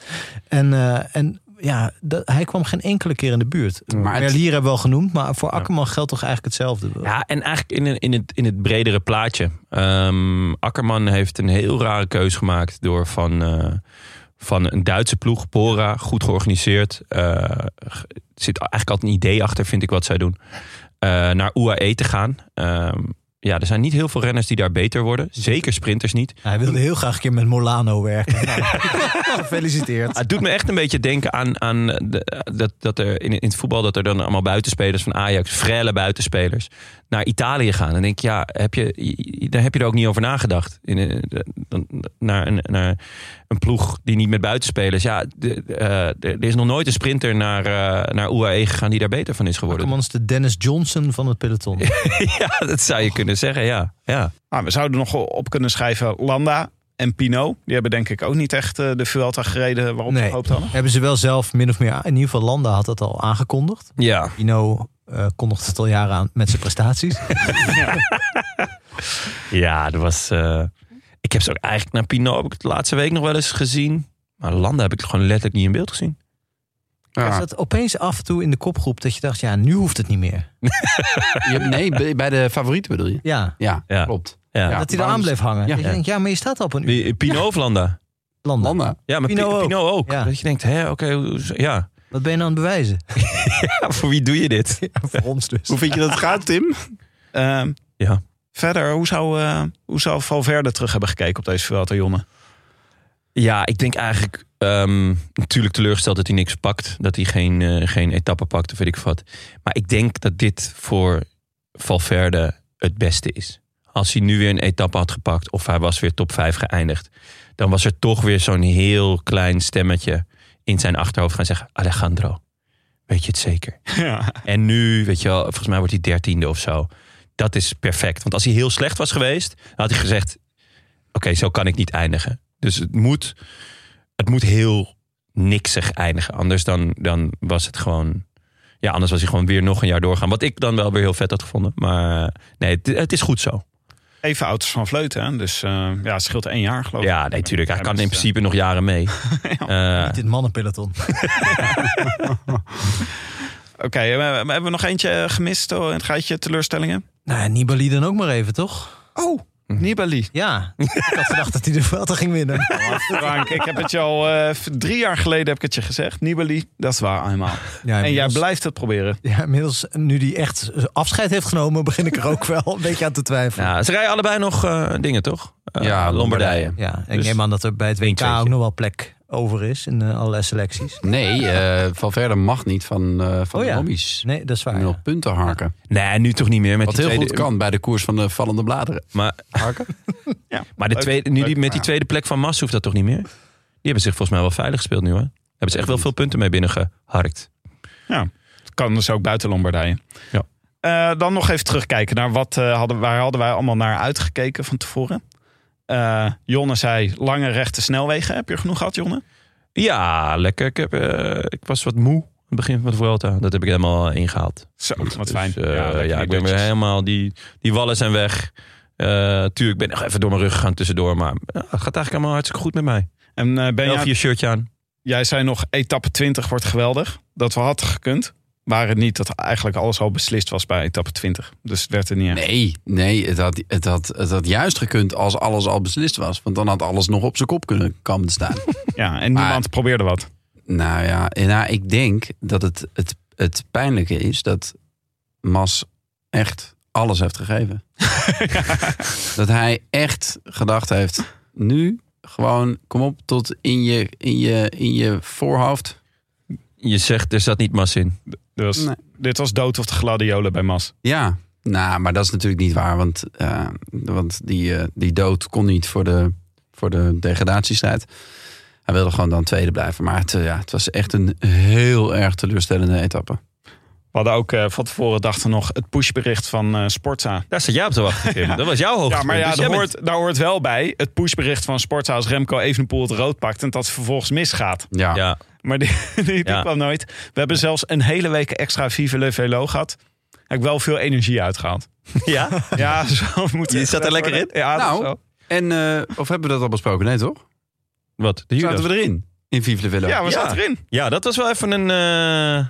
S3: En, eh, en ja, dat- hij kwam geen enkele keer in de buurt.
S4: Maar het-
S3: Merlier hebben we al genoemd. Maar voor Akkerman geldt toch eigenlijk hetzelfde.
S1: Ja, en eigenlijk in, een- in, het, in het bredere plaatje. Ehm, Akkerman heeft een heel rare keus gemaakt door van, eh, van een Duitse ploeg, Bora, goed georganiseerd. Eh, g- er zit eigenlijk altijd een idee achter, vind ik, wat zij doen. eh, naar UAE te gaan. Ehm, ja, er zijn niet heel veel renners die daar beter worden. Zeker sprinters niet.
S3: Hij wilde heel graag een keer met Molano werken. Nou, gefeliciteerd.
S1: Ah, Het doet me echt een beetje denken aan, aan de- dat, dat er in, in het voetbal dat er dan allemaal buitenspelers van Ajax, frelle buitenspelers, naar Italië gaan. En denk ik, ja, heb je, je- daar heb je er ook niet over nagedacht. In, eh, dan- naar, een, naar een ploeg die niet met buitenspelers. Ja, de- eh, er- er is nog nooit een sprinter naar, eh, naar UAE gegaan die daar beter van is geworden.
S3: Akkerman is de Dennis Johnson van het peloton.
S1: Ja, dat zou je kunnen zeggen, ja. ja.
S2: Nou, we zouden nog op kunnen schrijven Landa en Pino. Die hebben denk ik ook niet echt eh, de Vuelta gereden waarop we
S3: Nee.
S2: gehoopt hadden.
S3: Hebben ze wel zelf min of meer... In ieder geval Landa had dat al aangekondigd.
S1: ja.
S3: Pino eh kondigt het al jaren aan met zijn prestaties.
S1: Ja, dat was. eh, ik heb ze ook eigenlijk naar Pino heb ik het de laatste week nog wel eens gezien. Maar Landa heb ik gewoon letterlijk niet in beeld gezien.
S3: Er
S4: Ja.
S3: zat opeens af en toe in de kopgroep dat je dacht... Ja, nu hoeft het niet meer.
S4: Je- nee, bij- bij de favorieten bedoel je?
S3: Ja,
S4: Ja,
S1: Ja.
S4: klopt.
S1: Ja.
S3: dat hij
S4: waarom-
S3: eraan bleef hangen.
S4: Ja.
S3: Dat je
S1: Ja.
S3: denkt, ja, maar je staat al op een uur.
S1: Wie- eh, Pino of Landa?
S3: Landa,
S4: Landa.
S1: Ja, maar Pi-
S3: Pino
S1: Pino
S3: ook.
S1: ook.
S3: Ja.
S1: Dat je denkt, hè, oké, hoe- ja.
S3: wat ben je nou aan het bewijzen?
S1: ja. Voor wie doe je dit?
S3: Voor ons dus.
S4: Hoe vind je dat het gaat, Tim?
S2: Ehm,
S1: Ja.
S2: Verder, hoe zou, eh hoe zou Valverde terug hebben gekeken op deze Vuelta, Jonne?
S1: Ja, ik denk eigenlijk ehm, natuurlijk teleurgesteld dat hij niks pakt. Dat hij geen, eh, geen etappe pakt of weet ik wat. Maar ik denk dat dit voor Valverde het beste is. Als hij nu weer een etappe had gepakt of hij was weer top 5 geëindigd. Dan was er toch weer zo'n heel klein stemmetje in zijn achterhoofd gaan zeggen. Alejandro, weet je het zeker?
S2: Ja.
S1: En nu, weet je wel, volgens mij wordt hij dertiende of zo. Dat is perfect. Want als hij heel slecht was geweest, dan had hij gezegd... oké, zo kan ik niet eindigen. Dus het moet, het moet heel niksig eindigen. Anders dan, dan was het gewoon... Ja, anders was hij gewoon weer nog een jaar doorgaan. Wat ik dan wel weer heel vet had gevonden. Maar eh, nee, het, het is goed zo.
S2: Even auto's van Vleuten, hè? dus eh, ja, het scheelt één jaar
S4: Oh.
S2: geloof ik.
S1: Ja, nee, tuurlijk. Hij
S2: Ja,
S1: kan
S2: dus,
S1: in principe nog jaren mee. Eh,
S3: Dit mannenpeloton.
S2: eh, Oké, eh, we- we- hebben we nog eentje eh, gemist oh, in het gaatje teleurstellingen?
S3: Nou, ja, Nibali dan ook maar even, toch?
S2: Oh, Nibali.
S3: Ja, ik had gedacht dat hij de Vuelta ging winnen.
S2: Frank, ik heb het je al eh, v- drie jaar geleden heb ik het je gezegd. Nibali, dat is waar eenmaal.
S3: Ja,
S2: En jij
S3: inmiddels-
S2: blijft het proberen.
S3: Ja, inmiddels, nu die echt afscheid heeft genomen, begin ik er ook wel een beetje aan te twijfelen. Ja,
S1: nou, ze rijden allebei nog eh, dingen, toch? Eh,
S4: Ja, Lombardije.
S1: Lombardije.
S3: ik
S1: dus-
S3: neem aan dat er bij het WK
S1: Eentje,
S3: ook
S1: eentje.
S3: nog wel plek over is in eh, allerlei selecties.
S4: Nee, eh Valverde mag niet van, eh, van
S3: Oh
S4: de
S3: ja.
S4: hobby's.
S3: Nee, dat is waar.
S4: Je moet
S3: ja.
S4: op punten harken.
S1: Nee, nu toch niet meer. Met
S4: Wat
S1: die
S4: heel goed
S1: tweede-
S4: kan bij de koers van de vallende bladeren.
S1: Maar
S4: Harken?
S2: Ja,
S1: Maar de
S2: Leuk,
S1: tweede, nu
S2: leuk,
S1: die, met die
S2: maar
S1: tweede plek van Massa hoeft dat toch niet meer? Die hebben zich volgens mij wel veilig gespeeld nu, hè? Daar hebben ze echt wel veel punten mee binnengeharkt.
S2: Het kan dus ook buiten Lombardije.
S1: Ja.
S2: Eh, dan nog even terugkijken naar wat eh, hadden, waar hadden wij allemaal naar uitgekeken van tevoren. Eh, Jonne zei lange rechte snelwegen. Heb je er genoeg gehad, Jonne?
S1: Ja, lekker. Ik, heb, eh, ik was wat moe aan het begin van de Vuelta. Dat heb ik helemaal ingehaald.
S2: Zo, wat
S1: Dus,
S2: fijn.
S1: eh, ja,
S2: lekker
S1: ik ben weer
S2: dutjes.
S1: helemaal... Die, die wallen zijn weg. Eh tuurlijk, ik ben nog even door mijn rug gegaan tussendoor. Maar ja, het gaat eigenlijk allemaal hartstikke goed met mij.
S2: En eh,
S1: Ben
S2: Benja,
S1: je shirtje aan.
S2: jij zei nog etappe 20 wordt geweldig. dat we hadden gekund. Waren het niet dat eigenlijk alles al beslist was bij etappe 20. Dus het werd er niet echt.
S4: Nee, nee het, had, het, had, het had juist gekund als alles al beslist was. Want dan had alles nog op zijn kop kunnen komen te staan.
S2: Ja, en
S4: Maar-
S2: niemand probeerde wat.
S4: Nou ja, en nou, ik denk dat het, het, het pijnlijke is dat Mas echt alles heeft gegeven. dat hij echt gedacht heeft, nu gewoon kom op tot in je, in je, in je voorhoofd.
S1: Je zegt, er zat niet mas in.
S2: Dus
S4: Nee.
S2: dit was dood of de gladiolen bij Mas.
S4: Ja, nou, maar dat is natuurlijk niet waar, want, eh, want die, eh, die dood kon niet voor de, voor de degradatiestrijd. Hij wilde gewoon dan tweede blijven. Maar het, eh, ja, het was echt een heel erg teleurstellende etappe.
S2: We hadden ook eh, van tevoren dachten nog het pushbericht van eh, Sportza.
S1: Daar zat jij op te wachten, Tim. Oh, Dat was jouw hoogtepunt.
S2: Ja, maar ja,
S1: Dus
S2: daar
S1: jij
S2: hoort, daar hoort wel bij het pushbericht van Sportza als Remco Evenepoel het rood pakt en dat het vervolgens misgaat.
S4: Ja,
S1: bent-
S4: ja.
S1: Ja,
S2: Maar die, die, die
S1: Ja.
S2: kwam nooit. We hebben zelfs een hele week extra Vive Le Velo gehad. Heb ik wel veel energie uitgehaald.
S1: ja?
S2: Ja, zo moet
S1: Je zat er lekker in?
S2: Ja, dat
S4: Nou,
S2: is zo.
S4: En, eh, of hebben we dat al besproken? Nee, toch?
S1: Wat? De judo?
S4: Zaten we erin? In Vive de Villa.
S2: ja, we
S1: ja.
S2: zaten erin.
S1: Ja, dat was wel even een, eh,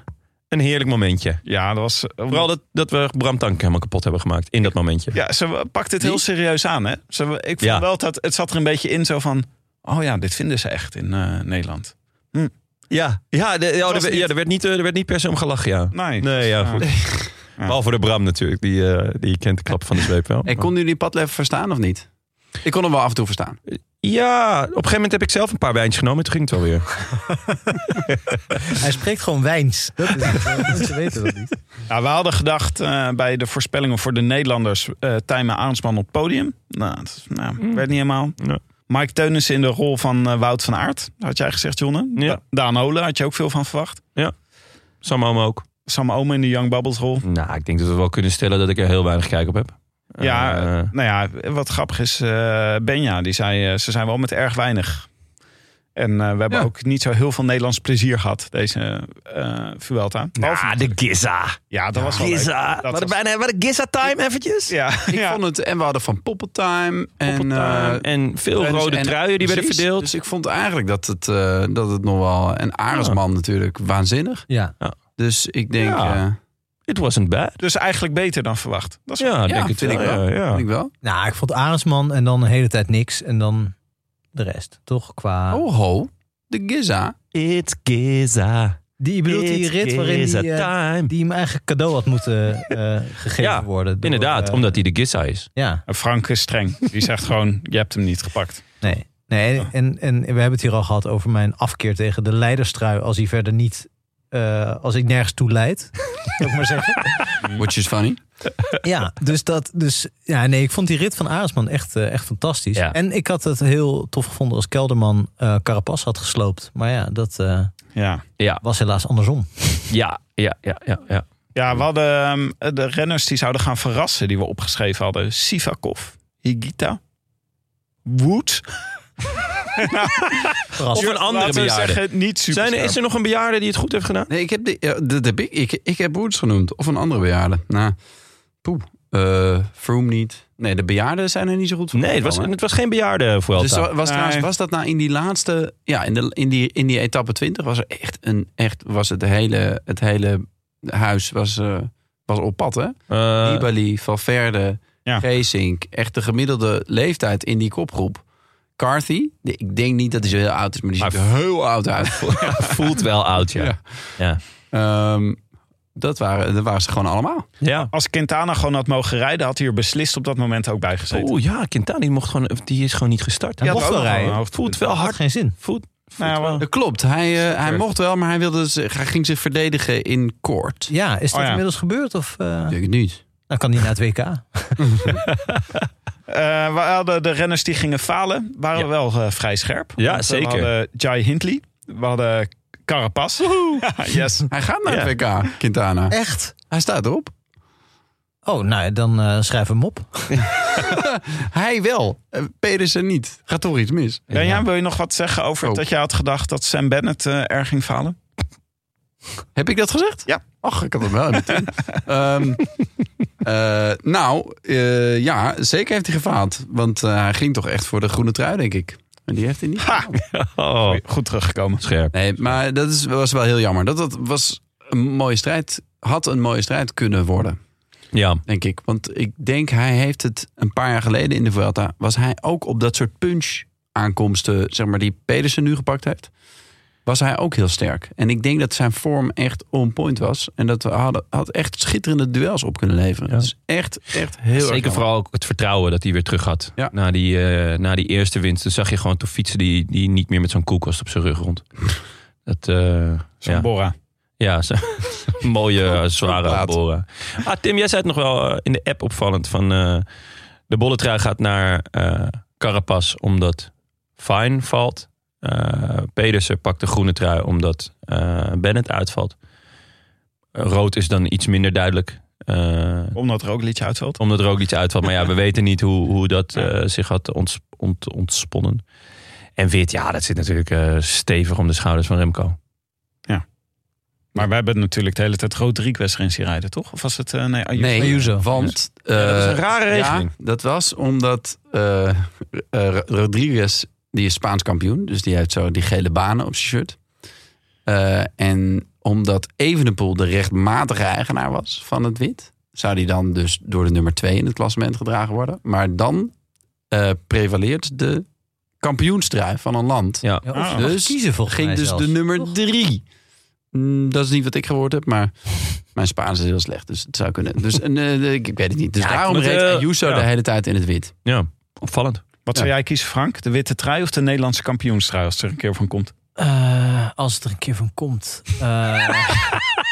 S1: een heerlijk momentje.
S2: Ja, dat was...
S1: Vooral dat, dat we Bram Tank helemaal kapot hebben gemaakt in dat momentje.
S2: Ja, ze pakt het heel
S4: Die?
S2: serieus aan, hè? Ze, ik vond
S1: Ja.
S2: wel dat het zat er een beetje in zo van... Oh ja, dit vinden ze echt in eh, Nederland.
S1: ja, ja, de- ja,
S2: was
S1: er,
S2: niet-
S1: ja er, werd niet, eh, er werd niet per se om gelachen, ja.
S2: Nee. Eh,
S1: Nee, ja,
S2: Ja.
S1: goed. Behalve de Bram natuurlijk, die, eh, die kent de klap van de zweep wel.
S4: Ik kon jullie padlef verstaan of niet? Ik kon hem wel af en toe verstaan.
S1: Ja, op een gegeven moment heb ik zelf een paar wijntjes genomen en toen ging het wel weer.
S3: Hij spreekt gewoon wijns. Dat is het. eh, Mensen weten dat niet.
S2: Ja, nou, we hadden gedacht eh, bij de voorspellingen voor de Nederlanders... eh Tijmen Aansman op het podium. Nou, dat nou, werd niet helemaal.
S1: Nee.
S2: Mike Teunissen in de rol van eh, Wout van Aert. Had jij gezegd, Jonne.
S1: Ja.
S2: Da- Daan Hole had je ook veel van verwacht.
S1: Sam Omen ook.
S2: Sam Omen in de Young Bubbles rol.
S1: Nou, ik denk dat we wel kunnen stellen dat ik er heel weinig kijk op heb.
S2: Ja,
S1: Eh,
S2: nou ja, wat grappig is, eh, Benja, die zei, eh, ze zijn wel met erg weinig. En eh, we hebben
S4: Ja.
S2: ook niet zo heel veel Nederlands plezier gehad, deze eh Vuelta. Behalve-
S1: ah, de Giza.
S2: ja, dat was wel leuk.
S1: Giza.
S2: Dat
S1: Wat
S2: was-
S1: bijna wat een Giza-time eventjes.
S2: Ja,
S4: Ik
S2: ja.
S4: vond het, en we hadden van Poppeltime. En, eh,
S1: en, en veel
S4: Rens
S1: rode
S4: en-
S1: truien die werden
S4: precies.
S1: verdeeld.
S4: Dus ik vond eigenlijk dat het, eh, dat het nog wel... En Arendsman natuurlijk waanzinnig.
S3: Ja.
S4: Dus ik denk...
S1: Ja.
S4: eh,
S1: It wasn't bad.
S2: dus eigenlijk beter dan verwacht. Dat is
S1: Ja, ik
S4: ja,
S1: denk het
S4: vind,
S1: wel.
S4: ik wel,
S1: Ja, ja.
S4: vind ik wel.
S3: Nou, ik vond Arendsman en dan de hele tijd niks. En dan de rest, toch? Qua...
S4: Oh ho, de Giza.
S1: It's Giza.
S3: die, je bedoelt die
S1: It's
S3: rit waarin
S1: Giza
S3: die, eh,
S1: time.
S3: die hem eigenlijk cadeau had moeten eh, gegeven
S1: Ja,
S3: worden. door,
S1: Inderdaad,
S3: eh,
S1: omdat hij de Giza is.
S3: Ja,
S2: Frank is streng. Die zegt gewoon, je hebt hem niet gepakt.
S3: nee. nee
S2: Ah.
S3: en, en we hebben het hier al gehad over mijn afkeer tegen de leiderstrui. Als hij verder niet... eh, als ik nergens toe leid, zou ik maar zeggen.
S4: Which is funny.
S3: Ja, dus dat. Dus ja, nee, ik vond die rit van Arendsman echt, eh, echt fantastisch.
S1: Ja.
S3: En ik had het heel tof gevonden als Kelderman eh Carapas had gesloopt. Maar ja, dat eh,
S2: Ja.
S3: was helaas andersom.
S1: Ja, ja, ja, ja. ja.
S2: Ja, we hadden ehm, de renners die zouden gaan verrassen die we opgeschreven hadden. Sivakov, Higita, Wood.
S1: Of een andere
S2: Laten we
S1: bejaarde.
S2: zeggen, niet super.
S1: Zijn er, is er nog een bejaarde die het goed heeft gedaan?
S4: Nee, ik heb, de, ja, dat heb ik, ik, ik heb Woods genoemd. Of een andere bejaarde. Nou, poeh. Eh, Froome niet. Nee, de bejaarden zijn er niet zo goed voor.
S1: Nee, het was,
S4: gekomen,
S1: het
S4: hè?
S1: was geen bejaarde Vuelta.
S4: Dus wa- was,
S2: Nee.
S4: trouwens, was dat nou in die laatste, ja, in, de, in, die, in die etappe 20 was er echt een, echt was het hele, het hele huis was, eh, was op pad, hè?
S1: Eh,
S4: Nibali, Valverde,
S2: Ja.
S4: Geesink, echt de gemiddelde leeftijd in die kopgroep. Carthy, die- ik denk niet dat hij zo heel oud is, maar die
S1: Maar
S4: ziet er heel oud uit.
S1: voelt wel oud, ja.
S4: Ja.
S1: ja. ja.
S4: Ehm, dat, waren, dat waren ze gewoon allemaal.
S2: Als Quintana gewoon had mogen rijden, had hij er beslist op dat moment ook bij gezeten.
S1: Oeh, ja, Quintana die mocht gewoon, die is gewoon niet gestart.
S3: Hij
S2: had
S3: mocht
S2: ook
S3: wel
S2: nog
S3: rijden.
S2: een
S1: Het voelt wel
S3: Had
S1: hard.
S3: geen zin.
S1: Voelt, voelt
S2: Nou ja,
S1: wel.
S4: Dat klopt, hij, eh, hij mocht wel, maar hij, wilde, zich- hij ging zich verdedigen in court.
S3: Ja, is dat
S2: Oh ja.
S3: inmiddels gebeurd? Of, eh,
S4: Ik denk het niet.
S3: Dan kan hij naar het WK.
S2: Eh, we hadden de renners die gingen falen, waren
S1: Ja.
S2: wel eh, vrij scherp.
S1: Ja,
S2: Want, eh,
S1: zeker.
S2: We hadden Jai Hindley, we hadden Carapaz. yes.
S4: Hij gaat naar het WK, Quintana.
S3: Echt?
S4: Hij staat erop.
S3: Oh, nou ja, dan eh schrijf hem op.
S4: Hij wel. Eh, Pedersen niet. Gaat toch iets mis?
S2: Benja, wil je nog wat zeggen over
S4: Oh.
S2: dat je had gedacht dat Sam Bennett eh, er ging falen?
S4: Heb ik dat gezegd?
S2: Ja.
S4: Ach, ik had hem wel meteen. Ehm eh, nou, eh, ja, zeker heeft hij gefaald. Want eh, hij ging toch echt voor de groene trui, denk ik. Maar die heeft hij niet.
S2: Ha!
S1: Oh,
S2: Goed teruggekomen.
S1: scherp.
S4: Nee, maar dat is, was wel heel jammer. Dat, dat was een mooie strijd. Had een mooie strijd kunnen worden,
S1: Ja,
S4: denk ik. Want ik denk, hij heeft het een paar jaar geleden in de Vuelta... was hij ook op dat soort punch-aankomsten, zeg maar, die Pedersen nu gepakt heeft... was hij ook heel sterk. En ik denk dat zijn vorm echt on point was. En dat we hadden, had echt schitterende duels op kunnen leveren.
S1: Ja.
S4: Dat is echt, echt heel erg
S1: Zeker
S4: jammer.
S1: vooral ook het vertrouwen dat hij weer terug had.
S4: Ja.
S1: Na, die, eh, na die eerste winst toen zag je gewoon toch fietsen die, die niet meer met zo'n koelkast op zijn rug rond. Dat, eh, ja.
S2: Borra.
S1: Ja, ze, mooie eh, zware
S4: plaat.
S1: boren. Ah, Tim, jij zei het nog wel eh, in de app opvallend van eh, de bolletrui gaat naar eh Carapaz omdat Fine valt. Eh, Pedersen pakt de groene trui omdat eh, Bennett uitvalt. Eh, Rood is dan iets minder duidelijk. Eh,
S2: Omdat er ook een liedje uitvalt.
S1: omdat er ook iets uitvalt. Maar ja, we weten niet hoe, hoe dat eh, zich had onts- ont- ontsponnen. En wit, ja, dat zit natuurlijk eh, stevig om de schouders van Remco.
S2: Maar wij hebben natuurlijk de hele tijd Rodriguez erin zien rijden, toch? Of was het... eh, nee, Ayuso.
S4: Nee,
S3: Ayuso.
S4: want...
S1: dat is een
S4: eh,
S1: rare regeling.
S4: Ja, dat was omdat eh, eh, Rodriguez, die is Spaans kampioen. Dus die heeft zo die gele banen op zijn shirt. Eh, en omdat Evenepoel de rechtmatige eigenaar was van het wit... zou die dan dus door de nummer twee in het klassement gedragen worden. Maar dan eh, prevaleert de kampioenstrui van een land.
S1: Ja.
S3: Ja, of
S2: Ah.
S3: ze mag
S4: Dus
S3: kiezen volgens
S4: Ging
S3: mij
S4: dus
S3: zelfs.
S4: de nummer drie. Mm, dat is niet wat ik gehoord heb, maar mijn Spaans is heel slecht. Dus het zou kunnen. Dus en, eh, ik, ik weet het niet. Dus
S1: Ja, ik
S4: daarom
S1: vond het,
S4: reed
S1: eh,
S4: Ayuso
S1: ja.
S4: de hele tijd in het wit.
S1: Ja, opvallend.
S2: Wat zou jij kiezen, Frank? De witte trui of de Nederlandse kampioenstrui als het er een keer van komt?
S3: Eh, als het er een keer van komt. Eh,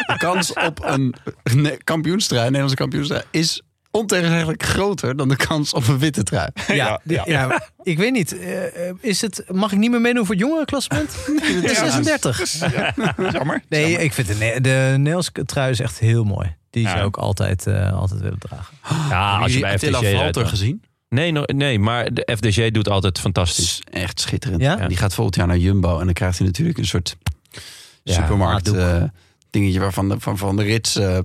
S4: De kans op een ne- kampioenstrui, Nederlandse kampioenstrui, is ontegenzeggelijk groter dan de kans op een witte trui.
S3: ja, ja. ik weet niet. Eh, eh, is het, mag ik niet meer meedoen voor het jongerenklassement? Het is 36.
S2: Jammer.
S3: Nee, ik vind de, ne- de Nederlandse trui is echt heel mooi. Die
S2: Ja.
S3: zou ik altijd, eh, altijd willen dragen.
S1: Ja, als je bij
S4: Attila
S1: FDG rijdt.
S4: Valter
S1: dan.
S4: gezien?
S1: Nee, no- nee, maar de FDG doet altijd
S4: Het
S1: fantastisch.
S4: is echt schitterend.
S3: Ja?
S4: En Die gaat volgend jaar naar Jumbo en dan krijgt hij natuurlijk een soort
S1: Ja,
S4: supermarkt
S3: haatdoek.
S4: eh, dingetje waarvan de, van, van de rits eh,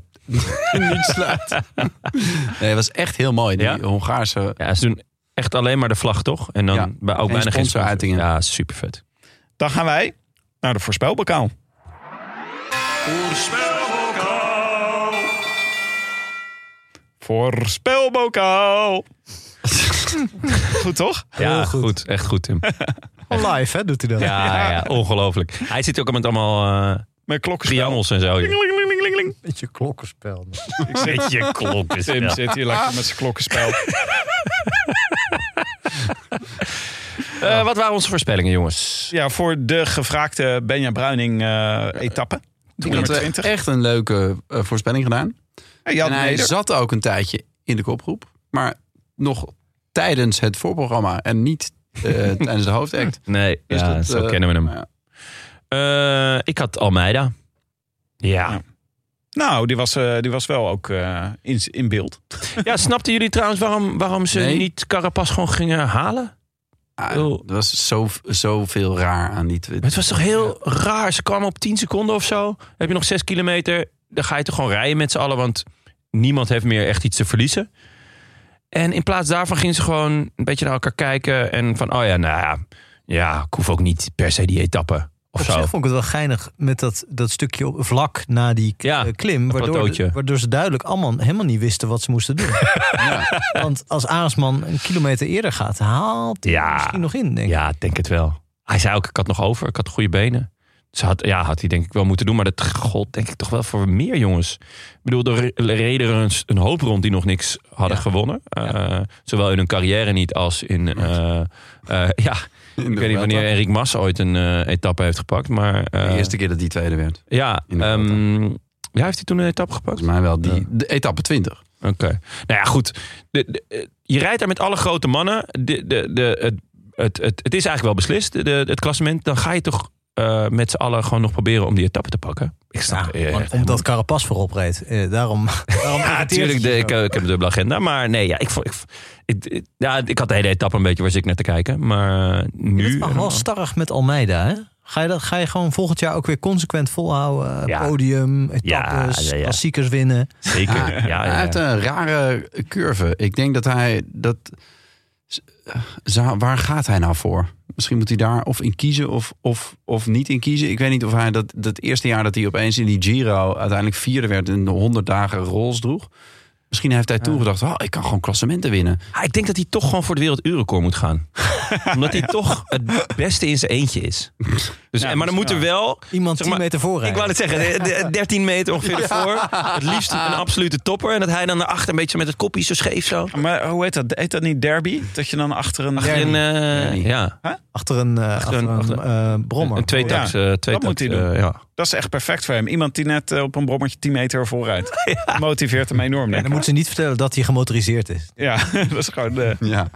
S4: niet slaat. nee, het was echt heel mooi. Die
S1: Ja?
S4: Hongaarse
S1: Ja, ze doen echt alleen maar de vlag, toch? En dan
S4: Ja.
S1: bij ook
S4: Geen
S1: bijna geen
S4: sponsoruitingen.
S1: Ja, super vet.
S2: Dan gaan wij naar de voorspelbokaal. Voorspelbokaal. Goed toch?
S1: Ja,
S3: goed.
S1: goed. Echt goed, Tim.
S3: Live, hè, doet hij dat?
S1: Ja, ja, ongelooflijk. Hij zit ook al met allemaal eh
S2: Met klokkenspel.
S1: triangels en zo. joh.
S2: Klingelingelingeling.
S3: Beetje klokkenspel.
S2: Ik zit,
S1: Je klok is
S2: Tim
S1: wel-
S2: zit hier lekker met zijn klokkenspel.
S1: Eh, Wat waren onze voorspellingen, jongens?
S2: Ja, voor de gevraagde Benja Bruining eh etappe.
S4: Ik
S2: nummer
S4: had eh,
S2: 20.
S4: echt een leuke eh, voorspelling gedaan.
S2: Ja, je had
S4: en hij
S2: Neder.
S4: zat ook een tijdje in de kopgroep. Maar nog tijdens het voorprogramma en niet eh, tijdens de hoofdact.
S1: Nee,
S4: Dus
S1: ja,
S4: dat,
S1: zo
S4: eh,
S1: kennen we hem.
S4: ja.
S1: Eh, ik had Almeida. Ja.
S2: Nou, die was, eh, die was wel ook eh, in, in beeld.
S1: Ja, snapten jullie trouwens waarom, waarom ze
S4: Nee.
S1: niet Carapaz gewoon gingen halen?
S4: Ah,
S1: Oh.
S4: er was zo- zoveel raar aan die tweet.
S1: Maar Het was toch heel raar. Ze kwamen op 10 seconden of zo. Dan Heb je nog 6 kilometer? Dan ga je toch gewoon rijden met z'n allen. Want niemand heeft meer echt iets te verliezen. En in plaats daarvan gingen ze gewoon een beetje naar elkaar kijken. En van, oh ja, nou ja. Ja, ik hoef ook niet per se die etappe. Of
S3: Op
S1: zo.
S3: zich vond ik het wel geinig met dat, dat stukje op, vlak na die k-
S1: Ja,
S3: eh, klim. Waardoor,
S1: plateautje.
S3: waardoor ze duidelijk allemaal helemaal niet wisten wat ze moesten doen. Want als Aresman een kilometer eerder gaat, haalt hij
S1: Ja.
S3: misschien nog in, denk ik.
S1: Ja, ik denk het wel. Hij zei ook, ik had nog over. Ik had goede benen. Dus had, ja, had hij denk ik wel moeten doen. Maar dat gold denk ik toch wel voor meer jongens. Ik bedoel, er re- reden er een, s- een hoop rond die nog niks hadden gewonnen. Eh, Zowel in hun carrière niet als in... eh, eh, ja, ik weet niet wanneer Erik Mas ooit een eh, etappe heeft gepakt. Maar eh,
S4: De eerste keer dat die tweede werd.
S1: ja,
S4: in de
S1: ehm,
S4: Vuelta.
S1: ja, heeft hij toen een etappe gepakt?
S4: Volgens mij wel die, de etappe 20.
S1: Oké. Nou ja, goed. De, de- eh, je rijdt daar met alle grote mannen. De, de, de, het, het, het, het is eigenlijk wel beslist, de, de- het klassement. Dan ga je toch eh, met z'n allen gewoon nog proberen om die etappe te pakken. Ik snap eh,
S3: Ah, Want-
S1: echt
S3: omdat Carapas voorop reed. Eh, daarom, daarom
S1: ja, natuurlijk. de- ik, eh, ik heb een dubbele agenda. Maar nee, ja, ik, vond- ik, ik, ik- ja, ik had de hele etappe een beetje waar ik naar te kijken. Maar
S3: Nu,
S1: nu...
S3: het wel starrig met Almeida, hè? Ga je, dat, ga je gewoon volgend jaar ook weer consequent volhouden? Eh,
S1: Ja.
S3: Podium, etappes,
S1: ja, ja.
S3: klassiekers winnen.
S1: Zeker. Ja, ja,
S4: Ah, Hij
S1: ja.
S4: heeft een rare curve. Ik denk dat hij dat. z- eh, zou- Waar gaat hij nou voor? Misschien moet hij daar of in kiezen of, of, of niet in kiezen. Ik weet niet of hij dat, dat eerste jaar dat hij opeens in die Giro uiteindelijk vierde werd en de 100 dagen rols droeg. Misschien heeft hij toen gedacht, oh, ik kan gewoon klassementen winnen.
S1: Ah, ik denk dat hij toch gewoon voor de werelduurrecord moet gaan. Omdat hij toch het beste in zijn eentje is. Dus,
S2: Ja,
S1: maar dan
S2: dus
S1: moet
S2: ja.
S1: er wel...
S3: Iemand
S1: Zeg
S3: 10
S1: maar,
S3: meter voorrijden.
S1: Ik wou het zeggen, de- de- 13 meter ongeveer voor. Het liefst een absolute topper. En dat hij dan naar achter een beetje met het kopje zo scheef zo.
S2: Maar hoe heet dat? Heet dat niet derby? Dat je dan achter een...
S1: Achter een, eh,
S4: Derby.
S1: ja,
S3: Achter een, eh, achter
S1: een-
S3: een,
S1: achter-
S3: eh, brommer.
S1: een tweetaks.
S2: Ja,
S1: eh, tweetaks,
S2: moet hij doen.
S1: eh, ja.
S2: Dat is echt perfect voor hem. Iemand die net eh, op een brommertje 10 meter vooruit. Motiveert hem enorm.
S3: En
S2: denk
S3: dan
S2: ik.
S3: moeten ze niet vertellen dat hij gemotoriseerd is.
S2: Ja, dat is gewoon... eh,
S4: Ja.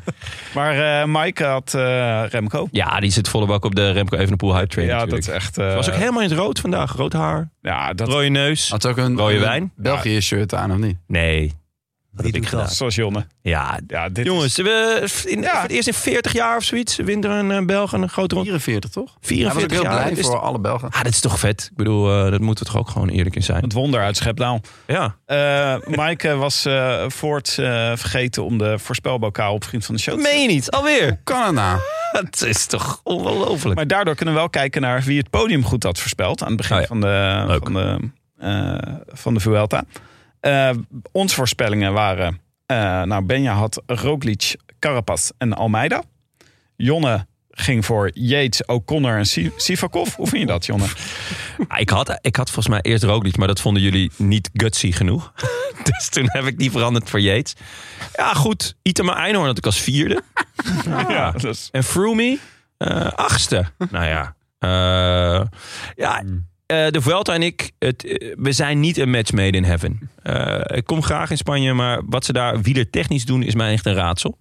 S2: Maar eh, Mike had eh, Remco.
S1: ja, die zit volle bak op de Remco Evenepoel Hype Train
S2: ja,
S1: natuurlijk.
S2: dat is echt... eh,
S1: was ook helemaal in het rood vandaag. Rood haar,
S2: Ja, dat,
S1: rode neus.
S4: Had ze ook een
S1: Rode wijn?
S4: België shirt aan of niet?
S1: Nee.
S3: Dat
S1: heb ik gedaan.
S2: zoals Jonne.
S1: Ja,
S2: Ja, dit
S1: jongens. We, in,
S2: Ja.
S1: Voor het eerst in 40 jaar of zoiets wint er een eh, Belg een grote ronde.
S4: 44 toch? Hij was ook
S1: 44
S4: heel
S1: jaar.
S4: blij
S1: dat is-
S4: voor alle Belgen.
S1: Ah, dat is toch vet. Ik bedoel, eh, dat moeten we toch ook gewoon eerlijk in
S2: is
S1: zijn.
S2: het wonder uit Schepdaal.
S1: Ja.
S2: Eh, Mike eh, was eh voorts eh, vergeten om de voorspelbokaal op Vriend van de Show
S1: Dat
S2: te
S1: meen je niet. Alweer.
S4: Canada.
S1: Dat is toch ongelooflijk.
S2: Maar daardoor kunnen we wel kijken naar wie het podium goed had voorspeld. Aan het begin
S1: Oh ja.
S2: van, de,
S1: Leuk.
S2: van, de, eh, van de Vuelta. Eh onze voorspellingen waren... eh, nou, Benja had Roglic, Carapaz en Almeida. Jonne ging voor Yates, O'Connor en Si- Sivakov. Hoe vind je dat, Jonne?
S1: Ah, Ik had, ik had volgens mij eerst Roglic, maar dat vonden jullie niet gutsy genoeg. dus toen heb ik die veranderd voor Yates. Ja, goed. Itema Einhorn had ik als vierde.
S2: Ja, dat is-
S1: En Froome, eh, achtste. nou ja. Eh, ja,
S2: Hmm.
S1: eh, de Vuelta en ik, het, eh, we zijn niet een match made in heaven. Eh, ik kom graag in Spanje, maar wat ze daar wielertechnisch doen is mij echt een raadsel.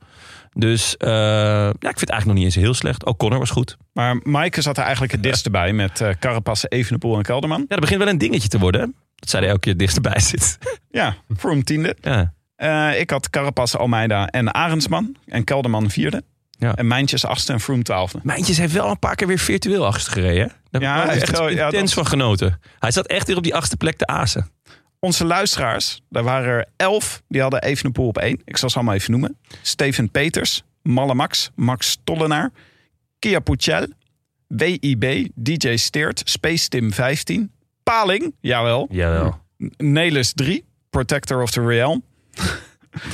S1: Dus eh, ja, ik vind het eigenlijk nog niet eens heel slecht. O'Connor was goed.
S2: Maar Maaike zat er eigenlijk het dist erbij met eh Carapaz, Evenepoel en Kelderman.
S1: Ja, dat begint wel een dingetje te worden. hè? Dat zij er elke keer dichterbij zit.
S2: Ja, Froome tiende.
S1: ja.
S2: Eh, ik had Carapaz, Almeida en Arendsman. En Kelderman vierde.
S1: Ja.
S2: En Mijntjes achtste en Froome twaalfde.
S1: Mijntjes heeft wel een paar keer weer virtueel achter gereden. hè? Daar
S2: Ja,
S1: heb ik wel
S2: echt
S1: echt
S2: wel, ja,
S1: intens
S2: dat-
S1: van genoten. Hij zat echt weer op die achtste plek te azen.
S2: Onze luisteraars, daar waren er elf, die hadden Evenepoel op één. Ik zal ze allemaal even noemen. Steven Peters, Malle Max, Max Tollenaar, Kia Pucel, WIB, DJ Steert, Space Tim 15, Paling, jawel,
S1: Jawel.
S2: Nelis 3, Protector of the Realm,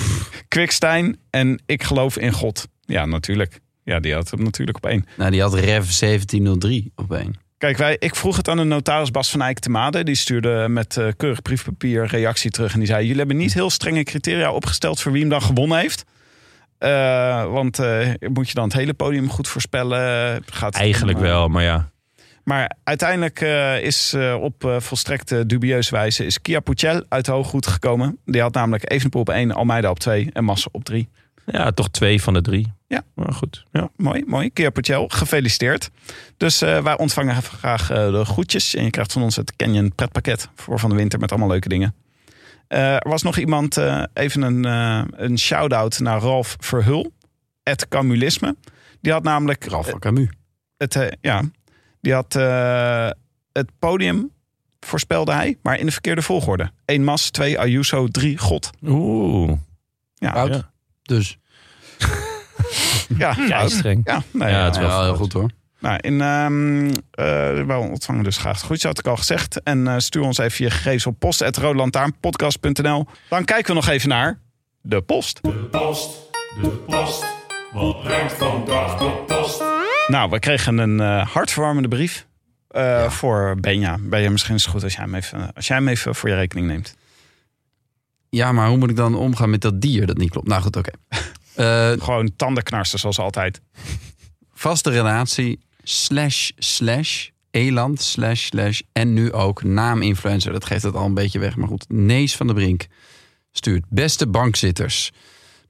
S2: Quickstein en Ik geloof in God. Ja, natuurlijk. Ja, die had hem natuurlijk op één.
S4: Nou, die had Rev 1703 op één.
S2: Kijk, wij, ik vroeg het aan de notaris Bas van Eyck te Made. Die stuurde met eh, keurig briefpapier reactie terug. En die zei, jullie hebben niet heel strenge criteria opgesteld voor wie hem dan gewonnen heeft. Eh, want eh, moet je dan het hele podium goed voorspellen? Gaat eh,
S1: Eigenlijk wel, maar ja.
S2: Maar uiteindelijk eh, is eh, op eh, volstrekt eh, dubieuze wijze... is Kia Pucel uit de hooggoed gekomen. Die had namelijk Evenepoel op 1, Almeida op 2 en Massa op 3.
S1: Ja, toch twee van de drie.
S2: Ja.
S1: Maar goed. Ja.
S2: Mooi, mooi. Kia Pucel, gefeliciteerd. Dus eh, wij ontvangen graag eh, de groetjes. En je krijgt van ons het Canyon pretpakket voor van de winter met allemaal leuke dingen. Eh, er was nog iemand, eh, even een, eh, een shout-out naar Ralf Verhul. Het Camulisme. Die had namelijk...
S4: Ralf van Camus.
S2: Het, eh, ja, die had eh, het podium, voorspelde hij, maar in de verkeerde volgorde. 1 Mas, 2 Ayuso, 3 God.
S1: Oeh.
S2: Ja,
S4: Oud. Dus.
S2: ja,
S1: Ja,
S2: fout.
S1: streng.
S2: ja, nou
S1: Ja,
S2: ja,
S1: het is
S4: Ja, wel heel goed hoor.
S2: Nou, in, ehm eh, wij ontvangen dus graag goed, had ik al gezegd. En eh, stuur ons even je gegevens op post.roodlantaarnpodcast.nl. Dan kijken we nog even naar de post.
S5: post, de post. Wat brengt vandaag de post?
S2: Nou, we kregen een eh, hartverwarmende brief eh, voor Benja. Benja, misschien is het goed als jij, hem even, als jij hem even voor je rekening neemt.
S4: Ja, maar hoe moet ik dan omgaan met dat dier dat niet klopt? Nou goed, oké. Eh,
S2: Gewoon tandenknarsen zoals altijd.
S4: vaste relatie, slash, slash, eland, slash, slash, en nu ook naaminfluencer. Dat geeft het al een beetje weg, maar goed. Nees van de Brink stuurt. Beste bankzitters,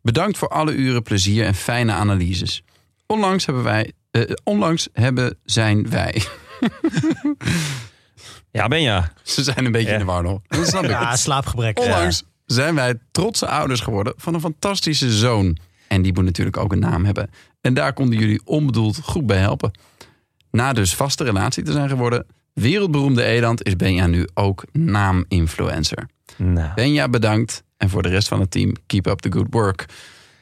S4: bedankt voor alle uren plezier en fijne analyses. Onlangs hebben wij, eh, onlangs hebben zijn wij.
S1: Ja, ben je.
S4: Ze zijn een beetje in de war nog. Dat snap ik.
S3: Ja, slaapgebrek.
S4: Onlangs zijn wij trotse ouders geworden van een fantastische zoon. En die moet natuurlijk ook een naam hebben. En daar konden jullie onbedoeld goed bij helpen. Na dus vaste relatie te zijn geworden, wereldberoemde Eland is Benja nu ook naaminfluencer.
S1: Nou.
S4: Benja bedankt en voor de rest van het team, keep up the good work.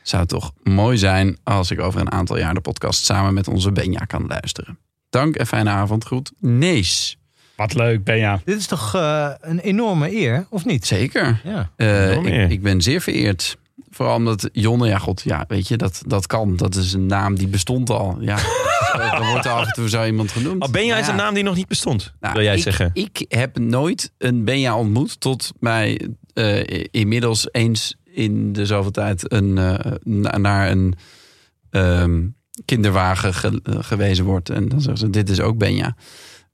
S4: zou het toch mooi zijn als ik over een aantal jaar de podcast samen met onze Benja kan luisteren. Dank en fijne avond. Goed. Nees.
S2: Wat leuk, Benja.
S3: Dit is toch eh, een enorme eer, of niet?
S4: Zeker.
S3: Ja.
S4: Eh,
S1: Enorm eer.
S4: ik, ik ben zeer vereerd. Vooral omdat Jonne, ja god, ja, weet je, dat, dat kan. Dat is een naam die bestond al. Ja, dan wordt er af en toe zo iemand genoemd.
S1: Al ben jij
S4: Ja.
S1: een naam die nog niet bestond,
S4: Nou,
S1: wil jij
S4: ik,
S1: zeggen.
S4: Ik heb nooit een Benja ontmoet tot mij eh, i- inmiddels eens in de zoveel tijd een, eh, na- naar een ehm, kinderwagen ge- eh, gewezen wordt. En dan zeggen ze, dit is ook Benja.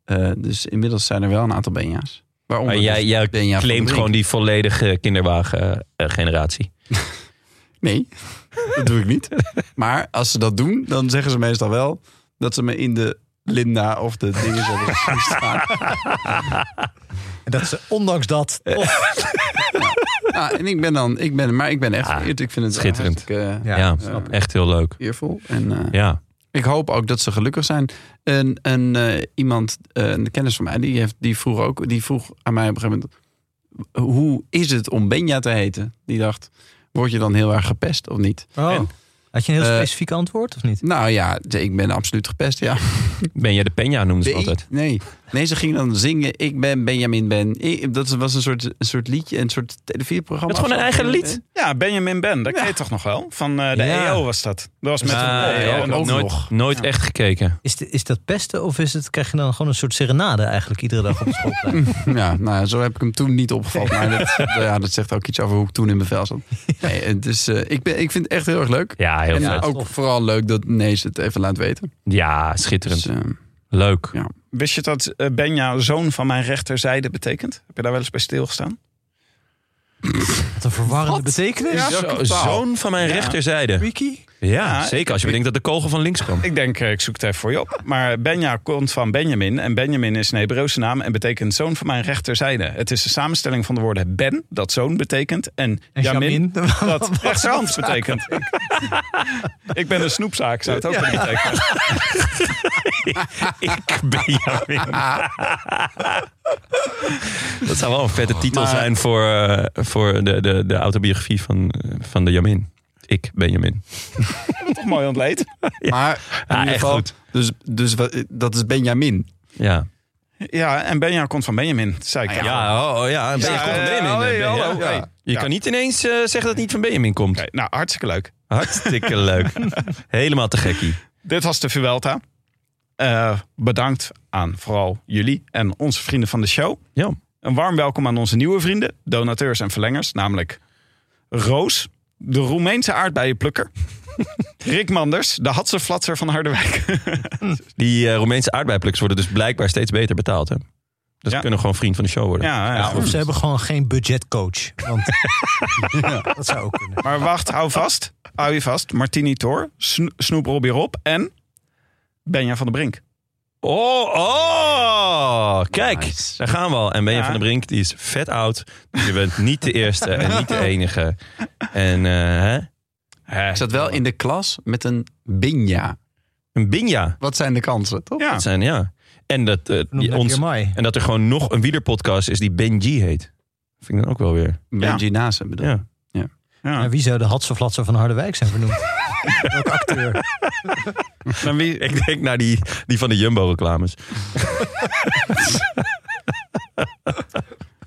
S4: Eh, dus inmiddels zijn er wel een aantal Benja's. Waaronder
S1: Maar jij,
S4: dus
S1: jij
S4: Benja van
S1: claimt
S4: Brink.
S1: gewoon die volledige kinderwagen-generatie.
S4: Nee, dat doe ik niet. Maar als ze dat doen, dan zeggen ze meestal wel dat ze me in de Linda of de dingen zullen zien staan.
S3: En dat ze ondanks dat
S1: Eh,
S3: toch
S4: Ja, Nou, en ik ben dan, ik ben, maar ik ben echt
S1: Ah,
S4: vereerd. Ik vind het
S1: schitterend.
S4: hartstikke, eh,
S3: Ja,
S1: ja,
S4: snap ik.
S1: echt heel leuk.
S4: eervol. En eh,
S1: Ja.
S4: ik hoop ook dat ze gelukkig zijn. En, en eh, iemand, eh, een kennis van mij, die, heeft, die, vroeg ook, die vroeg aan mij op een gegeven moment... Hoe is het om Benja te heten? Die dacht, word je dan heel erg gepest of niet?
S3: Oh. Had je een heel
S4: Eh,
S3: specifiek antwoord of niet?
S4: Nou ja, ik ben absoluut gepest, ja.
S1: Ben jij de Penja noemde ze
S4: Nee,
S1: altijd.
S4: nee. nee, ze ging dan zingen Ik ben Benjamin Ben. Ik- dat was een soort, een soort liedje, een soort televisieprogramma.
S1: Het is gewoon
S4: of
S1: een
S4: zo.
S1: eigen lied.
S2: Ja, Benjamin Ben, dat
S4: Ja.
S2: ken je toch nog wel? Van eh, de
S1: Ja.
S2: EO was dat. Dat was met
S1: Ah,
S2: een E
S1: ja,
S2: en
S1: ook
S2: dat-
S1: nooit nooit echt gekeken.
S3: Is, de- is dat pesten of is het, krijg je dan gewoon een soort serenade eigenlijk iedere dag op de schoolplein?
S4: Ja, nou ja, zo heb ik hem toen niet opgevat. Maar dat, ja, dat zegt ook iets over hoe ik toen in mijn vel zat. Nee, het is, eh, ik, ben, ik vind het echt heel erg leuk.
S1: Ja, heel
S4: en eh,
S1: vet.
S4: ook vooral leuk dat Nees het even laat weten.
S1: Ja, schitterend.
S4: Dus, eh,
S1: Leuk.
S4: Ja.
S2: Wist je dat eh, Benja zoon van mijn rechterzijde betekent? Heb je daar wel eens bij stilgestaan?
S3: Wat een verwarrende betekenis.
S2: Ja,
S1: Zo-
S2: totaal.
S1: Oh, zoon van mijn
S2: Ja.
S1: rechterzijde.
S3: Freaky.
S1: Ja,
S2: Ja,
S1: zeker. Als je bedenkt dat de kogel van links kwam.
S2: Ik denk, eh, ik zoek het even voor je op. Maar Benja komt van Benjamin. En Benjamin is een Hebreeuwse naam en betekent zoon van mijn rechterzijde. Het is de samenstelling van de woorden Ben, dat zoon betekent. En,
S3: En Jamin.
S2: dat rechterhand betekent. ik ben een snoepzaak, zou het ook kunnen betekenen.
S1: Ik Benjamin. dat zou wel een vette titel zijn voor, eh, voor de, de, de autobiografie van, eh, van de Jamin. Ik, Benjamin.
S2: Toch mooi ontleed.
S4: Maar in
S1: Ja,
S4: ieder
S1: echt
S4: geval,
S1: goed.
S4: dus, dus wat- dat is Benjamin.
S1: Ja.
S2: Ja, en Benja komt van Benjamin, dat zei ik.
S1: Ja, oh, oh, ja. Ben-
S2: Ah, Ja,
S1: komt van
S2: eh,
S1: Benjamin,
S2: hoi,
S1: eh, Ben-
S2: hallo,
S1: ja.
S2: hey.
S1: Je
S2: Ja.
S1: kan niet ineens eh, zeggen dat het niet van Benjamin komt.
S2: Oké, nou, hartstikke leuk.
S1: Hartstikke leuk. Helemaal te gekkie.
S2: Dit was de Vuelta. Eh, bedankt aan vooral jullie en onze vrienden van de show.
S1: Ja.
S2: Een warm welkom aan onze nieuwe vrienden, donateurs en verlengers. Namelijk Roos, de Roemeense aardbeienplukker. Rick Manders, de Hatseflatser van Harderwijk.
S1: Die eh, Roemeense aardbeienplukkers worden dus blijkbaar steeds beter betaald. Hè? Dus
S2: Ja.
S1: ze kunnen gewoon vriend van de show worden.
S2: Ja, ja.
S3: Nou, Of ze hebben gewoon geen budgetcoach. Want Ja, dat zou ook kunnen.
S2: Maar wacht, hou vast. Hou je vast. Martini Tor, Sno- Snoep Robbie Rob en Benja van der Brink.
S1: Oh, oh! Kijk,
S4: Nice.
S1: daar gaan we al. En Benja
S2: Ja.
S1: van der Brink, die is vet oud. Dus je bent niet de eerste en niet de enige. En eh, hè?
S4: Ik zat wel in de klas met een Benja.
S1: een Binja.
S4: Wat zijn de kansen, toch?
S2: Ja.
S1: Dat zijn, ja. En dat, eh,
S3: Noem
S1: die- ons,
S3: mij.
S1: en dat er gewoon nog een wielerpodcast is die Benji heet. Vind ik dan ook wel weer.
S4: Benji Nase bedoel ik.
S1: Ja.
S2: Ja.
S3: Maar wie zou de Hatseflatser van Harderwijk zijn vernoemd? Welke acteur?
S2: Dan wie,
S1: Ik denk naar die, die van de Jumbo-reclames.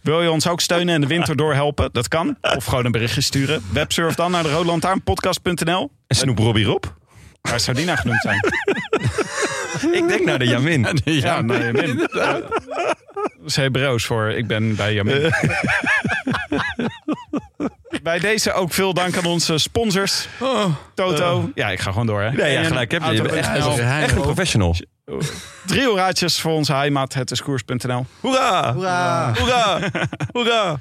S2: Wil je ons ook steunen en de winter doorhelpen? Dat kan. Of gewoon een berichtje sturen. Websurf dan naar de roodlantaarnpodcast.nl.
S1: En Snoep Robbie Rob?
S2: Waar zou die nou genoemd zijn?
S1: Ik denk naar de Jamin.
S2: Ja, nee, Min. Dat is Hebreeuws voor ik ben bij Jamin.
S1: Eh.
S2: Bij deze ook veel dank aan onze sponsors.
S1: Oh.
S2: Toto.
S1: Eh.
S2: ja, ik ga gewoon door. Hè.
S1: Nee, ja, gelijk heb je. Je bent echt,
S2: Auto.nl.
S4: Auto-
S1: echt een professional.
S2: Drie raadjes voor onze heimat. Het is koers.nl.
S1: Hoera! Hoera! Hoera! Hoera!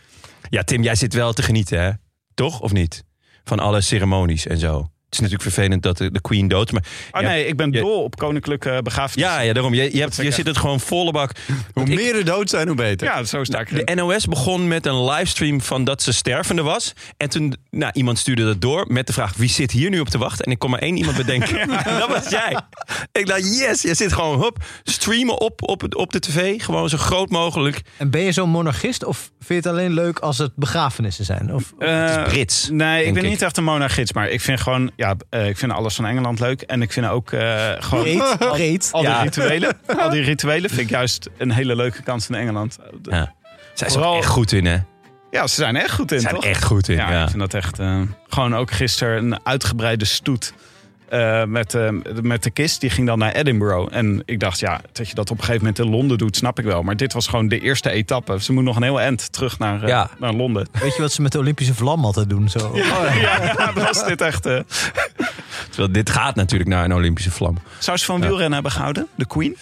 S1: Ja, Tim, jij zit wel te genieten, hè? Toch of niet? Van alle ceremonies en zo. Het is natuurlijk vervelend dat de, de Queen dood is. Maar
S2: Oh
S1: ja,
S2: nee, ik ben
S1: Ja.
S2: dol op koninklijke begaafdheid.
S1: ja, ja, daarom. Je, je, hebt, je zit het gewoon volle bak.
S4: Hoe
S1: Want ik-
S4: meer er dood zijn, hoe beter.
S2: ja, zo sta ik erin.
S1: De NOS begon met een livestream van dat ze stervende was. En toen, nou, iemand stuurde dat door met de vraag: wie zit hier nu op te wachten? En ik kon maar één iemand bedenken. En Dat was jij. Ik dacht, yes, je zit gewoon, hup, streamen op, op, op de tv. Gewoon zo groot mogelijk.
S3: En ben je zo'n monarchist of vind je het alleen leuk als het begrafenissen zijn? Of,
S2: Eh,
S1: Brits.
S2: Nee, ik
S1: denk
S2: ben
S1: ik.
S2: niet echt een monarchist, maar ik vind gewoon, ja, eh, ik vind alles van Engeland leuk. En ik vind ook eh, gewoon
S3: Breed,
S2: al,
S3: breed.
S2: al die
S1: Ja.
S2: rituelen. Al die rituelen vind ik juist een hele leuke kant van Engeland.
S1: Zij is er
S2: Vooral-
S1: echt goed in, hè?
S2: Ja, ze zijn er echt goed in,
S1: Ze zijn er
S2: toch?
S1: echt goed in.
S2: ja,
S1: Ja,
S2: ik vind dat echt. eh, gewoon ook gisteren een uitgebreide stoet. eh, met, eh, met de kist, die ging dan naar Edinburgh. En ik dacht, ja, dat je dat op een gegeven moment in Londen doet, snap ik wel. Maar dit was gewoon de eerste etappe. Ze moet nog een heel eind terug naar, eh,
S1: Ja.
S2: naar Londen.
S3: weet je wat ze met de Olympische vlam altijd doen? Zo.
S1: Oh,
S2: Ja, dat was dit echt. eh.
S1: Terwijl dit gaat natuurlijk naar een Olympische vlam.
S2: Zou ze van wielrennen hebben gehouden? De Queen?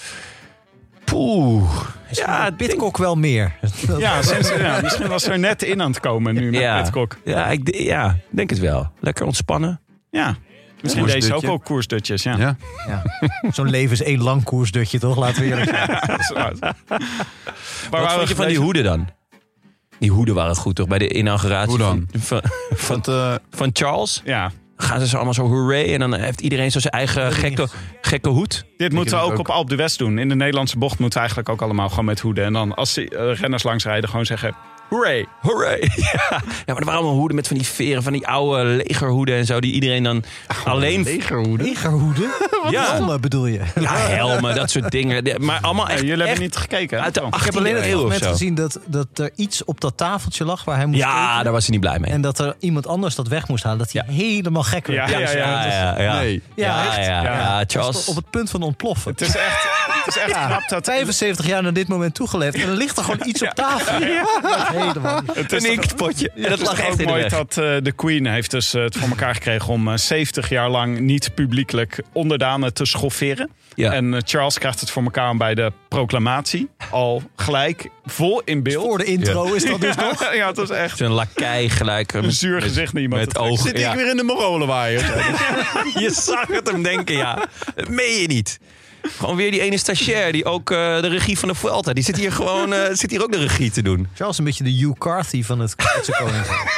S1: Poeh. Ja,
S3: Ja,
S1: ik denk-
S3: Bitcock wel meer. Dat-
S2: Ja, sinds, ja, misschien was ze er net in aan het komen nu met
S1: Ja.
S2: Pitcock.
S1: Ja, ik d- ja, denk het wel. Lekker ontspannen.
S2: Ja, misschien
S4: Koersdutje.
S2: deed ze ook wel koersdutjes. Ja.
S4: Ja.
S3: Zo'n leven is één lang koersdutje, toch? Laten we eerlijk zijn.
S2: Dat is waar. Waar
S1: Wat
S2: waren
S1: vond
S2: we
S1: je van die
S2: gebleven?
S1: hoeden dan? Die hoeden waren goed, toch? Bij de inauguratie
S4: Hoe dan?
S1: Van, van, van,
S4: Want, eh,
S1: van Charles.
S2: Ja,
S1: gaan ze zo allemaal zo hooray. En dan heeft iedereen zo zijn eigen gekke, gekke hoed.
S2: Dit moeten we
S4: heb
S2: ook,
S4: het
S2: op Alp de West doen. In de Nederlandse bocht moeten we eigenlijk ook allemaal gewoon met hoeden. En dan als de eh, renners langsrijden gewoon zeggen... Hooray!
S1: Hooray! Ja. ja, maar er waren allemaal hoeden met van die veren, van die oude legerhoeden en zo. Die iedereen dan alleen...
S4: legerhoeden.
S3: Legerhoeden?
S1: Ja.
S3: Helmen bedoel je?
S1: Ja, helmen, dat soort dingen. De- Maar allemaal
S2: Eh,
S1: echt,
S2: jullie
S1: echt
S2: hebben niet gekeken. hè?
S1: uit de
S2: Oh.
S1: 18e eeuw of
S3: Net
S1: zo.
S3: gezien dat, dat er iets op dat tafeltje lag waar hij moest
S1: Ja,
S3: tekenen.
S1: daar was hij niet blij mee.
S3: En dat er iemand anders dat weg moest halen. Dat hij
S1: Ja.
S3: helemaal gek werd.
S2: Ja,
S1: Ja, ja, ja. ja, ja.
S4: Nee.
S3: Ja,
S1: Ja,
S3: echt?
S1: ja,
S2: Ja.
S1: ja,
S3: Dat is
S1: Charles.
S3: op het punt van ontploffen.
S2: Het is echt, het is echt knap dat...
S3: 75 jaar naar dit moment toegeleefd. En er ligt er gewoon iets op tafel. Helemaal.
S2: Het
S1: Een
S2: toch-
S1: inktpotje. En dat
S2: het is
S1: lag
S2: toch
S1: echt
S2: ook
S1: in de
S2: mooi
S1: weg.
S2: dat eh, de Queen heeft dus eh, het voor elkaar gekregen om eh, 70 jaar lang niet publiekelijk onderdanen te schofferen.
S1: Ja.
S2: En eh, Charles krijgt het voor elkaar om bij de proclamatie al gelijk vol in beeld.
S3: Voor de intro is dat dus nog.
S2: ja, het was echt
S1: Zo'n lakai gelijk.
S2: een zuur gezicht naar iemand.
S1: Met
S2: te trekken.
S1: ogen.
S4: Zit
S1: Ja.
S4: ik weer in de Mongolenwaaier?
S1: Je zag het hem denken, ja. Dat meen je niet. Gewoon weer die ene stagiair die ook eh, de regie van de Vuelta... die zit hier gewoon eh, zit hier ook de regie te doen.
S3: Charles een beetje de Hugh Carthy van het Britse koninkrijk.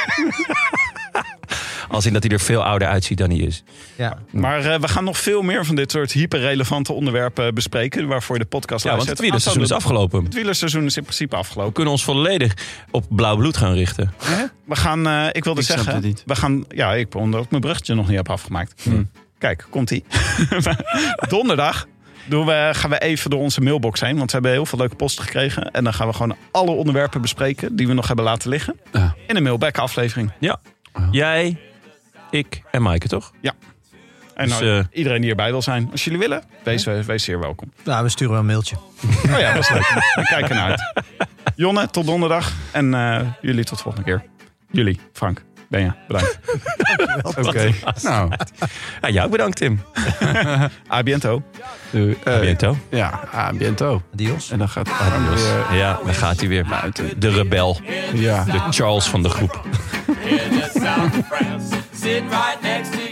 S1: Als in dat hij er veel ouder uitziet dan hij is.
S3: Ja.
S1: Mm.
S2: Maar eh, we gaan nog veel meer van dit soort hyperrelevante onderwerpen bespreken. Waarvoor je de podcast
S1: Ja, want
S2: luistert.
S1: het wielerseizoen is
S2: Aanstaande-
S1: afgelopen.
S2: Het
S1: We
S2: wielerseizoen is in principe afgelopen.
S1: kunnen ons volledig op blauw bloed gaan richten.
S2: We gaan, eh, ik wilde
S4: Ik snap
S2: zeggen,
S4: dit niet.
S2: we gaan, ja, ik omdat ik mijn bruggetje nog niet heb afgemaakt. Kijk, komt ie. Donderdag doen we, gaan we even door onze mailbox heen, want we hebben heel veel leuke posten gekregen. En dan gaan we gewoon alle onderwerpen bespreken die we nog hebben laten liggen
S4: Ja.
S2: in een mailback aflevering.
S1: Ja. Jij, ik en Maaike, toch?
S2: En
S1: Dus,
S2: nou,
S1: eh,
S2: iedereen die erbij wil zijn, als jullie willen, wees, eh, wees zeer welkom.
S3: Nou, we sturen wel een mailtje.
S2: Oh ja, dat is leuk. We kijken naar uit. Jonne, tot donderdag. En eh, jullie tot de volgende keer. Jullie, Frank, Benja, bedankt.
S4: Oké. Nou,
S1: Ja, jou ook bedankt, Tim.
S2: A biento.
S4: doei. Eh,
S1: Biento.
S4: ja, ah, biento.
S3: Adios.
S4: En dan gaat Adam weer
S1: Ja, daar gaat hij weer.
S4: buiten.
S1: De rebel.
S4: Ja.
S1: De Charles van de groep.
S6: Hear the sound of France. Sit right next to